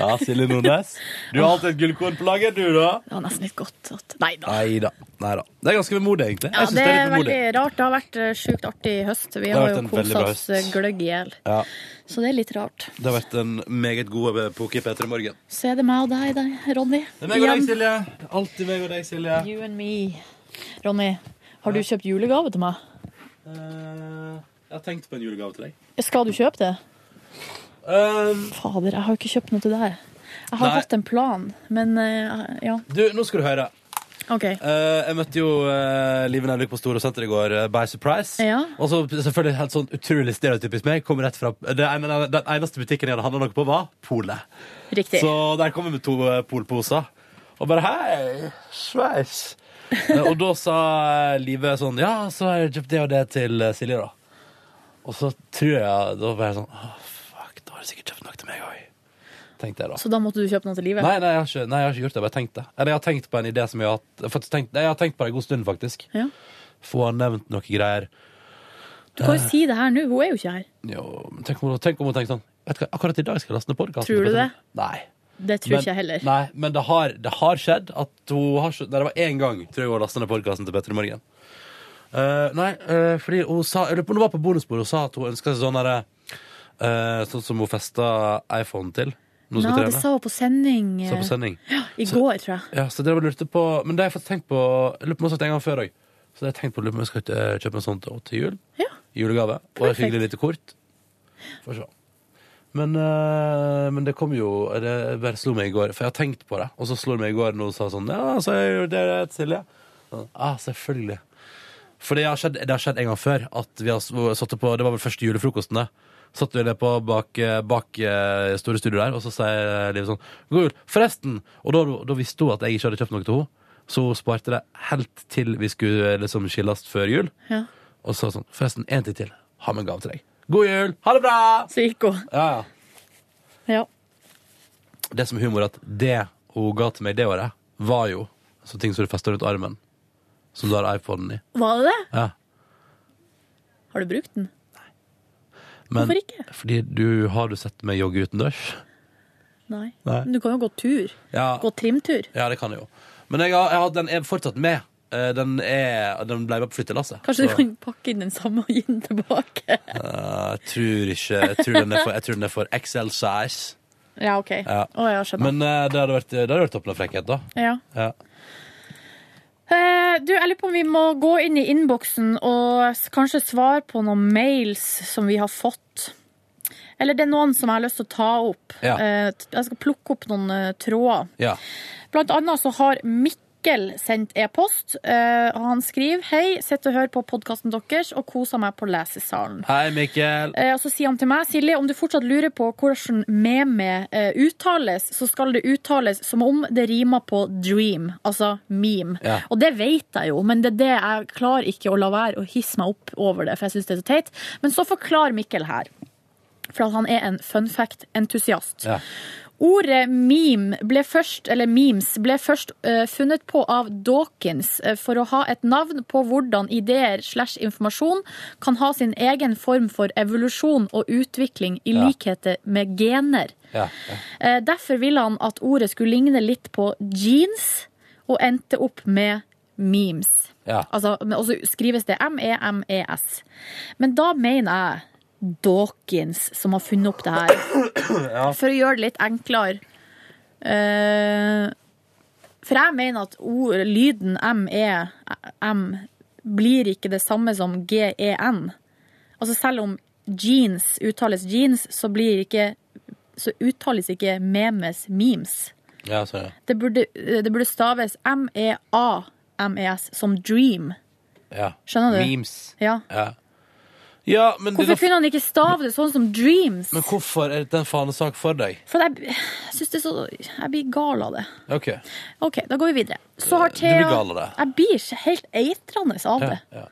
Ja, Silje Nordnes. Du har alltid et gullkorn på lager, du, da. Det var nesten litt godt at Nei da. Nei da. Nei da. Det er ganske vemodig, egentlig. Ja, Jeg synes det det er litt veldig vemodig. rart. Det har vært eh, sjukt artig høst. Vi Det har har vært jo en veldig kosa bra oss eh, høst. gløgg i hjel. Ja, Så det er litt rart. det har vært en meget god poker Peter i morgen. Så er det meg og deg, deg Ronny. Det er meg og deg, Igjen. Silje. Det er Alltid meg og deg, Silje. You and me. Ronny, har du kjøpt julegave til meg? Eh, jeg har tenkt på en julegave til deg. Skal du kjøpe det? Um, Fader, jeg har jo ikke kjøpt noe til deg. Jeg har Nei. hatt en plan, men eh, ja. du, nå skal du høre. OK. Eh, jeg møtte jo eh, Live Nelvik på Store Senter i går eh, by surprise. Ja. Og så selvfølgelig helt sånn utrolig stereotypisk meg. Kom rett fra det ene, Den eneste butikken jeg hadde handla noe på, var Polet. Riktig. Så der kom jeg med to eh, polposer. Og bare hei, sveis. Eh, og da sa eh, Live sånn ja, så har jeg kjøpt det og det til eh, Silje, da. Og så tror jeg Da var jeg sånn «Åh, fuck, da har du sikkert kjøpt noe til meg òg. Tenkte jeg da. Så da måtte du kjøpe noe til livet? *laughs* Nei, nei, jeg har ikke, nei, jeg har ikke gjort det. Jeg har bare tenkt det. Eller jeg har tenkt på en idé som jeg har hatt jeg har faktisk tenkt, nei, jeg har tenkt på det en god stund, faktisk. Ja. Få han nevnt noen greier. Du kan jo si det her nå, hun er jo ikke her. Jo, men tenk om hun tenk om hun tenker sånn Vet du hva, akkurat i dag skal jeg laste ned podkasten. Tror du det? Nei. Det tror ikke jeg heller. Nei, men det har, det har skjedd at hun har skjedd, Nei, det var én gang tror jeg hun lasta ned podkasten til Petter i morgen. Eh, nei, eh, fordi hun sa Jeg lurer på om hun var på bonusbordet og sa at hun ønska seg sånn derre eh, Sånn som hun festa iPhone til. Nå Nei, skal det trene. sa hun på sending, Sa på eh, sending. i Så- går, tror jeg. Ja, så det var lurte på Men det har jeg faktisk tenkt på Jeg lurer på om jeg har sagt det en gang før òg. Så det har jeg tenkt på lurer på om jeg skal eh, kjøpe en sånn til, til jul. Julegave. Og et hyggelig lite kort. Får se. Men, eh, men det kom jo Det bare slo meg i går, for jeg har tenkt på det. Og så slo det meg i går når hun sa sånn Ja, så jeg gjorde det der til Silje. Sånn, ah, selvfølgelig. For det har, skjedd, det har skjedd en gang før. At vi har s- satt på, det var vel første julefrokosten, det. Satt vi det på bak, bak eh, store studio der, og så sier Liv sånn God jul! Forresten! Og da, da visste hun at jeg ikke hadde kjøpt noe til henne, så hun sparte det helt til vi skulle eh, liksom skilles før jul. Ja. Og så sånn Forresten, en ting til. Har med en gave til deg. God jul! Ha det bra! Så gikk hun. Ja, ja. Ja. Det som er humor, er at det hun ga til meg det året, var jo så ting som du fester rundt armen, som du har iPoden i. Var det det? Ja. Har du brukt den? Men, Hvorfor ikke? Fordi du har du sett meg jogge utendørs. Nei. Nei. Men du kan jo gå tur. Ja. Gå trimtur. Ja, det kan jeg jo. Men jeg har, jeg har, den er fortsatt med. Eh, Den, er, den ble med på flyttelasset. Kanskje du så- kan pakke inn den samme og gi den tilbake. Eh, jeg tror ikke Jeg tror den er for, jeg tror den er for XL size. Ja, OK. Å, Ja. ja, skjønner. Men eh, det hadde vært, det hadde vært toppen av frekkhet, da. Ja. Ja. Eh, du, jeg lurer på om vi må gå inn i innboksen og s- kanskje svare på noen mails som vi har fått. Eller det er noen som jeg har lyst til å ta opp. Ja. Eh, t- Jeg skal plukke opp noen eh, tråder. ja. Blant annet så har Mikkel Mikkel sendt e-post. Eh, og han skriver Hei, sitter og hører på podkasten deres og koser meg på lesesalen. Hei, Mikkel. Eh, Og så sier han til meg, Silje, om du fortsatt lurer på hvordan meme eh, uttales, så skal det uttales som om det rimer på dream, altså meme. Ja. Og det vet jeg jo, men det er det jeg klarer ikke å la være å hisse meg opp over det, for jeg syns det er så teit. Men så forklarer Mikkel her, for at han er en fun fact-entusiast. Ja. Ordet meme ble først, eller memes ble først eh, funnet på av Dawkins eh, for å ha et navn på hvordan ideer slash informasjon kan ha sin egen form for evolusjon og utvikling i Ja. likheter med gener. Ja. Eh, Derfor ville han at ordet skulle ligne litt på jeans, og endte opp med memes. Ja. Altså, men- og så skrives det E M-E-M-E-S. Men da mener jeg Dawkins, som har funnet opp det her. For å gjøre det litt enklere. Eh, for jeg mener at ord, lyden M-E-M blir ikke det samme som G-E-N. Altså selv om jeans uttales jeans, så blir ikke så uttales ikke memes memes. Ja, så er det. Det burde, det burde staves E M-E-A-M-E-S E som dream. Ja. Skjønner du? Memes. Ja. Ja, ja men, det, Hvorfor kunne han ikke stave det sånn som dreams? men hvorfor er dette en fanesak for deg? For jeg, jeg synes det er så Jeg blir gal av det. Ok. OK, da går vi videre. Så har blir Thea gal av det. Jeg blir helt eitrende av det. Ja, ja.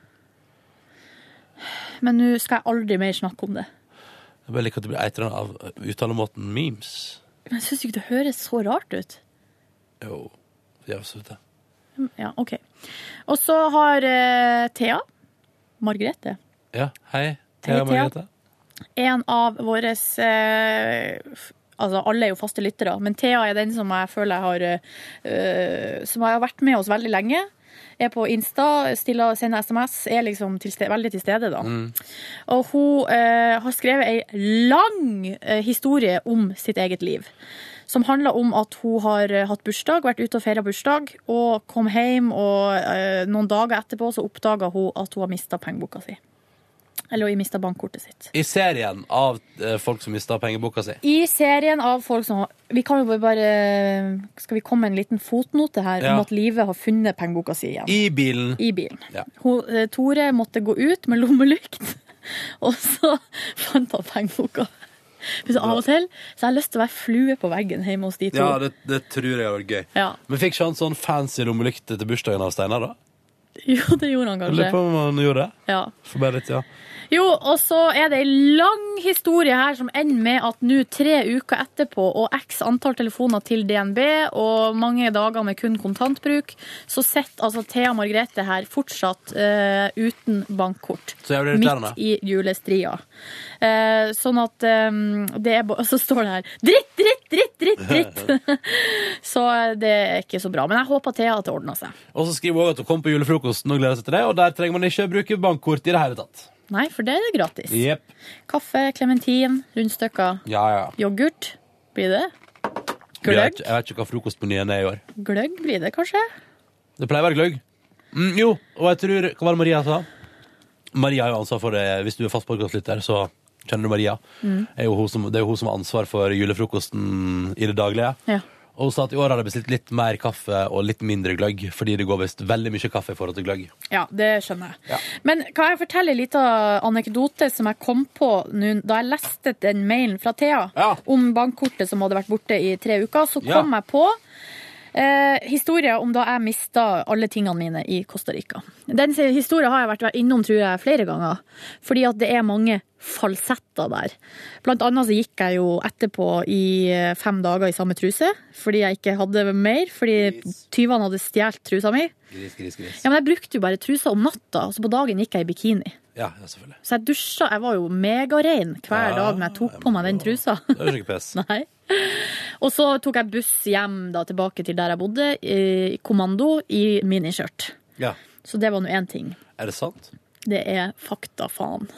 Men nå skal jeg aldri mer snakke om det. Jeg bare liker at du blir eitrende av uttalemåten memes. Men jeg syns ikke det høres så rart ut. Jo, det er absolutt det. Ja, OK. Og så har eh, Thea Margrethe. Ja, hei. Hei, Thea Margrethe. en av våre Altså, alle er jo faste lyttere, men Thea er den som jeg føler jeg har eh, Som har vært med oss veldig lenge. Er på Insta, stiller, sender SMS, er liksom til ste- veldig til stede, da. Og hun eh, har skrevet ei lang eh, historie om sitt eget liv. Som handler om at hun har eh, hatt bursdag, vært ute og feira bursdag, og kom hjem, og eh, noen dager etterpå så oppdaga hun at hun har mista pengeboka si. Eller hun mista bankkortet sitt. I serien av eh, folk som mista pengeboka si. I serien av folk som har Vi kan jo bare Skal vi komme med en liten fotnote her Ja. om at Live har funnet pengeboka si igjen? I bilen. I bilen. Ja. Hun, eh, Tore måtte gå ut med lommelykt, *laughs* og så fant han pengeboka. Men så av og til så har jeg lyst til å være flue på veggen hjemme hos de to. Ja, det, det tror jeg hadde vært gøy. Ja. Men fikk ikke han sånn fancy lommelykt til bursdagen av Steinar, da? Jo, det gjorde han Jeg Lurer på kanskje. om han gjorde det. Ja. For bare litt, ja. Jo, og så er det ei lang historie her som ender med at nå tre uker etterpå og x antall telefoner til DNB og mange dager med kun kontantbruk, så sitter altså Thea Margrethe her fortsatt eh, uten bankkort. Så jævlig irriterende. Midt i julestria. Eh, sånn at eh, det er ba- Og *laughs* så står det her dritt, dritt, dritt, dritt, dritt! *laughs* så eh, det er ikke så bra. Men jeg håper Thea at det ordner seg. Og så skriver hun også at hun kom på julefrokosten og gleder seg til det, og der trenger man ikke bruke bankkort i det hele tatt. Nei, for det er gratis. Jepp. Kaffe, klementin, rundstykker. Ja, ja. Yoghurt blir det. Jeg Gløgg. vet, ikke- jeg vet ikke hva frokostmenyen er i år. Gløgg blir det kanskje. Det pleier å være gløgg. Mm, jo, og jeg tror Hva var det Maria sa? Maria har jo ansvar for det. Hvis du er fast podkastlytter, så kjenner du Maria. Mm. Er jo hun som, det er jo hun som har ansvar for julefrokosten i det daglige. Ja. Og hun sa at i år har de bestilt litt mer kaffe og litt mindre gløgg, fordi det går visst veldig mye kaffe i forhold til gløgg. Ja, det skjønner jeg. Men kan jeg fortelle en liten anekdote som jeg kom på nå, da jeg leste den mailen fra Thea om bankkortet som hadde vært borte i tre uker? Så Ja. kom jeg på eh, historien om da jeg mista alle tingene mine i Costa Rica. Den historien har jeg vært innom tror jeg, flere ganger, fordi at det er mange falsetter der. Blant annet så gikk jeg jo etterpå i eh, fem dager i samme truse, fordi jeg ikke hadde mer, fordi tyvene hadde stjålet trusa mi. Gris, gris, gris. Ja, men jeg brukte jo bare trusa om natta, og så på dagen gikk jeg i bikini. Ja, ja selvfølgelig. Så jeg dusja, jeg var jo megarein hver Ja, dag når jeg tok på meg den trusa. *laughs* Det er jo ikke pes. Nei. Og så tok jeg buss hjem da, tilbake til der jeg bodde, i kommando i miniskjørt. Ja. Så det var nå én ting. Er det sant? Det er fakta, faen.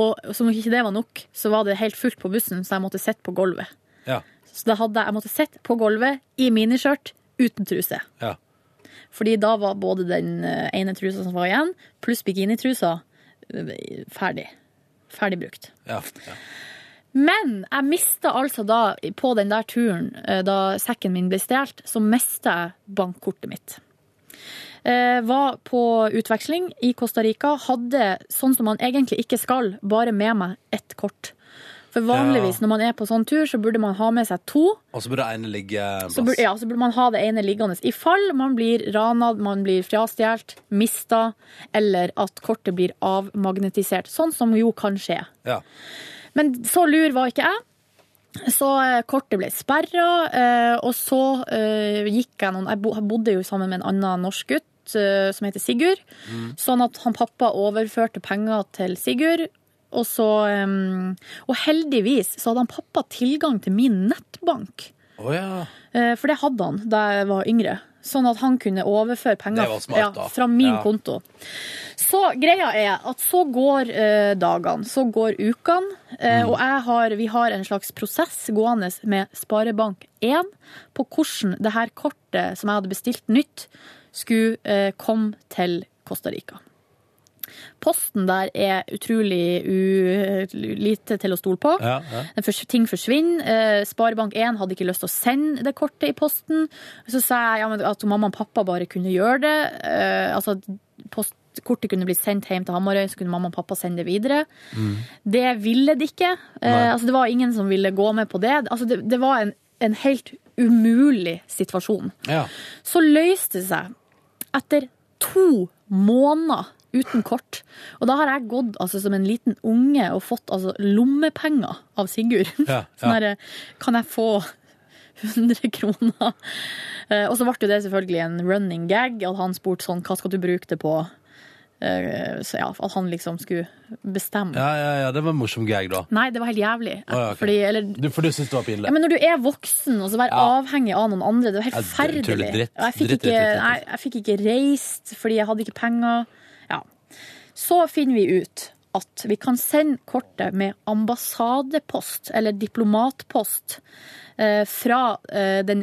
Og som om ikke det var nok, så var det helt fullt på bussen, så jeg måtte sitte på gulvet. Ja. Så da hadde jeg, jeg måtte sitte på gulvet i miniskjørt uten truse. Ja. Fordi da var både den eh, ene trusa som var igjen, pluss bikinitrusa, eh, ferdig. Ferdig brukt. Ja. Men jeg mista altså da, på den der turen, eh, da sekken min ble stjålet, så mista jeg bankkortet mitt. Eh, var på utveksling i Costa Rica, hadde sånn som man egentlig ikke skal, bare med meg ett kort. For vanligvis Ja. når man er på sånn tur, så burde man ha med seg to. Og så burde det ene ligge en Så burde, plass. ja, så burde man ha det ene liggende i fall man blir ranad, man blir frastjålet, mista, eller at kortet blir avmagnetisert. Sånn som jo kan skje. Ja. Men så lur var ikke jeg. Så eh, kortet ble sperra, eh, og så eh, gikk jeg noen Jeg bo- jeg bodde jo sammen med en annen norsk gutt eh, som heter Sigurd. Sånn at han pappa overførte penger til Sigurd. Og, så, eh, og heldigvis så hadde han pappa tilgang til min nettbank. Å ja. Eh, For det hadde han da jeg var yngre. Sånn at han kunne overføre Det penger var smart, da. ja, fra min Ja. konto. Så greia er at så går eh, dagene, så går ukene, eh, og jeg har, vi har en slags prosess gående med Sparebank1 på hvordan det her kortet som jeg hadde bestilt nytt, skulle eh, komme til Costa Rica. Posten der er utrolig u, lite til å stole på. Ja, ja. Den fors- Ting forsvinner. Eh, Sparebank1 hadde ikke lyst til å sende det kortet i posten. Så sa jeg ja, men at mamma og pappa bare kunne gjøre det. Eh, altså, post, kortet kunne bli sendt hjem til Hamarøy, så kunne mamma og pappa sende det videre. Det ville de ikke. Eh, Nei. altså, det var ingen som ville gå med på det. Altså, det, det var en, en helt umulig situasjon. Ja. Så løste det seg etter to måneder uten kort. Og da har jeg gått altså, som en liten unge og fått altså, lommepenger av Sigurd. Ja, *laughs* Sånn ja. her, kan jeg få 100 kroner? Eh, Og så ble jo det selvfølgelig en running gag, at han spurte sånn, hva skal du bruke det på? Eh, Så ja, at han liksom skulle bestemme. Ja, ja, ja, det var en morsom gag, da. Nei, det var helt jævlig. Å, ja, ok. Fordi, eller, Du, for du syns det var pinlig? ja, men når du er voksen og så være avhengig av noen andre, det Ja, er helt det er forferdelig. utrolig dritt. Og jeg fikk, Dritt, dritt, ikke, dritt, dritt. nei, jeg fikk ikke reist fordi jeg hadde ikke penger. Ja. Så finner vi ut at vi kan sende kortet med ambassadepost, eller diplomatpost, eh, fra eh, den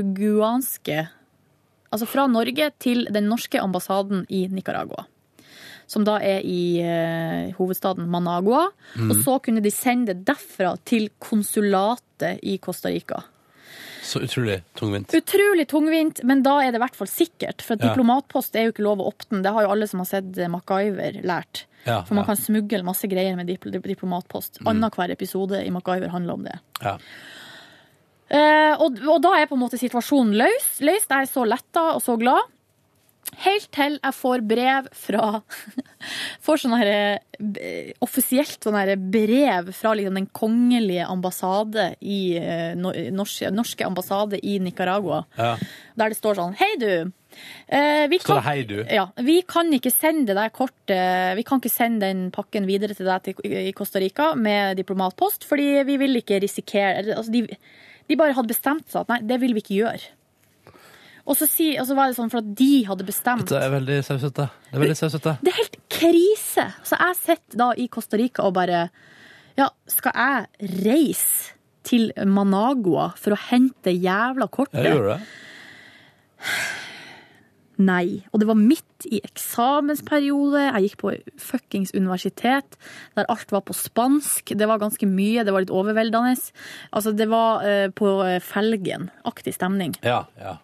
nicaraguanske Altså fra Norge til den norske ambassaden i Nicaragua. Som da er i eh, hovedstaden Managua. Mhm. Mm. Og så kunne de sende det derfra til konsulatet i Costa Rica. Så utrolig tungvint. Utrolig tungvint, men da er det i hvert fall sikkert. For at Ja. diplomatpost er jo ikke lov å åpne. Det har jo alle som har sett eh, MacGyver, lært. Ja, For man ja. Mm. kan smugle masse greier med dipl- diplomatpost. Annenhver episode i MacGyver handler om det. Ja. Eh, og, og da er på en måte situasjonen løs. løst. Jeg er så letta og så glad. Helt til jeg får brev fra *laughs* Får sånn her eh, offisielt sånn her brev fra liksom den kongelige ambassade i eh, nor- norske, norske ambassade i Nicaragua. Ja. Der det står sånn Hei, du. Eh, vi Står kan, det hei, du? Ja. Vi kan ikke sende det der kortet Vi kan ikke sende den pakken videre til deg til, i Costa Rica med diplomatpost, fordi vi vil ikke risikere eller, altså, de, de bare hadde bestemt seg at nei, det vil vi ikke gjøre. Og så, si, og så var det sånn for at de hadde bestemt Det er veldig sausete. Det er veldig sausete. det er helt krise. Så jeg sitter da i Costa Rica og bare Ja, skal jeg reise til Managua for å hente det jævla kortet? Ja, gjorde du det? Nei. Og det var midt i eksamensperiode. Jeg gikk på fuckings universitet, der alt var på spansk. Det var ganske mye, det var litt overveldende. Altså, det var eh, på felgen-aktig stemning. Ja, ja.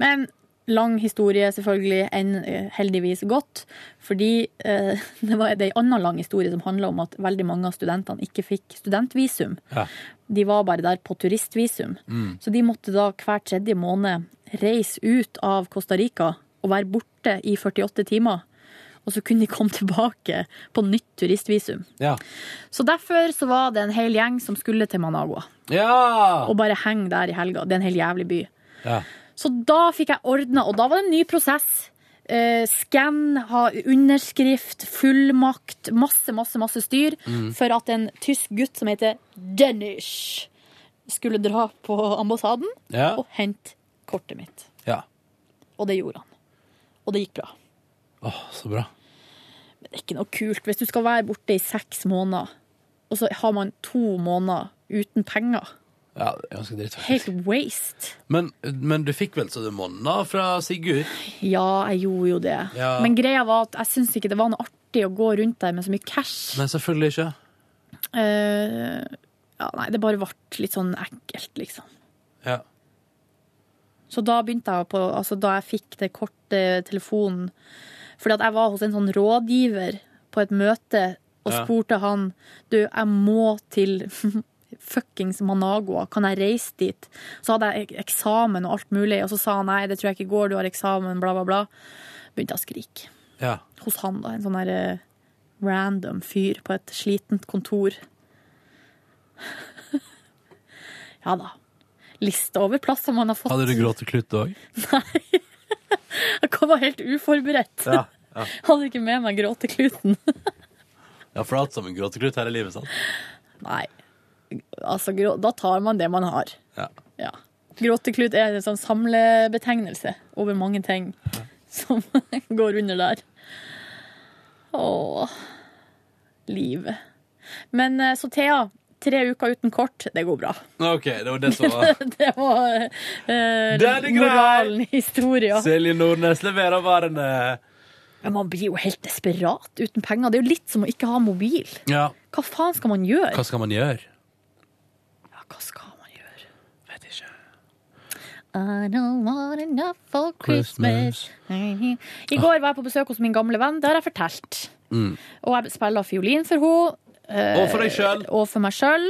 Men lang historie selvfølgelig, enn eh, heldigvis godt, fordi eh, *laughs* det var det er en annen lang historie som handler om at veldig mange av studentene ikke fikk studentvisum. Ja. De var bare der på turistvisum. Mm. Så de måtte da hver tredje måned reise ut av Costa Rica og være borte i 48 timer. Og så kunne de komme tilbake på nytt turistvisum. Ja. Så derfor så var det en hel gjeng som skulle til Managua. Ja! Og bare henge der i helga. Det er en helt jævlig by. ja. Så da fikk jeg ordna, og da var det en ny prosess. Eh, Skann, ha underskrift, fullmakt, masse, masse, masse styr. Mm. For at en tysk gutt som heter Danish, skulle dra på ambassaden Ja. og hente kortet mitt. Ja. Og det gjorde han. Og det gikk bra. Åh, så bra. Men det er ikke noe kult. Hvis du skal være borte i seks måneder, og så har man to måneder uten penger. Ja, det er ganske dritt. Helt waste. Men, men du fikk vel så det monna fra Sigurd? Ja, jeg gjorde jo det. Ja. Men greia var at jeg syntes ikke det var noe artig å gå rundt der med så mye cash. Nei, selvfølgelig ikke. Eh, ja, nei, det bare ble litt sånn ekkelt, liksom. Ja. Så da begynte jeg på Altså, da jeg fikk det kortet telefonen Fordi at jeg var hos en sånn rådgiver på et møte og Ja. spurte han Du, jeg må til *laughs* fuckings Managua. Kan jeg reise dit? Så hadde jeg ek- eksamen og alt mulig, og så sa han nei, det tror jeg ikke går, du har eksamen, bla, bla, bla. Begynte jeg å skrike. Ja. Hos han, da. En sånn der eh, random fyr på et slitent kontor. *laughs* ja da. Liste over plasser man har fått. Hadde du gråteklutt òg? *laughs* Jeg kom helt uforberedt. Ja, ja. *laughs* Hadde ikke med meg gråtekluten. Ja, for alt sammen gråteklut hele livet, sant? *laughs* Nei, altså grå, da tar man det man har. Ja. Ja. Gråteklut er en sånn samlebetegnelse over mange ting som *laughs* går under der. Åh, livet. Men eh, så Thea, tre uker uten kort, det går bra. *laughs* Ok, det var *laughs* det som var det var eh, Den er grei! moralen i historien. Silje Nordnes leverer varene. Men man blir jo helt desperat uten penger. Det er jo litt som å ikke ha mobil. Ja. Hva faen skal man gjøre? Hva skal man gjøre? Hva skal man gjøre? Vet ikke. I don't want enough for Christmas. I går var jeg på besøk hos min gamle venn. Det har jeg fortalt. Mm. Og jeg spiller fiolin for henne. eh, Og for deg selv. Og for meg sjøl.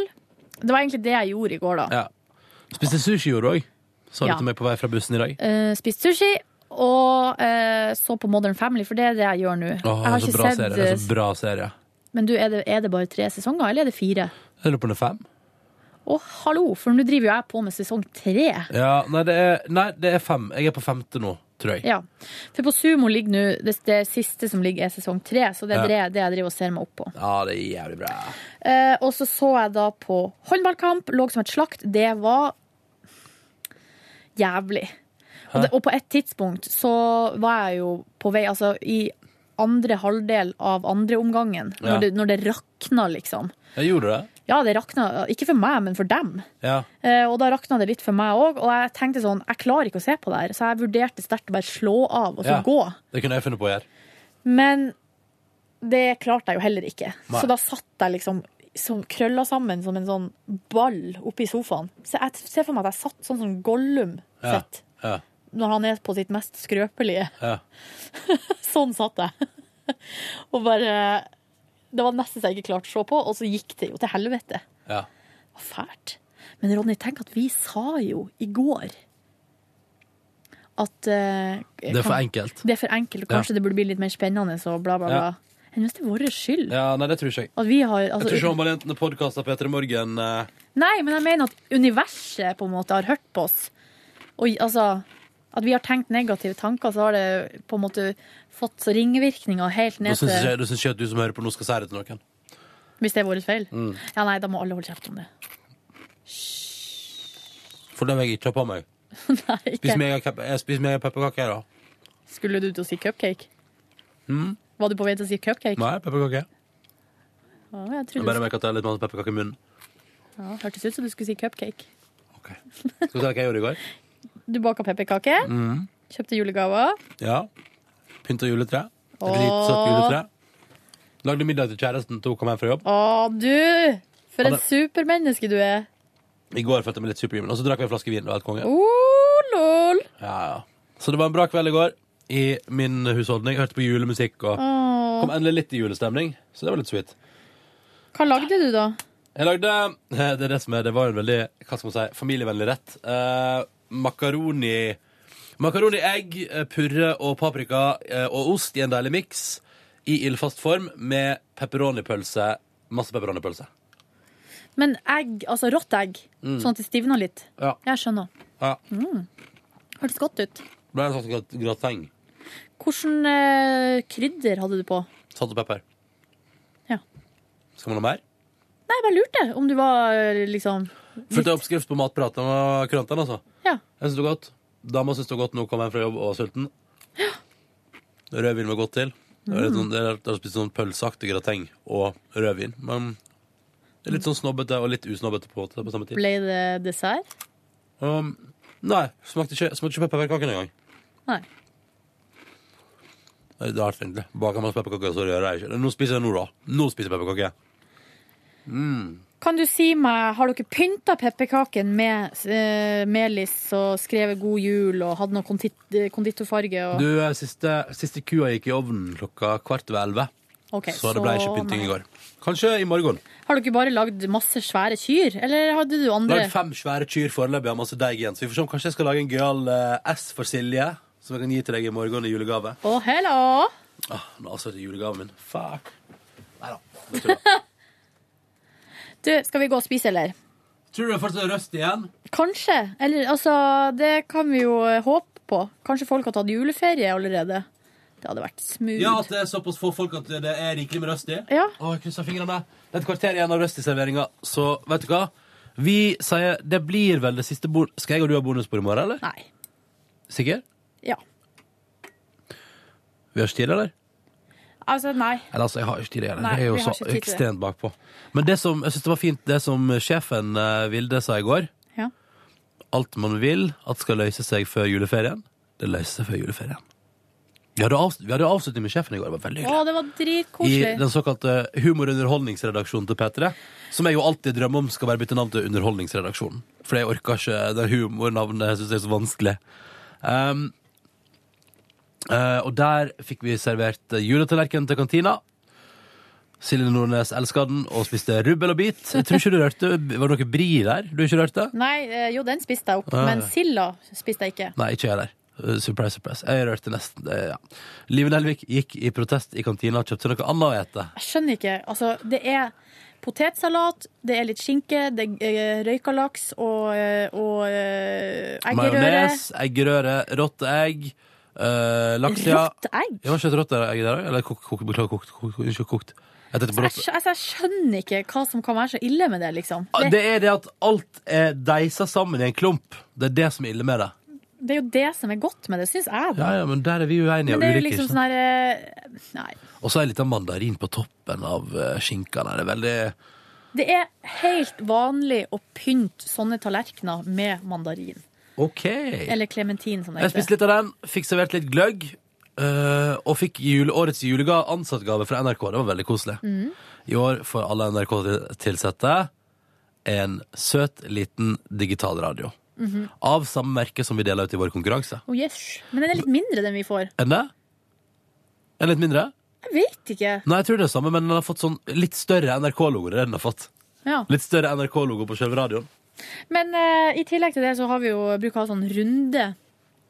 Det var egentlig det jeg gjorde i går, da. Ja. Eh, Spiste sushi gjorde du òg, sa du Ja. til meg på vei fra bussen i dag. Eh, spist sushi og eh, så på Modern Family, for det er det jeg gjør nå. Åh, jeg har så ikke bra sett eh, serie. Det er så bra serie. Men du, er det, er det bare tre sesonger, eller er det fire? Jeg lurer på om det er fem? Å, hallo, for nå driver jo jeg på med sesong tre. Ja, nei det, er, nei, det er fem. Jeg er på femte nå, tror jeg. Ja. For på Sumo ligger nå det, det siste som ligger, er sesong tre, så det er Ja. det, det jeg driver og ser meg opp på. Ja, det er jævlig bra. Eh, og så så jeg da på håndballkamp, lå som et slakt. Det var jævlig. Og, det, og på et tidspunkt så var jeg jo på vei, altså i andre halvdel av andre omgangen, Ja. når, det, når det rakna, liksom. Jeg gjorde det. Ja, det rakna, ikke for meg, men for dem. Ja. Eh, Og da rakna det litt for meg òg, og jeg tenkte sånn, jeg klarer ikke å se på det her, så jeg vurderte sterkt å bare slå av og så ja. gå. Det kunne jeg funnet på å gjøre. Men det klarte jeg jo heller ikke. Nei. Så da satt jeg liksom som krølla sammen som en sånn ball oppi sofaen. Så jeg ser for meg at jeg satt sånn som Gollum Ja. sitter Ja. når han er på sitt mest skrøpelige. Ja. *laughs* Sånn satt jeg. Og bare Det var nesten så jeg ikke klarte å se på, og så gikk det jo til helvete. Ja. Det var fælt. Men Ronny, tenk at vi sa jo i går at eh, Det er for enkelt. Det er for enkelt, og kanskje Ja. det burde bli litt mer spennende og bla, bla, bla. Ja. Jeg synes det er vår skyld. ja, nei, det tror ikke jeg. At vi har, Jeg altså, tror ikke håndballjentene podkaster P3 Morgen. eh, Nei, men jeg mener at universet på en måte har hørt på oss. Og altså At vi har tenkt negative tanker, så har det på en måte fått så ringvirkninger helt Da ned syns ikke, til da syns ikke at du som hører på nå, skal si det til noen. Hvis det er vår feil. Mm. Ja, nei, da må alle holde kjeft om det. *laughs* For dem jeg ikke har på meg. nei, Spis ikke. meg en kep- jeg spiser meg en pepperkake, jeg, da. Skulle du til å si cupcake? Mm. Var du på vei til å si cupcake? Nei, pepperkake. Å, jeg Jeg trodde bare du... merker at jeg har litt masse pepperkake i munnen. ja, hørtes ut som du skulle si cupcake. Skal du se hva jeg gjorde i går? Du baka pepperkake, Mm. kjøpte julegaver. Ja. Pynta juletre. Åh. Dritsøtt juletre. Lagde middag til kjæresten til hun kom hjem fra jobb. Å, du! For Ha et det. supermenneske du er. I går følte jeg meg litt superhuman, og så drakk vi en flaske vin. Det var helt konge. Oh, lol! Ja, ja. Så det var en bra kveld i går i min husholdning. Hørte på julemusikk og Åh. kom endelig litt i julestemning, så det var litt sweet. Hva lagde du, da? Jeg lagde eh, Det er det som er, det var jo en veldig hva skal man si, familievennlig rett. Eh, makaroni Makaroni, egg, eh, purre og paprika eh, og ost i en deilig miks i ildfast form med pepperonipølse. Masse pepperonipølse. Men egg, altså rått egg, Mm. sånn at det stivner litt. Ja. Jeg skjønner. Ja. Mm. Hørtes godt ut. Det ble en sånn grateng. Hvordan eh, krydder hadde du på? Salt og pepper. Ja. Skal man ha mer? Nei, jeg bare lurte om du var eh, liksom Fulgte oppskrift på matpraten og krøntene, altså. Ja. Jeg syns det var godt. Dama syns det var godt nå kom hjem fra jobb og var sulten. Rødvin var godt til. Det var litt Mm. sånn, det er- det er spist sånn pølseaktig grateng og rødvin. Men det er litt sånn snobbete og litt usnobbete på, på samme tid. Ble det dessert? Um, nei, smakte ikke, smakte ikke pepperkaken engang. Nei. Det er rart, egentlig. Baker man pepperkaker, så rører jeg ikke. Nå spiser jeg nå, da. Nå spiser jeg pepperkake. Kan du si meg, har dere pynta pepperkaken med eh, melis og skrevet 'god jul' og hatt noe kontit, eh, konditorfarge? Og... Du, eh, siste, siste kua gikk i ovnen klokka kvart over elleve. Ok, så det ble ikke pynting nei. i går. Kanskje i morgen. Har dere bare lagd masse svære kyr, eller hadde du andre? Lag fem svære kyr foreløpig og masse deig igjen. Så vi får se om kanskje jeg skal lage en gøyal eh, S for Silje, som jeg kan gi til deg i morgen i julegave. Å, hello! Ah, nå avslørte jeg julegaven min. Fuck. Nei da. Du, skal vi gå og spise, eller? Tror du det fortsatt er røst igjen? Kanskje. Eller, altså, det kan vi jo eh, håpe på. Kanskje folk har tatt juleferie allerede. Det hadde vært smooth. Ja, at det er såpass få folk at det er rikelig med røst i? Ja. Å, jeg krysser fingrene. Det er et kvarter igjen av røst i serveringa, så vet du hva? Vi sier det blir vel det siste bord... Skal jeg og du ha bonusbord i morgen, eller? Nei. Sikker? Ja. Vi har ikke tid, eller? Altså, nei. Eller altså, jeg har ikke tid igjen. Nei, Jeg er jo vi så har ikke tid til det. ekstremt bakpå. Men det som, jeg synes det var fint, det som sjefen eh, Vilde sa i går. Ja. Alt man vil at skal løse seg før juleferien, det løser seg før juleferien. Vi hadde, avs- vi hadde avslutning med sjefen i går, det var veldig hyggelig. Å, det var I dritkoselig. den såkalte humorunderholdningsredaksjonen til P3, som jeg jo alltid drømmer om skal bare bytte navn til underholdningsredaksjonen. For jeg orker ikke det humornavnet, jeg synes det er så vanskelig. Um, eh, og der fikk vi servert juletallerken til kantina. Silje Nordnes elsket den og spiste rubbel og bit. Jeg tror ikke du rørte, var det noe bri der? Du ikke rørte? Nei, eh, jo, den spiste jeg opp, Ah. men silda spiste jeg ikke. Nei, ikke jeg heller. Uh, Surprise, surprise. Jeg rørte nesten det, ja. Live Nelvik gikk i protest i kantina og kjøpte noe annet å ete. Jeg skjønner ikke. Altså, det er potetsalat, det er litt skinke, det er eh, røyka laks og, eh, og eh, eggerøre. Majones, eggerøre, rått egg, uh, laks ja. Rått egg? Ja, var ikke et rått egg der òg? Eller kokt, kokt, beklager, kokt, kokt, unnskyld, kokt. Jeg tenkte på Jeg, rått. skj- altså, jeg skjønner ikke hva som kan være så ille med det, liksom. Ah, Det er det at alt er deisa sammen i en klump. Det er det som er ille med det. Det er jo det som er godt med det, syns jeg. Ja, da. ja, men der er vi uenige Men og det er jo ulike. ikke liksom sånn sant? her eh, Nei. Og så er det litt av mandarin på toppen av eh, skinka. Nei, det er veldig Det er helt vanlig å pynte sånne tallerkener med mandarin. OK. Eller klementin, som det Jeg spiste heter. litt av den, fikk servert litt gløgg, eh, og fikk jule, årets julega- ansattgave fra NRK. Det var veldig koselig. Mm. I år får alle NRK-tilsatte en søt, liten digital radio. Mhm. Av samme merke som vi deler ut i vår konkurranse. Oh, yes. Men den er litt mindre, den vi får. Er den det? Er den litt mindre? Jeg vet ikke. Nei, jeg tror det er det samme, men den har fått sånn litt større NRK-logo. Det er det den har fått. Ja. Litt større NRK-logo på selve radioen. Men eh, i tillegg til det så har vi jo brukt å ha sånn runde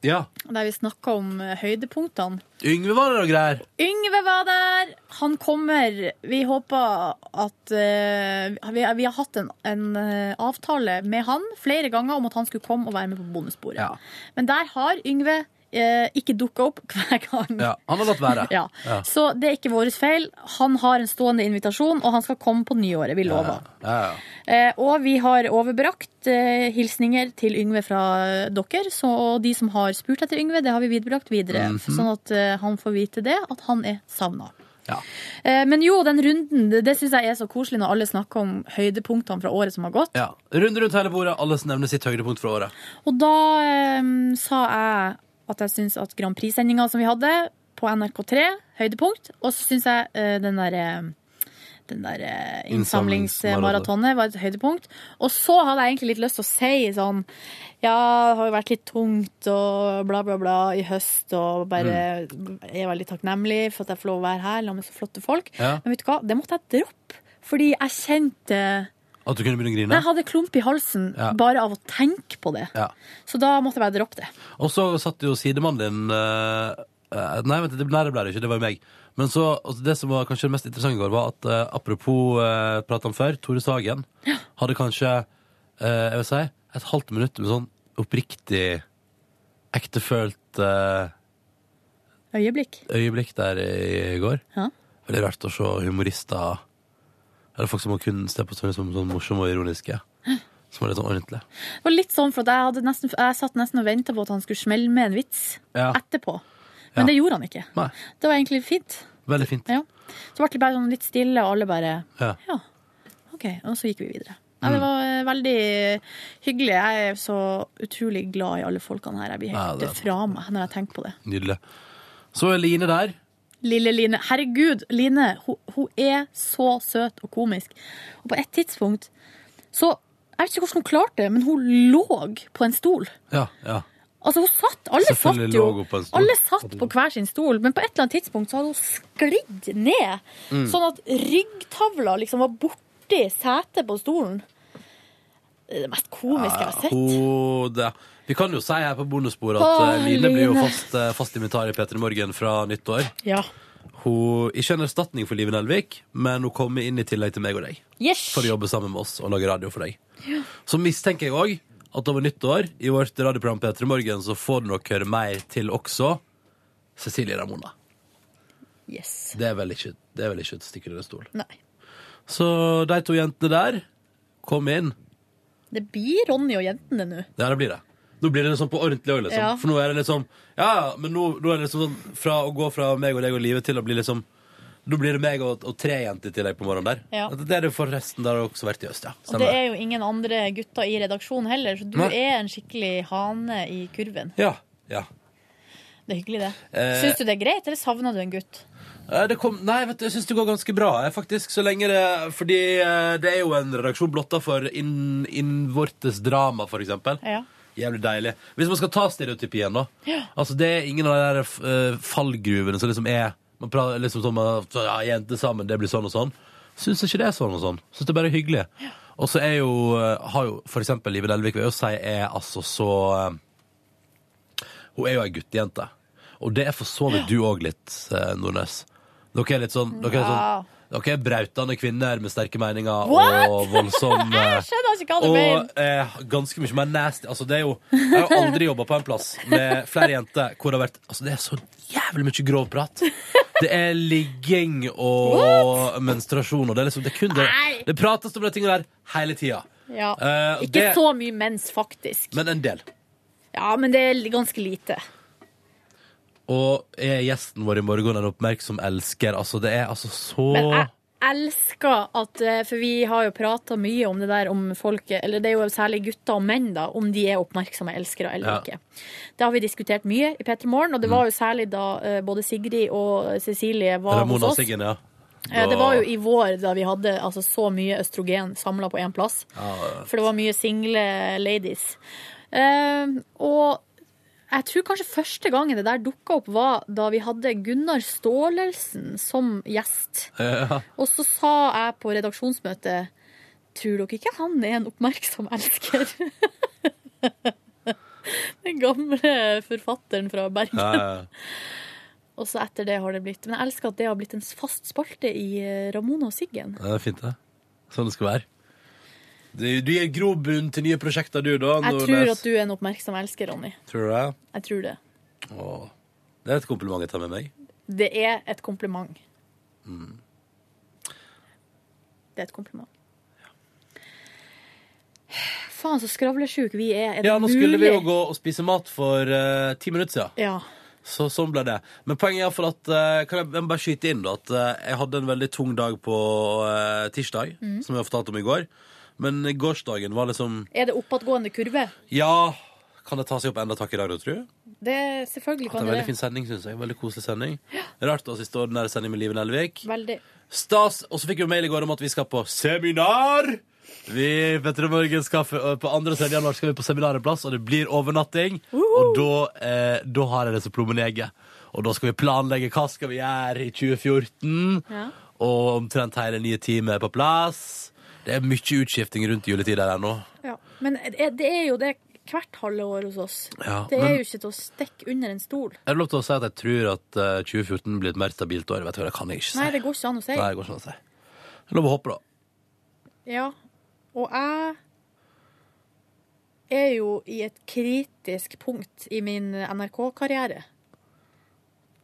Ja. der vi snakker om eh, høydepunktene. Yngve var det og greier. Yngve var der! Han kommer. Vi håper at eh, vi, vi har hatt en, en eh, avtale med han flere ganger om at han skulle komme og være med på bonusbordet. Men der har Yngve eh, ikke dukka opp *laughs* hver gang. Ja, han har latt være. *laughs* Ja. Så det er ikke vår feil. Han har en stående invitasjon, og han skal komme på nyåret. Vi lover. Ja, ja. Eh, og vi har overbrakt eh, hilsninger til Yngve fra eh, dere. Så de som har spurt etter Yngve, det har vi viderebrakt videre. Mhm. Sånn at eh, han får vite det, at han er savna. Ja. Eh, men jo, den runden, det, det syns jeg er så koselig når alle snakker om høydepunktene fra året som har gått. ja. Runde rundt hele bordet. Alle nevner sitt høydepunkt fra året. Og da eh, sa jeg at jeg syns at Grand Prix-sendinga som vi hadde på NRK3, høydepunkt. Og så syns jeg eh, den der eh, den der eh, innsamlingsmaratonet var et høydepunkt. Og så hadde jeg egentlig litt lyst til å si sånn Ja, det har jo vært litt tungt og bla, bla, bla i høst, og bare Mm. er veldig takknemlig for at jeg får lov å være her sammen med så flotte folk. Ja. Men vet du hva, det måtte jeg droppe. Fordi jeg kjente At du kunne begynne å grine. Nei, jeg hadde klump i halsen Ja. bare av å tenke på det. Ja. Så da måtte jeg bare droppe det. Og så satt jo sidemannen din eh, eh, Nei, vent, det, nei, det ble det ikke, det var jo meg. Men så, altså, det som var kanskje det mest interessante i går, var at eh, apropos uh, praten før, Tore Sagen hadde kanskje eh, jeg vil si, et halvt minutt med sånn oppriktig, ektefølt eh, Øyeblikk. øyeblikk der i går. Ja. Veldig rart å se humorister Eller folk som man kun ser på som som sånn morsomme og ironiske. Som er litt sånn ordentlige. Det var litt sånn, for at jeg, hadde nesten, jeg satt nesten og venta på at han skulle smelle med en vits Ja. etterpå. Men Ja. det gjorde han ikke. Nei. Det var egentlig fint. Veldig fint. Ja. Så ble det bare sånn litt stille, og alle bare Ja. Ja. OK. Og så gikk vi videre. Nei, Mm. det var eh, veldig hyggelig. Jeg er så utrolig glad i alle folkene her. Jeg blir Ja, helt det er- fra meg når jeg tenker på det. Nydelig. Så er Line der. Lille Line. Herregud, Line, hun, hun er så søt og komisk. Og på et tidspunkt så Jeg vet ikke hvordan hun klarte det, men hun lå på en stol. Ja, ja. Altså, hun satt Alle Selvfølgelig satt jo lå hun på en stol. Alle satt på hver sin stol, men på et eller annet tidspunkt så hadde hun sklidd ned, Mm. sånn at ryggtavla liksom var borti setet på stolen. Det er det mest komiske Ah, jeg har sett. Hodet. Vi kan jo si her på bonussporet at Åh, eh, Line blir jo Line. fast, eh, fast invitar i P3 Morgen fra nyttår. Ja. Hun Ikke en erstatning for Live Nelvik, men hun kommer inn i tillegg til meg og deg. Yes. For å jobbe sammen med oss og lage radio for deg. Så mistenker jeg òg at over nyttår i vårt radioprogram P3 Morgen så får du nok høre mer til også Cecilie Ramona. Yes. Det er vel ikke, det er vel ikke et stikk under en stol. Nei. Så de to jentene der, kom inn. Det blir Ronny og jentene nå. Ja, det blir det. Nå blir det liksom på ordentlig òg, liksom. Ja. For nå er det liksom Ja, men nå, nå er det liksom sånn fra å gå fra meg og deg og livet til å bli liksom Nå blir det meg og, og tre jenter til deg på morgenen der. Ja. Det er det forresten der også vært i øst, ja. Og det er jo ingen andre gutter i redaksjonen heller, så du Nei. er en skikkelig hane i kurven. Ja. ja. Det er hyggelig, det. Eh. Syns du det er greit, eller savner du en gutt? Eh, Det kom, nei, vet du, jeg syns det går ganske bra, eh, faktisk. Så lenge det Fordi eh, det er jo en redaksjon blotta for inn- innvortes drama, for eksempel. Ja. Jævlig deilig. Hvis man skal ta stereotypien, da. Ja. Altså, det er ingen av de der eh, fallgruvene som liksom er Man prater liksom sånn at ja, jenter sammen, det blir sånn og sånn. Syns ikke det er sånn og sånn. Syns det er bare hyggelig. Og så er jo, eh, har jo for eksempel Live Delvik, vil jeg jo si, er altså så eh, Hun er jo ei guttejente. Og det er for så vidt du òg litt, eh, Nordnes. Dere er litt sånn Dere er, Ja. sånn, dere er brautende kvinner med sterke meninger What?! og *laughs* voldsom eh, Jeg skjønner ikke hva du mener. og eh, ganske mye mer nasty. Altså, det er jo, jeg har jo *laughs* aldri jobba på en plass med flere jenter hvor det har vært altså, Det er så jævlig mye grov prat. Det er ligging og menstruasjon, og det er liksom Det, er kun det, Nei. det prates om de tingene der hele tida. Ja. Eh, ikke det- så mye mens, faktisk. Men en del. Ja, men det er ganske lite. Og er gjesten vår i morgen en oppmerksom elsker? Altså, det er altså så Men jeg elsker at eh, For vi har jo prata mye om det der om folket, eller det er jo særlig gutter og menn, da, om de er oppmerksomme elskere eller Ja. ikke. Det har vi diskutert mye i P3 Morgen, Mm. og det var jo særlig da eh, både Sigrid og Cecilie var Ramona hos oss. Siggen, ja. *laughs* Eh, Det var jo Da- i vår da vi hadde altså, så mye østrogen samla på én plass. Ja, For det var mye single ladies. Eh, og jeg tror kanskje første gangen det der dukka opp, var da vi hadde Gunnar Staalesen som gjest. ja. Og så sa jeg på redaksjonsmøte Tror dere ikke han er en oppmerksom elsker? *laughs* Den gamle forfatteren fra Bergen. Ja, ja, ja. Og så etter det har det blitt. Men jeg elsker at det har blitt en fast spalte i eh, Ramona og Siggen. Ja, Det er fint, det. Sånn det skal være. Du, du gir grobunn til nye prosjekter, du, da. Jeg tror at du er en oppmerksom elsker, Ronny. Tror du det? Jeg tror det. Åh. Det er et kompliment jeg tar med meg. Det er et kompliment. Mm. Det er et kompliment. Faen, så skravlesjuk vi er. Er det Ja, nå mulig? skulle vi jo gå og spise mat for eh, ti minutter siden. Ja. Så sånn ble det. Men poenget er for at eh, Kan jeg- jeg må bare skyte inn da at eh, jeg hadde en veldig tung dag på eh, tirsdag, Mm. som jeg fortalte om i går. Men gårsdagen var liksom Er det oppadgående kurve? Ja, kan det ta seg opp enda takk i dag, da, tror du? Det Selvfølgelig Det er kan en det veldig det. fin sending, synes jeg. Veldig koselig sending. Rart å siste ordinære sending med Liven Elvik. Veldig. Stas. Og så fikk vi mail i går om at vi skal på seminar. Vi Petter og Morgen, skal f- på 2. og 3. januar skal vi på seminar en plass, og det blir overnatting. Og da, eh, da har jeg det som plommeneget. Og da skal vi planlegge hva skal vi gjøre i 2014. Ja. Og omtrent hele nye teamet er på plass. Det er mye utskifting rundt juletid her ennå. Ja. Men er- det er jo det hvert halve år hos oss. Ja, det er men- jo ikke til å stikke under en stol. Er det lov til å si at jeg tror at eh, 2014 blir et mer stabilt år? Vet du hva, det kan jeg ikke si. Nei, det går ikke an å si. Nei, det går ikke an å si. Det er lov å håpe, da. Ja. Og jeg er jo i et kritisk punkt i min NRK-karriere.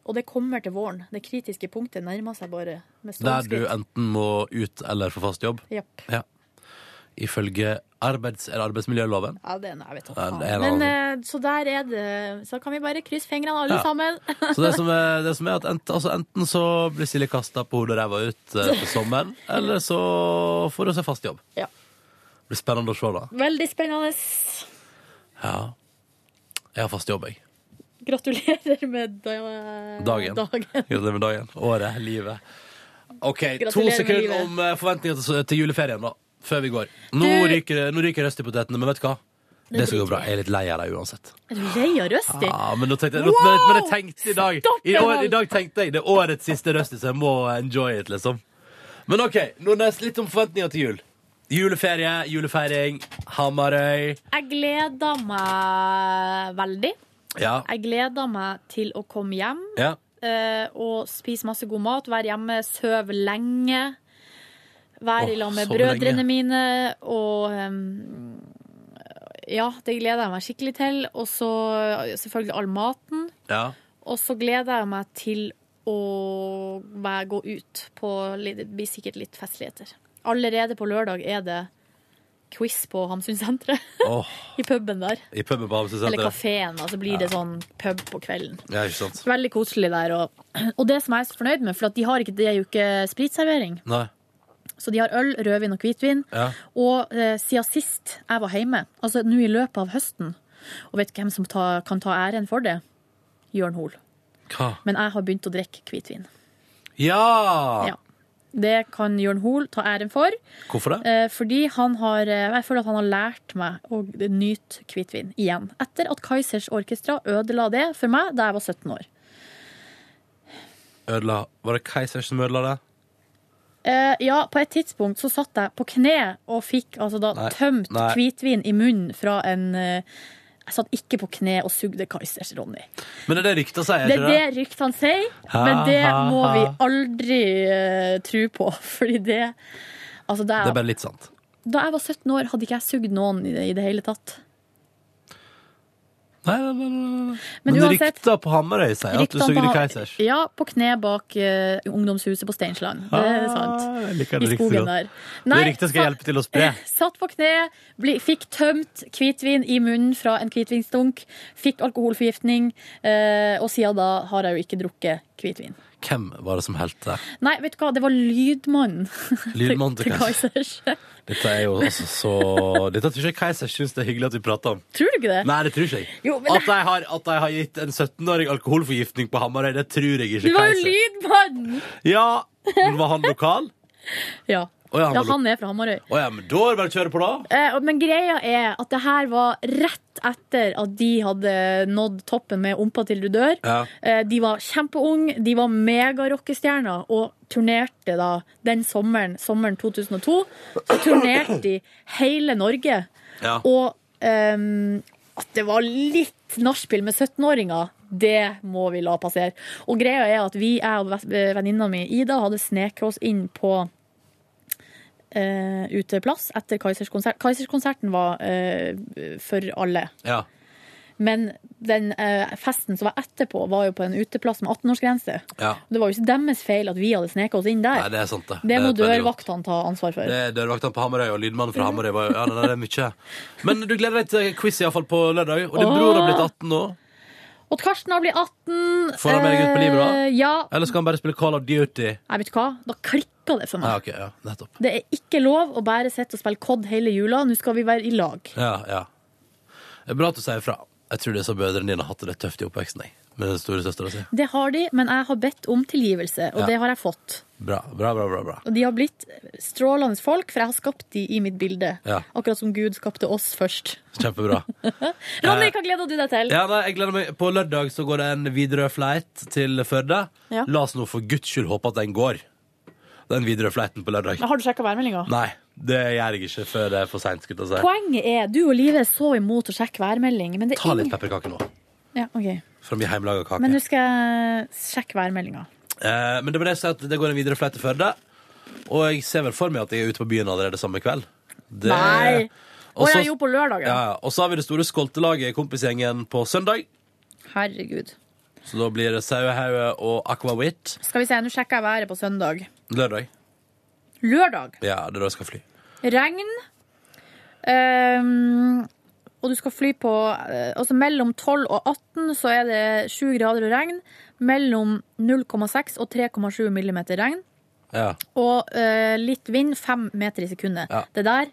Og det kommer til våren. Det kritiske punktet nærmer seg bare med Der du stormskritt. enten må ut eller få fast jobb. Japp. Ja. Ifølge arbeids, eller arbeidsmiljøloven. Ja, det er noe jeg vet Ja, ikke. det er noe Men eh, så der er det Så kan vi bare krysse fingrene alle Ja. sammen. *laughs* Så det som er, det som er at enten, altså enten så blir Silje kasta på hodet og ræva ut eh, til sommeren, eller så får hun seg fast jobb. Ja. Det blir spennende å se, da. Veldig spennende. Ja. Jeg har fast jobb, jeg. Gratulerer med da, eh, Dagen. *laughs* Gratulerer med dagen. Året. Livet. OK, to Gratulerer med sekunder livet. om eh, forventninger til, til juleferien, da. Før vi går. Nå Du- ryker, det- nå ryker røstipotetene, men vet du hva? Det skal gå bra. Jeg er litt lei av dem uansett. Er du lei av Røsti? Ja, men, nå tenkte jeg, Wow! men, jeg- men jeg tenkte i dag Stopp i, det år, her. I dag tenkte jeg det er årets siste røsti, så jeg må enjoy it, liksom. Men OK, nå nes- litt om forventninger til jul. Juleferie, julefeiring, Hamarøy. Jeg gleder meg veldig. Ja. Jeg gleder meg til å komme hjem ja. eh, og spise masse god mat, være hjemme, sove lenge. Være i Åh, lag med sove brødrene lenge. mine og em, Ja, det gleder jeg meg skikkelig til. Og så selvfølgelig all maten. Ja. Og så gleder jeg meg til å være- gå ut på litt- Det blir sikkert litt festligheter. Allerede på lørdag er det quiz på Hamsunsenteret. *laughs* Åh, I puben der. I puben på Hamsun Eller senteret. kafeen. Altså blir det sånn pub på kvelden. Ja, ikke sant? Veldig koselig der. Og, og det som jeg er så fornøyd med, for at de har ikke, det er jo ikke spritservering. Nei. Så de har øl, rødvin og hvitvin. Ja. Og eh, siden sist jeg var hjemme, altså nå i løpet av høsten Og vet du hvem som ta, kan ta æren for det? Jørn Hoel. Hva? Men jeg har begynt å drikke hvitvin. Ja! Ja. Det kan Jørn Hoel ta æren for. Hvorfor det? Eh, fordi han har eh, Jeg føler at han har lært meg å nyte hvitvin igjen. Etter at Kaizers Orkestra ødela det for meg da jeg var 17 år. Ødela. Var det Keisers som ødela det? Eh, ja, på et tidspunkt så satt jeg på kne og fikk altså da Nei. tømt Nei. hvitvin i munnen fra en eh, Jeg satt ikke på kne og sugde Kaizers, Ronny. Men det er det rykta sier, Det ikke er det ryktene sier, men det Ha, ha, må vi ha. aldri eh, tro på, *laughs* fordi det Altså, da Det er jeg, bare litt sant. da jeg var 17 år, hadde ikke jeg sugd noen i det, i det hele tatt. Nei, nei, nei, nei, nei. Men Men, uansett- rykta på Hamarøy sier at du Ryktene sugde på- Keisers. Ja, på kne bak eh, ungdomshuset på Steinsland. Det er sant. Ah, jeg liker det I ryktet skogen godt. der. Det ryktet skal sa- hjelpe til å spre. *laughs* Satt på kne, bli, fikk tømt hvitvin i munnen fra en hvitvinsdunk, fikk alkoholforgiftning, eh, og siden da har jeg jo ikke drukket hvitvin. Hvem var det som helte? Nei, vet du hva, det var lydmannen *laughs* Lydmannen til til Kaiser. Kaizers. Dette er jo altså så Dette tror ikke Keisers syns det er hyggelig at vi prater om. Tror du ikke det? Nei, det tror ikke jeg. Jo, men At de har, at de har gitt en 17-åring alkoholforgiftning på Hamarøy, det tror jeg Du ikke var jo Keiser. lydmannen! Ja, men var han lokal? Ja. Å ja, han ja, var lo- han er fra Hamarøy. Å ja, men da er det bare å kjøre på, da. Eh, Men greia er at det her var rett etter at de hadde nådd toppen med Ompa til du dør. Ja. Eh, De var kjempeunge, de var megarockestjerner og turnerte da den sommeren, sommeren 2002. Så turnerte de hele Norge. Ja. Og ehm, at det var litt nachspiel med 17-åringer, det må vi la passere. Og greia er at vi, jeg og ves- venninna mi Ida, hadde sneket oss inn på eh, uteplass etter Kaisers konsert. Kaisers konserten var eh, for alle. Ja. Men den eh, festen som var etterpå, var jo på en uteplass med 18-årsgrense. ja. Det var jo ikke deres feil at vi hadde sneket oss inn der. Nei, det er sant, det. Det er må veldig godt. dørvaktene ta ansvar for. Det er dørvaktene på Hamarøy og lydmannen fra Hamarøy. Var, jo- ja, nei, nei, det er mye. Men du gleder deg til quiz i hvert fall på lørdag. Og din Åh. bror har blitt 18 nå. Og Karsten har blitt 18. Får han med deg ut på livet, da? Eh, Ja. Eller skal han bare spille Call of Duty? Nei, vet du hva? Da klikka det for meg. Ja, ok, ja, nettopp. Det er ikke lov å bare sitte og spille COD hele jula. Nå skal vi være i lag. Ja, ja. Det er bra at du sier fra. Jeg tror disse brødrene dine har hatt det litt tøft i oppveksten. Jeg. Med den store søstera si. Det har de, men jeg har bedt om tilgivelse, og Ja. det har jeg fått. Bra, bra, bra. bra, bra. Og de har blitt strålende folk, for jeg har skapt de i mitt bilde. Ja. Akkurat som Gud skapte oss først. Kjempebra. Ronny, Eh, hva gleder du deg til? Ja, nei, jeg gleder meg. På lørdag så går det en Widerøe-fleit til Førde. Ja. La oss nå for guds skyld håpe at den går. Den Widerøe-fleiten på lørdag. Har du sjekka værmeldinga? Nei, det gjør jeg ikke før det er for seint. Ta Poenget er, du og Live er så imot å sjekke værmelding, men det er litt ingen pepperkake nå, ja, ok. fra min hjemmelaga kake. Men, Men nå skal jeg sjekke værmeldinga. eh, men det var det jeg sa, at det går en Widerøe-fleit til Førde. Og jeg ser vel for meg at jeg er ute på byen allerede samme kveld. Det- Nei! Å Og så- ja, jo, på lørdagen. Ja, ja. Og så har vi det store skoltelaget i kompisgjengen på søndag. Herregud. Så da blir det Sauehauge og Aquawit Skal vi se, nå sjekker jeg været på søndag. lørdag. Lørdag. Ja, det er da jeg skal fly. Regn. Ehm, og du skal fly på eh, Altså mellom 12 og 18 så er det 7 grader og regn. Mellom 0,6 og 3,7 millimeter regn. Ja. Og eh, litt vind, 5 meter i sekundet. Det der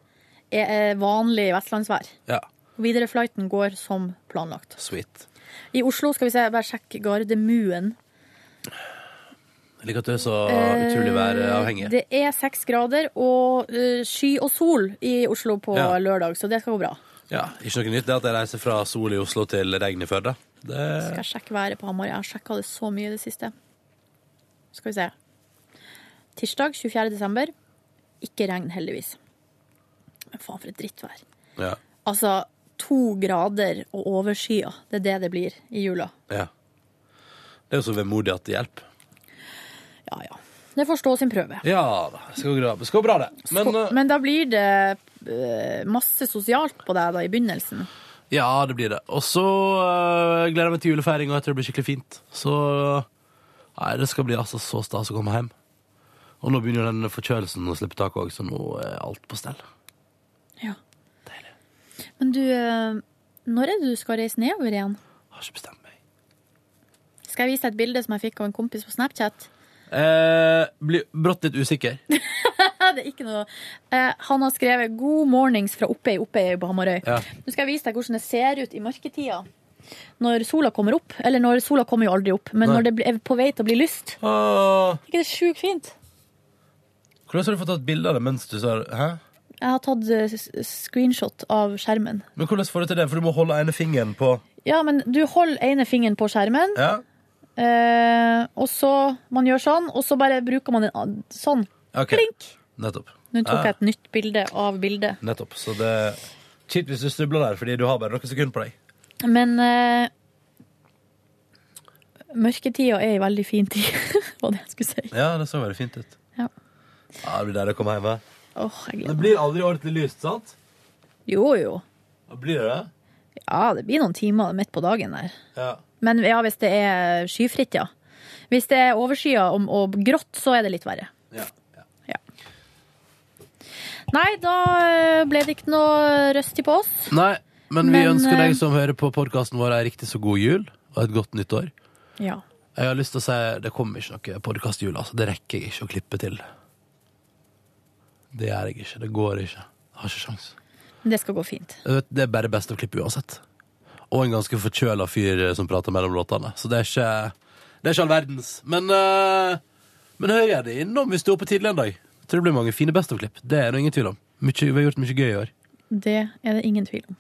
er eh, vanlig vestlandsvær. ja. Videre flighten går som planlagt. Sweet. I Oslo skal vi se, bare sjekke Gardermuen. Jeg liker at du er så Eh, utrolig væravhengig. Det er seks grader og eh, sky og sol i Oslo på Ja. lørdag, så det skal gå bra. Ja, ikke noe nytt det at jeg reiser fra sol i Oslo til regn i Førde. Det... Skal jeg sjekke været på Hamar? Jeg har sjekka det så mye i det siste. Skal vi se. Tirsdag 24. desember. Ikke regn, heldigvis. Men faen, for et drittvær. Ja. Altså, to grader og overskya. Det er det det blir i jula. ja. Det er jo så vemodig at det hjelper. Det får stå sin prøve. Ja da. Det skal gå bra, det. Skal gå bra, det. Men eh, Så- Men da blir det eh, masse sosialt på deg da i begynnelsen. ja, det blir det. Og så øh, gleder jeg meg til julefeiring, og jeg tror det blir skikkelig fint. Så Nei, det skal bli altså så stas å komme hjem. Og nå begynner jo den forkjølelsen å slippe tak òg, så nå er alt på stell. Men du, eh, når er det du skal reise nedover igjen? Har ikke bestemt meg. Skal jeg vise deg et bilde som jeg fikk av en kompis på Snapchat? Eh, blir brått litt usikker. det er ikke noe eh, Han har skrevet 'God mornings' fra Oppøy Oppøy på Hamarøy. Ja. Nå skal jeg vise deg hvordan det ser ut i mørketida. Når sola kommer opp. Eller når sola kommer jo aldri opp, men Nei. når det blir- er på vei til å bli lyst. *laughs* Åh. Er ikke det sjukt fint? Hvordan har du fått tatt bilde av det mens du sa Hæ? Jeg har tatt eh, s- s- screenshot av skjermen. Men hvordan får du til det? For du må holde ene fingeren på Ja, men du holder ene fingeren på skjermen, Ja, eh, og så man gjør sånn, og så bare bruker man en an- sånn. ok. Blink! Nettopp. Nå tok Ja, jeg et nytt bilde av bildet. Nettopp. Så det er kjipt hvis du snubler der, fordi du har bare noen sekunder på deg. Men eh, mørketida er ei veldig fin tid, *laughs* var det jeg skulle si. Ja, det så veldig fint ut. Ja. Ja, det blir deilig å komme hjem. hva? Åh, jeg Det gleder meg. blir aldri ordentlig lyst, sant? Jo, jo. Ja, Blir det det? Ja, det blir noen timer midt på dagen der. Ja. Men ja, hvis det er skyfritt, ja. Hvis det er overskya og, og grått, så er det litt verre. Ja, Ja. Nei, da eh, ble det ikke noe røst i på oss. Nei, men vi Men, ønsker eh, deg som hører på podkasten vår, ei riktig så god jul og et godt nytt år. Ja. Jeg har lyst til å si det kommer ikke noe podkast i jula. Altså. Det rekker jeg ikke å klippe til. Det gjør jeg ikke. Det går ikke. Jeg har ikke sjans. Det skal gå fint. Jeg vet, Det er bare best å klippe uansett. Og en ganske forkjøla fyr eh, som prater mellom låtene. Så det er ikke, det er ikke all verdens. Men, eh, men hør gjerne innom hvis du er oppe tidlig en dag. Jeg tror det blir mange fine Best of-klipp. Det er det ingen tvil om. Mykje- vi har gjort mye gøy i år. Det er det ingen tvil om.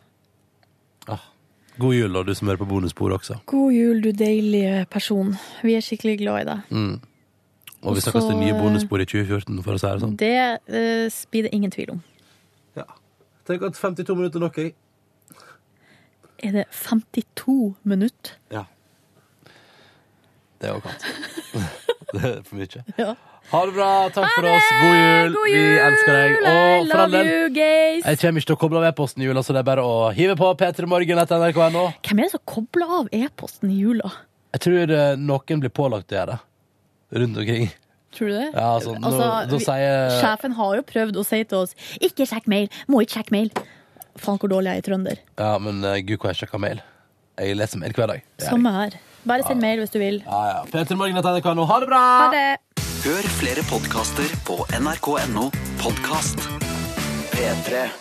Ah. God jul, og du som hører på bonussporet også. God jul, du deilige person. Vi er skikkelig glad i deg. Mm. Og vi Og snakkes så, til nye eh, bonusspor i 2014, for å si det sånn. Det eh, blir det ingen tvil om. Tenk at 52 minutter er nok, jeg. Er det 52 minutter? Ja. Det er jo *laughs* kaldt. det er for mye. Ja. Ha det bra. Takk for oss. God jul. God Vi jul! elsker deg. I Og for all love del, you, gays! jeg kommer ikke til å koble av e-posten i jula, så det er bare å hive på p3morgen etter nrk.no. Hvem er det som kobler av e-posten i jula? Jeg tror eh, noen blir pålagt å gjøre det rundt omkring. Tror du det? Ja, altså, nå, Altså, da vi- sier Sjefen har jo prøvd å si til oss 'ikke sjekk mail', 'må ikke sjekke mail'. Faen, hvor dårlig jeg er i trønder. Ja, men eh, gud, hvor jeg sjekker mail. Jeg leser mail hver dag. Det gjør jeg. Samme her. Bare send mail hvis du vil. Ja, ja. P3morgen etter nrk.no. Ha det bra! Ha det! Hør flere podkaster på nrk.no podkast. P3.